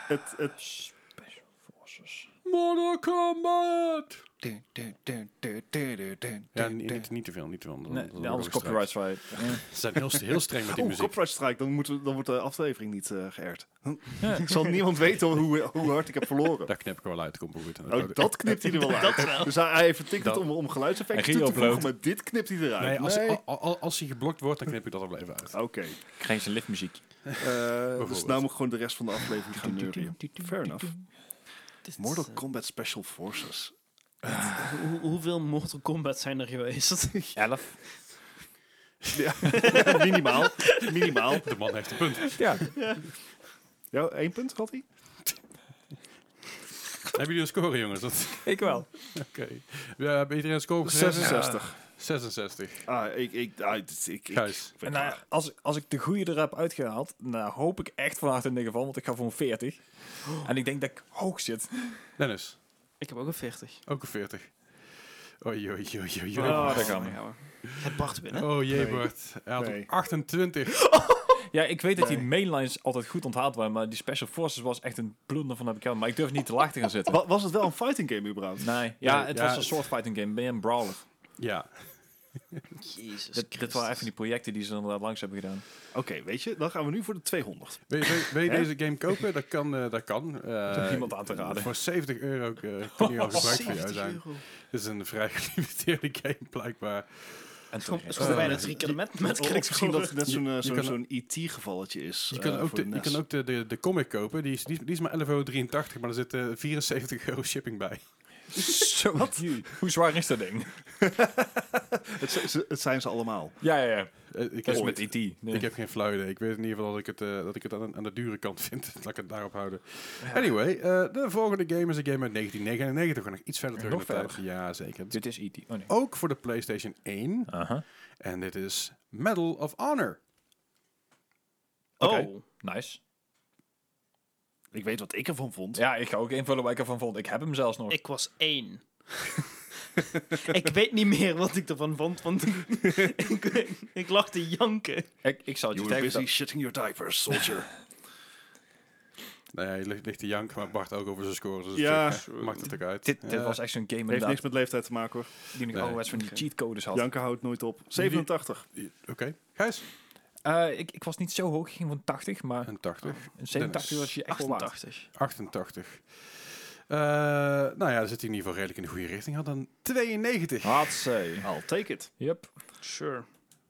D: Het, het,
B: Special Forces.
A: Mortal Kombat!
E: Dun, dun, dun, dun, dun, dun, dun,
A: Ja,
E: dun,
A: niet,
E: dun.
A: niet, niet te veel, niet te veel. Dan-
B: Nee,
A: dan- dan
B: anders
A: wordt er
B: copyright
A: gestrikt.
B: strike. [LAUGHS]
A: Ze zijn heel, heel streng met die
D: [LAUGHS] oh,
A: muziek.
D: copyright strike, dan, moeten we- dan wordt de aflevering niet eh geërd. [LAUGHS] Zal niemand weten hoe, hoe hard ik heb verloren.
A: Daar knip ik wel uit, komt wel goed.
D: Oh, [LAUGHS] dat knipt hij er wel uit. Dus hij, hij heeft een ticket
A: Dat-
D: om, om geluidseffecten
B: Hij
D: toe te
B: re-upload.
D: voegen, maar dit knipt hij eruit.
A: Nee, als, oh.
D: Nee.
A: al- al- al- als hij geblokt wordt, dan knip ik dat er wel even uit.
D: Oké.
B: Geen zijn liftmuziek.
D: Eh, dus
A: Bijvoorbeeld.
D: nou moet ik gewoon de rest van de aflevering gaan neuren. Fair enough.
C: Dit is,
D: Mortal
C: eh,
D: Kombat Special Forces.
C: hoe- hoeveel Mortal Kombat zijn er geweest? [LAUGHS]
B: 11.
D: [LAUGHS] Ja. [LAUGHS] Minimaal. Minimaal.
A: De man heeft een
D: [LAUGHS]
A: punt.
B: Ja.
D: Ja, één punt had hij?
A: Hebben jullie een score, jongens? Dat- [LAUGHS]
B: Ik wel.
A: Oké. Ja, Hebben iedereen een score geschreven?
D: 66.
A: 66.
D: Ah, ik, ik, ah, dit- ik, ik,
A: Gijs.
D: ik-
B: nou, als, als ik de goede er heb uitgehaald, nou hoop ik echt van harte in ieder geval, want ik ga voor een 40. En ik denk dat ik hoog zit.
A: Dennis,
C: Ik heb ook een 40.
A: ook een 40. Oei, oei, oei, oei, oei.
B: Oh, daar gaan we.
C: gaan we. Het Bart winnen.
A: Oh jee,
D: Nee.
A: Bart. Hij had
D: Nee.
A: een 28.
B: Ja, ik weet dat die mainlines altijd goed onthaald waren, maar die Special Forces was echt een blunder van de bekende. Maar ik durf niet te laag te gaan zitten.
D: Wa- was het wel een fighting game überhaupt?
A: Nou.
B: Nee, ja,
A: Nee,
B: het
A: ja,
B: was een soort fighting game. Ben je een brawler?
A: Ja.
C: Jezus
B: Dit, dit
C: Christus.
B: waren even die projecten die ze inderdaad langs hebben gedaan.
D: Oké, weet je, dan gaan we nu voor
A: [LAUGHS]
D: de 200.
A: Wil je, wil je- wil je
D: Hè?
A: deze game kopen? Dat kan. eh, dat kan. Eh,
B: is ook niemand aan te raden.
A: Voor 70 euro [LAUGHS] eh, kan die al gebruikt voor jou
C: 70
A: zijn.
C: euro.
A: Dit is een vrij [LAUGHS] gelimiteerde game, blijkbaar.
B: En
C: Het is
B: terecht.
C: gewoon- het is gewoon
A: Eh,
C: bijna drie keer de met, met
D: Of misschien dat het net zo'n eh,
A: Je- je
D: zo'n
A: kan-
D: zo'n ET-gevalletje is.
A: Je kan
D: eh,
A: ook,
D: voor
A: de, E je
D: NES.
A: kan ook de, de, de comic kopen. Die is, die is, die is maar 11,83 euro, maar er zit eh, 74 euro shipping bij.
B: [LAUGHS] Zo, Eh, Hoe zwaar is dat ding?
D: Het, z- z- het zijn ze allemaal.
B: Ja, ja, ja.
A: Eh, ik,
B: Dat
A: heb,
B: is Oh, met E E.T. Nee.
A: ik heb geen flauw idee. Ik weet in ieder geval dat ik het, eh, dat ik het aan, aan de dure kant vind. [LAUGHS] Laat ik het daarop houden. Anyway, eh, de volgende game is een game uit 1999. We gaan nog iets verder terug
B: Nog
A: in de tijd. Ja, zeker.
B: Dit is E.T. Oh nee.
A: Ook voor de PlayStation 1.
B: Aha.
A: En dit is Medal of Honor.
B: Oké.
C: Oh,
B: Nice.
D: Ik weet wat ik ervan vond.
B: Ja, ik ga ook invullen waar ik ervan vond. Ik heb hem zelfs nog.
C: ik was één. ik weet niet meer wat ik ervan vond, want [LAUGHS] ik, ik, ik lag te janken.
B: Ik, ik zal het je
D: You were
B: zeggen.
D: busy
B: dat-
D: shitting your diapers, [LAUGHS] soldier.
A: Nou ja, je ligt, ligt te janken, maar Bart ook over zijn scores. Dus
D: Ja.
A: het, eh, maakt het ook uit.
B: Dit, dit
A: Ja.
B: was echt zo'n game
D: Heeft
B: inderdaad,
D: niks met leeftijd te maken hoor.
B: die nog
A: Nee.
B: ouderwets van die
C: Oké.
B: cheatcodes had.
D: Janken houdt nooit op. 87.
A: Oké. Gijs?
B: Eh, ik, ik was niet zo hoog, ik ging van 80, maar
A: Een 80.
B: een 87 was je echt wel waard.
C: 88.
A: 88. Eh, nou ja, dan zit hij in ieder geval redelijk in de goede richting. Had een 92.
B: Ah. Hatsé.
D: I'll take it.
B: Yep.
C: Sure.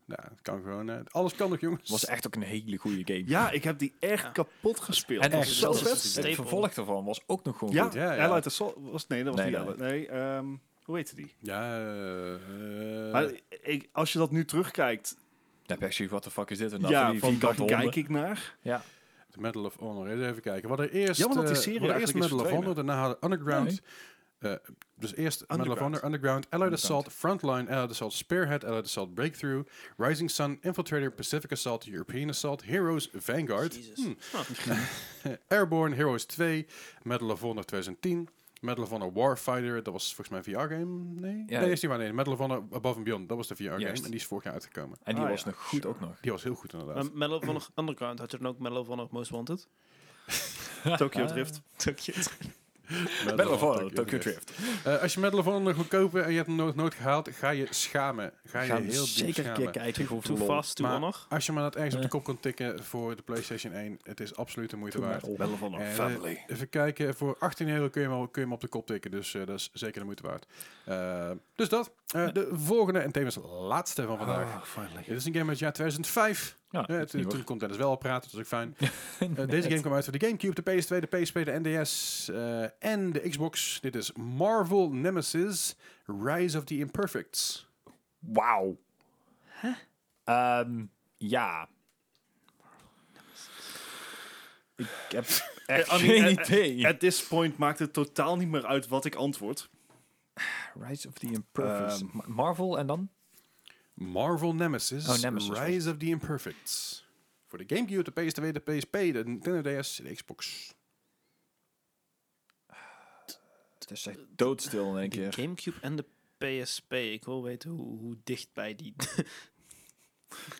A: Nou, dat kan gewoon. eh, alles kan nog, jongens.
B: Was echt ook een hele goede game.
D: Ja, ik heb die echt
C: Ja.
D: kapot gespeeld.
B: En
D: Dat
B: echt,
D: was
B: dat
D: zo
B: is
C: een
D: vet.
C: staple.
B: het vervolg daarvan was ook nog gewoon
D: Ja,
B: goed.
A: Ja, ja.
D: Allied Assault was... Nee, dat was
B: Nee, nee.
D: niet Allied. Nee, ehm, hoe heette die?
A: Ja, eh, eh,
D: Maar ik, als je dat nu terugkijkt,
B: Dan heb je echt zoiets, what the fuck is dit? En dan
D: ja,
B: die
D: van daar
B: vierkante
D: kijk
B: honden.
D: ik naar.
B: Ja.
A: de Medal of Honor. Eens Even kijken. Wat er eerst.
D: Jammer dat die
A: eh,
D: serie
A: we hadden eerst
D: eigenlijk is
A: Medal of Honor,
D: verdwenen.
A: daarna hadden Underground. eh, dus eerst Medal of
D: Underground.
A: Honor, Underground, Allied
B: Underground.
A: Assault, Frontline, Allied Assault Spearhead, Allied Assault Breakthrough, Rising Sun, Infiltrator, Pacific Assault, European Assault, Heroes, Vanguard,
C: Jezus.
A: Hmm. [LAUGHS] Airborne, Heroes 2, Medal of Honor 2010, Medal of Honor Warfighter, dat was volgens mij een VR-game, nee?
B: Ja.
A: Nee, is niet waar, nee. Medal of Honor Above and Beyond, dat was de VR-game en
B: Juist.
A: die is vorig jaar uitgekomen.
B: En die
D: Ah,
B: was
D: ja.
B: nog goed ook nog.
A: Die was heel goed inderdaad.
C: Maar Medal of Honor Underground, had je dan ook Medal of Honor Most Wanted? Ah,
D: Tokyo Drift.
A: Medal
B: Battle of Honor,
A: Tokyo
B: Tokyo Drift.
A: Eh, als je Medal of Honor wil kopen en je hebt hem nog nooit gehaald, ga je schamen. Ga je
B: Gaan we
A: heel diep
B: zeker een keer
A: schamen.
B: kijken hoeveel
C: Too
B: lol.
C: fast, too
A: Maar-
C: honor.
A: Als je maar dat ergens op de kop kan tikken voor de PlayStation 1, het is absoluut de moeite
B: Doe maar
A: waard.
B: op.
D: Oh. Bellen van
A: Eh,
D: een family.
A: Even kijken, voor 18 euro kun je hem, al- kun je hem op de kop tikken, dus eh, dat is zeker de moeite waard. Eh, dus dat. Eh, De volgende en tevens laatste van vandaag.
D: finally.
A: Dit is een game uit het jaar 2005.
B: Oh, Ja,
A: Ja,
B: dat is
A: toen,
B: niet
A: toen
B: hoor.
A: kon Dennis wel al praten, dat is ook
B: [LAUGHS]
A: fijn. Eh,
B: Nee,
A: deze game kwam uit voor de Gamecube, de PS2, de PSP, de NDS eh, en de Xbox. Dit is Marvel Nemesis Rise of the Imperfects.
B: Wauw. Ehm, ja. Ik [LAUGHS] heb echt
D: Eh, Annie,
B: geen
D: eh, eh,
B: idee.
D: At this point maakt het totaal niet meer uit wat ik antwoord.
B: Rise of the Imperfects. Ma- Marvel en dan?
A: Marvel Nemesis,
B: Oh, Nemesis was
A: Rise of the Imperfects. Voor de Gamecube, de PS2, de PSP, de Nintendo DS en de Xbox.
B: Het is echt doodstil in één
C: De
B: keer.
C: Gamecube en de PSP. Ik wil weten hoe, hoe dicht bij die...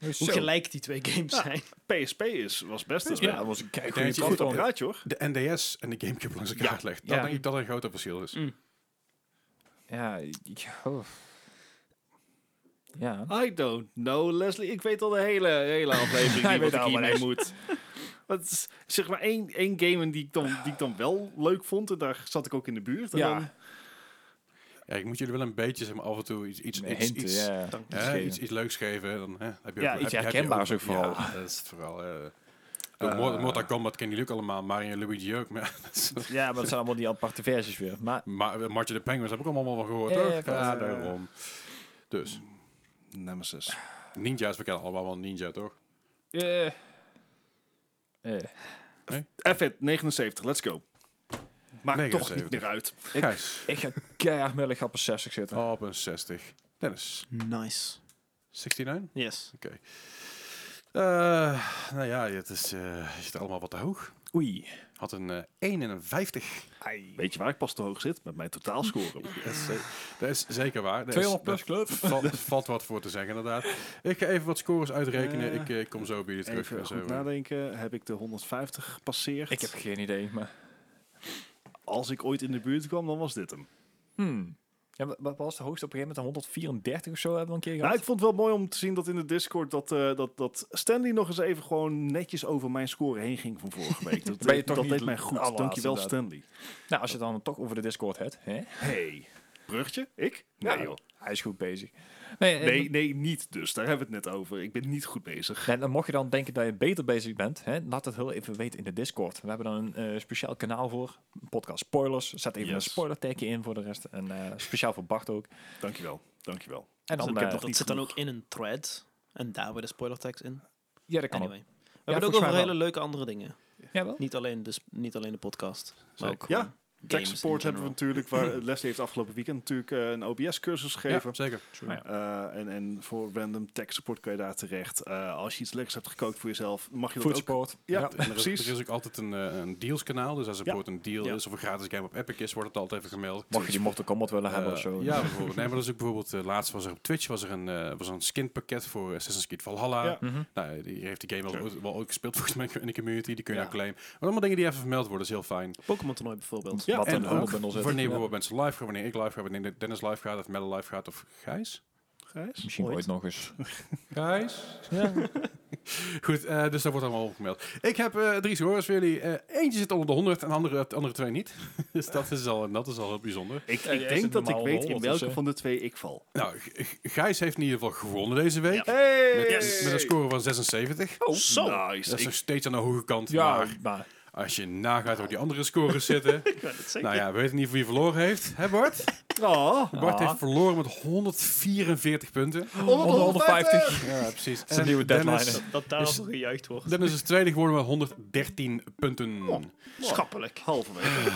C: hoe gelijk die twee games zijn.
D: PSP is, was best een
B: Ja, dat was een kei goede
A: dat je goed
D: goed
B: platform.
D: apparaat, hoor.
A: De NDS en de Gamecube langs elkaar legt. Dat
B: ja. Mm.
A: denk ik dat er een groot verschil is.
B: Ja, ik- oh. ja.
D: I don't know, Leslie. Ik weet al de hele,
B: [LAUGHS]
D: hele aflevering
B: Hij
D: niet
B: weet
D: wat ik
B: al wat
D: hiermee
B: is.
D: moet. Wat is, zeg maar één, één game en die ik, dan, die ik dan wel leuk vond. En daar zat ik ook in de buurt. En dan,
B: Ja,
A: Ja, ik moet jullie wel een beetje zeg maar, af en toe iets, iets, iets,
B: hinten,
A: iets,
B: ja.
C: Dank
A: hè,
B: geven.
A: iets, iets leuks geven. Dan, hè, heb je
B: Ja,
A: ook,
B: iets
A: heb, heb je
B: herkenbaars ook vooral.
A: Ja, dat is het vooral. eh. Door Mor- Mortal Kombat kennen jullie ook allemaal. Mario en Luigi ook. Maar, [LAUGHS] dat is-
B: ja, maar dat zijn allemaal die aparte versies weer. Maar
A: maar eh, Marty de Penguins heb ik allemaal wel gehoord,
B: Ja, ja,
A: toch?
B: klopt.
A: Ja,
B: Eh.
A: daarom. Dus,
D: Nemesis.
A: ninja's, we kennen allemaal wel ninja, toch?
B: eh,
D: F 79, let's go. Maakt toch niet
A: 79.
D: meer uit.
A: Gijs,
B: ik ga keihard mellig op een 60 zitten.
A: op een 60. Dennis,
C: Nice.
A: 69?
C: Yes.
A: Oké. Eh, nou ja, het is, eh, je zit allemaal wat te hoog.
B: Oei.
A: Had een eh, 51.
D: Weet je waar ik pas te hoog zit? Met mijn totaalscore.
A: Dat is, ze- dat is zeker waar. Dat is-
B: 200 plus
A: dat
B: club.
A: Valt, valt wat voor te zeggen, inderdaad. Ik ga even wat scores uitrekenen.
D: Eh,
A: ik eh, kom zo bij jullie terug. en
D: Even
A: zo. eh.
D: goed nadenken. Heb ik de 150 gepasseerd?
B: Ik heb geen idee, maar...
D: Als ik ooit in de buurt kwam, dan was dit hem.
B: Hmm. Ja, wa- wat was de hoogste op een gegeven moment? 134 of zo hebben we een keer
D: Nou,
B: gehad.
D: ik vond het wel mooi om te zien dat in de Discord dat, eh, dat, dat Stanley nog eens even gewoon netjes over mijn score heen ging van vorige [LAUGHS] week. Dat,
B: Ben je toch
D: dat
B: niet
D: deed mij
B: de
D: goed.
B: allerlaatste,
D: Dankjewel
B: inderdaad.
D: Stanley.
B: Nou, als je het dan toch over de Discord hebt. Hè?
D: Hey, Brugtje? Ik? Nee
B: Ja,
D: joh.
B: Hij is goed bezig. Nee, en-
D: Nee, nee, niet dus. Daar hebben we het net over. Ik ben niet goed bezig.
B: En dan mocht je dan denken dat je beter bezig bent, hè, laat het heel even weten in de Discord. We hebben dan een eh, speciaal kanaal voor, podcast spoilers. Zet even
D: Yes.
B: een spoiler tagje in voor de rest. En eh, speciaal voor Bart ook.
D: Dankjewel. Dankjewel.
B: En
D: Dus
B: dan,
D: ik heb
B: eh,
D: nog-
C: Dat
D: niet
C: zit dan
D: genoeg.
C: ook in een thread. En daar weer de spoiler tags in.
B: ja, dat kan
C: Anyway. We
B: Ja,
C: hebben het
B: volgens
C: ook
B: mij
C: over
B: wel.
C: hele leuke andere dingen.
B: ook. Ja, wel?
C: Niet alleen de, sp- niet alleen de podcast. Maar ook
D: Ja,
C: gewoon
D: Tech
C: games in
D: support hebben we
C: general.
D: natuurlijk. Waar [LAUGHS] Leslie heeft afgelopen weekend natuurlijk eh, een OBS-cursus gegeven.
A: Ja, zeker.
D: Eh, en, en voor random tech support kan je daar terecht. Eh, als je iets lekkers hebt gekookt voor jezelf, mag je dat ook.
B: Foodsport.
D: Ja, [LAUGHS]
A: En er is,
D: precies.
A: er is ook altijd een, eh, een dealskanaal. Dus als er
D: Ja.
A: bijvoorbeeld een deal
D: Ja.
A: is of een gratis game op Epic is, wordt het altijd even gemeld.
B: Mocht je die Mortal Kombat willen hebben
A: Eh,
B: of zo.
A: ja, bijvoorbeeld. Nee, maar dat is ook bijvoorbeeld... eh, laatst was er op Twitch was er een, eh, was er een skinpakket voor Assassin's Creed Valhalla.
D: Ja.
B: Mhm.
A: Nou, eh, die heeft die game
D: Zo.
A: wel, ooit- wel ook gespeeld [LAUGHS] volgens mij in de community. Die kun je
D: Ja.
A: nou claimen. Maar allemaal dingen die even vermeld worden, is heel fijn.
C: Pokémon toernooi bijvoorbeeld.
D: Ja,
B: Wat
D: en
B: in de
D: ook
B: onderbundel zit.
A: Wanneer
B: Ja.
A: bijvoorbeeld mensen live gaan, wanneer ik live ga, wanneer Dennis live gaat, of Melle live gaat, of Gijs?
D: Gijs?
B: Misschien
C: ooit.
B: ooit nog eens.
A: Gijs?
B: Ja.
A: [LAUGHS] Goed, eh, dus dat wordt allemaal opgemeld. Ik heb eh, drie scores voor jullie. Eh, eentje zit onder de 100 en de andere, de andere twee niet. [LAUGHS] dus dat is al, dat is al heel bijzonder.
D: Ik,
B: jij
D: ik
B: zit
D: denk dat ik
B: normaal
D: weet in
B: honderd of
D: welke
B: zo.
D: van de twee ik val.
A: Nou, G- G- Gijs heeft in ieder geval gewonnen deze week.
D: Hey!
A: Met, met een score van 76.
D: Oh,
C: Zo.
A: Dat
D: Nice.
A: is nog
D: Ik,
A: steeds aan de hoge kant.
B: ja,
A: Maar
B: maar
A: als je nagaat hoe die andere scores
B: [LAUGHS]
A: zitten.
C: Ik weet het zeker.
A: nou ja, we weten niet wie verloren heeft. Hè Bart?
D: oh,
A: Bart
B: Ah.
A: heeft verloren met 144 punten.
B: onder 150.
A: Ja, precies. Dat
B: is een nieuwe
A: Dennis,
B: deadline,
C: Dat daar voor gejuicht wordt.
A: Dennis is tweede geworden met 113 punten.
D: Schappelijk. Halverwege.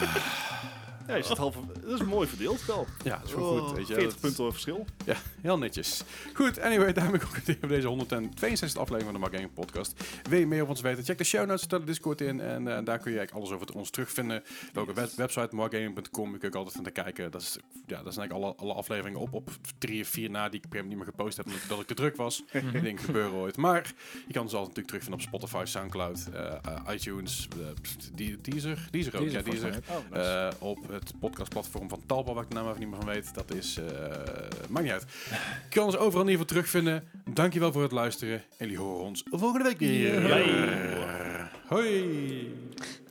D: ja, je zit halver, dat is mooi verdeeld wel.
A: Ja, dat is wel goed. Weet je.
D: 40
A: Dat-
D: punten verschil.
A: Ja, heel netjes. Goed, anyway, daarmee concluderen we deze 162 aflevering van de Mark Gaming Podcast. Wil je meer over ons weten? Check de show notes, stel de Discord in en eh, daar kun je eigenlijk alles over ons terugvinden. Ook een web- website, markgaming.com, je kunt ook altijd van te kijken. Dat is, ja, daar zijn eigenlijk alle, alle afleveringen op, op drie of vier na die ik op een gegeven moment niet meer gepost heb, omdat ik te druk was. Die dingen gebeuren ooit. Maar je kan ons altijd natuurlijk terugvinden op Spotify, Soundcloud, eh, eh, iTunes, eh, pst, die Deezer, Deezer ook,
B: die is
A: ja,
B: er volgens
A: Deezer.
B: mij. Oh,
A: Eh, op het podcastplatform van Talpa, waar ik de naam even niet meer van weet. Dat is, eh maakt niet uit. Je kan ons overal in ieder geval terugvinden. Dankjewel voor het luisteren. En jullie horen ons volgende week weer.
C: Bye.
A: Hoi.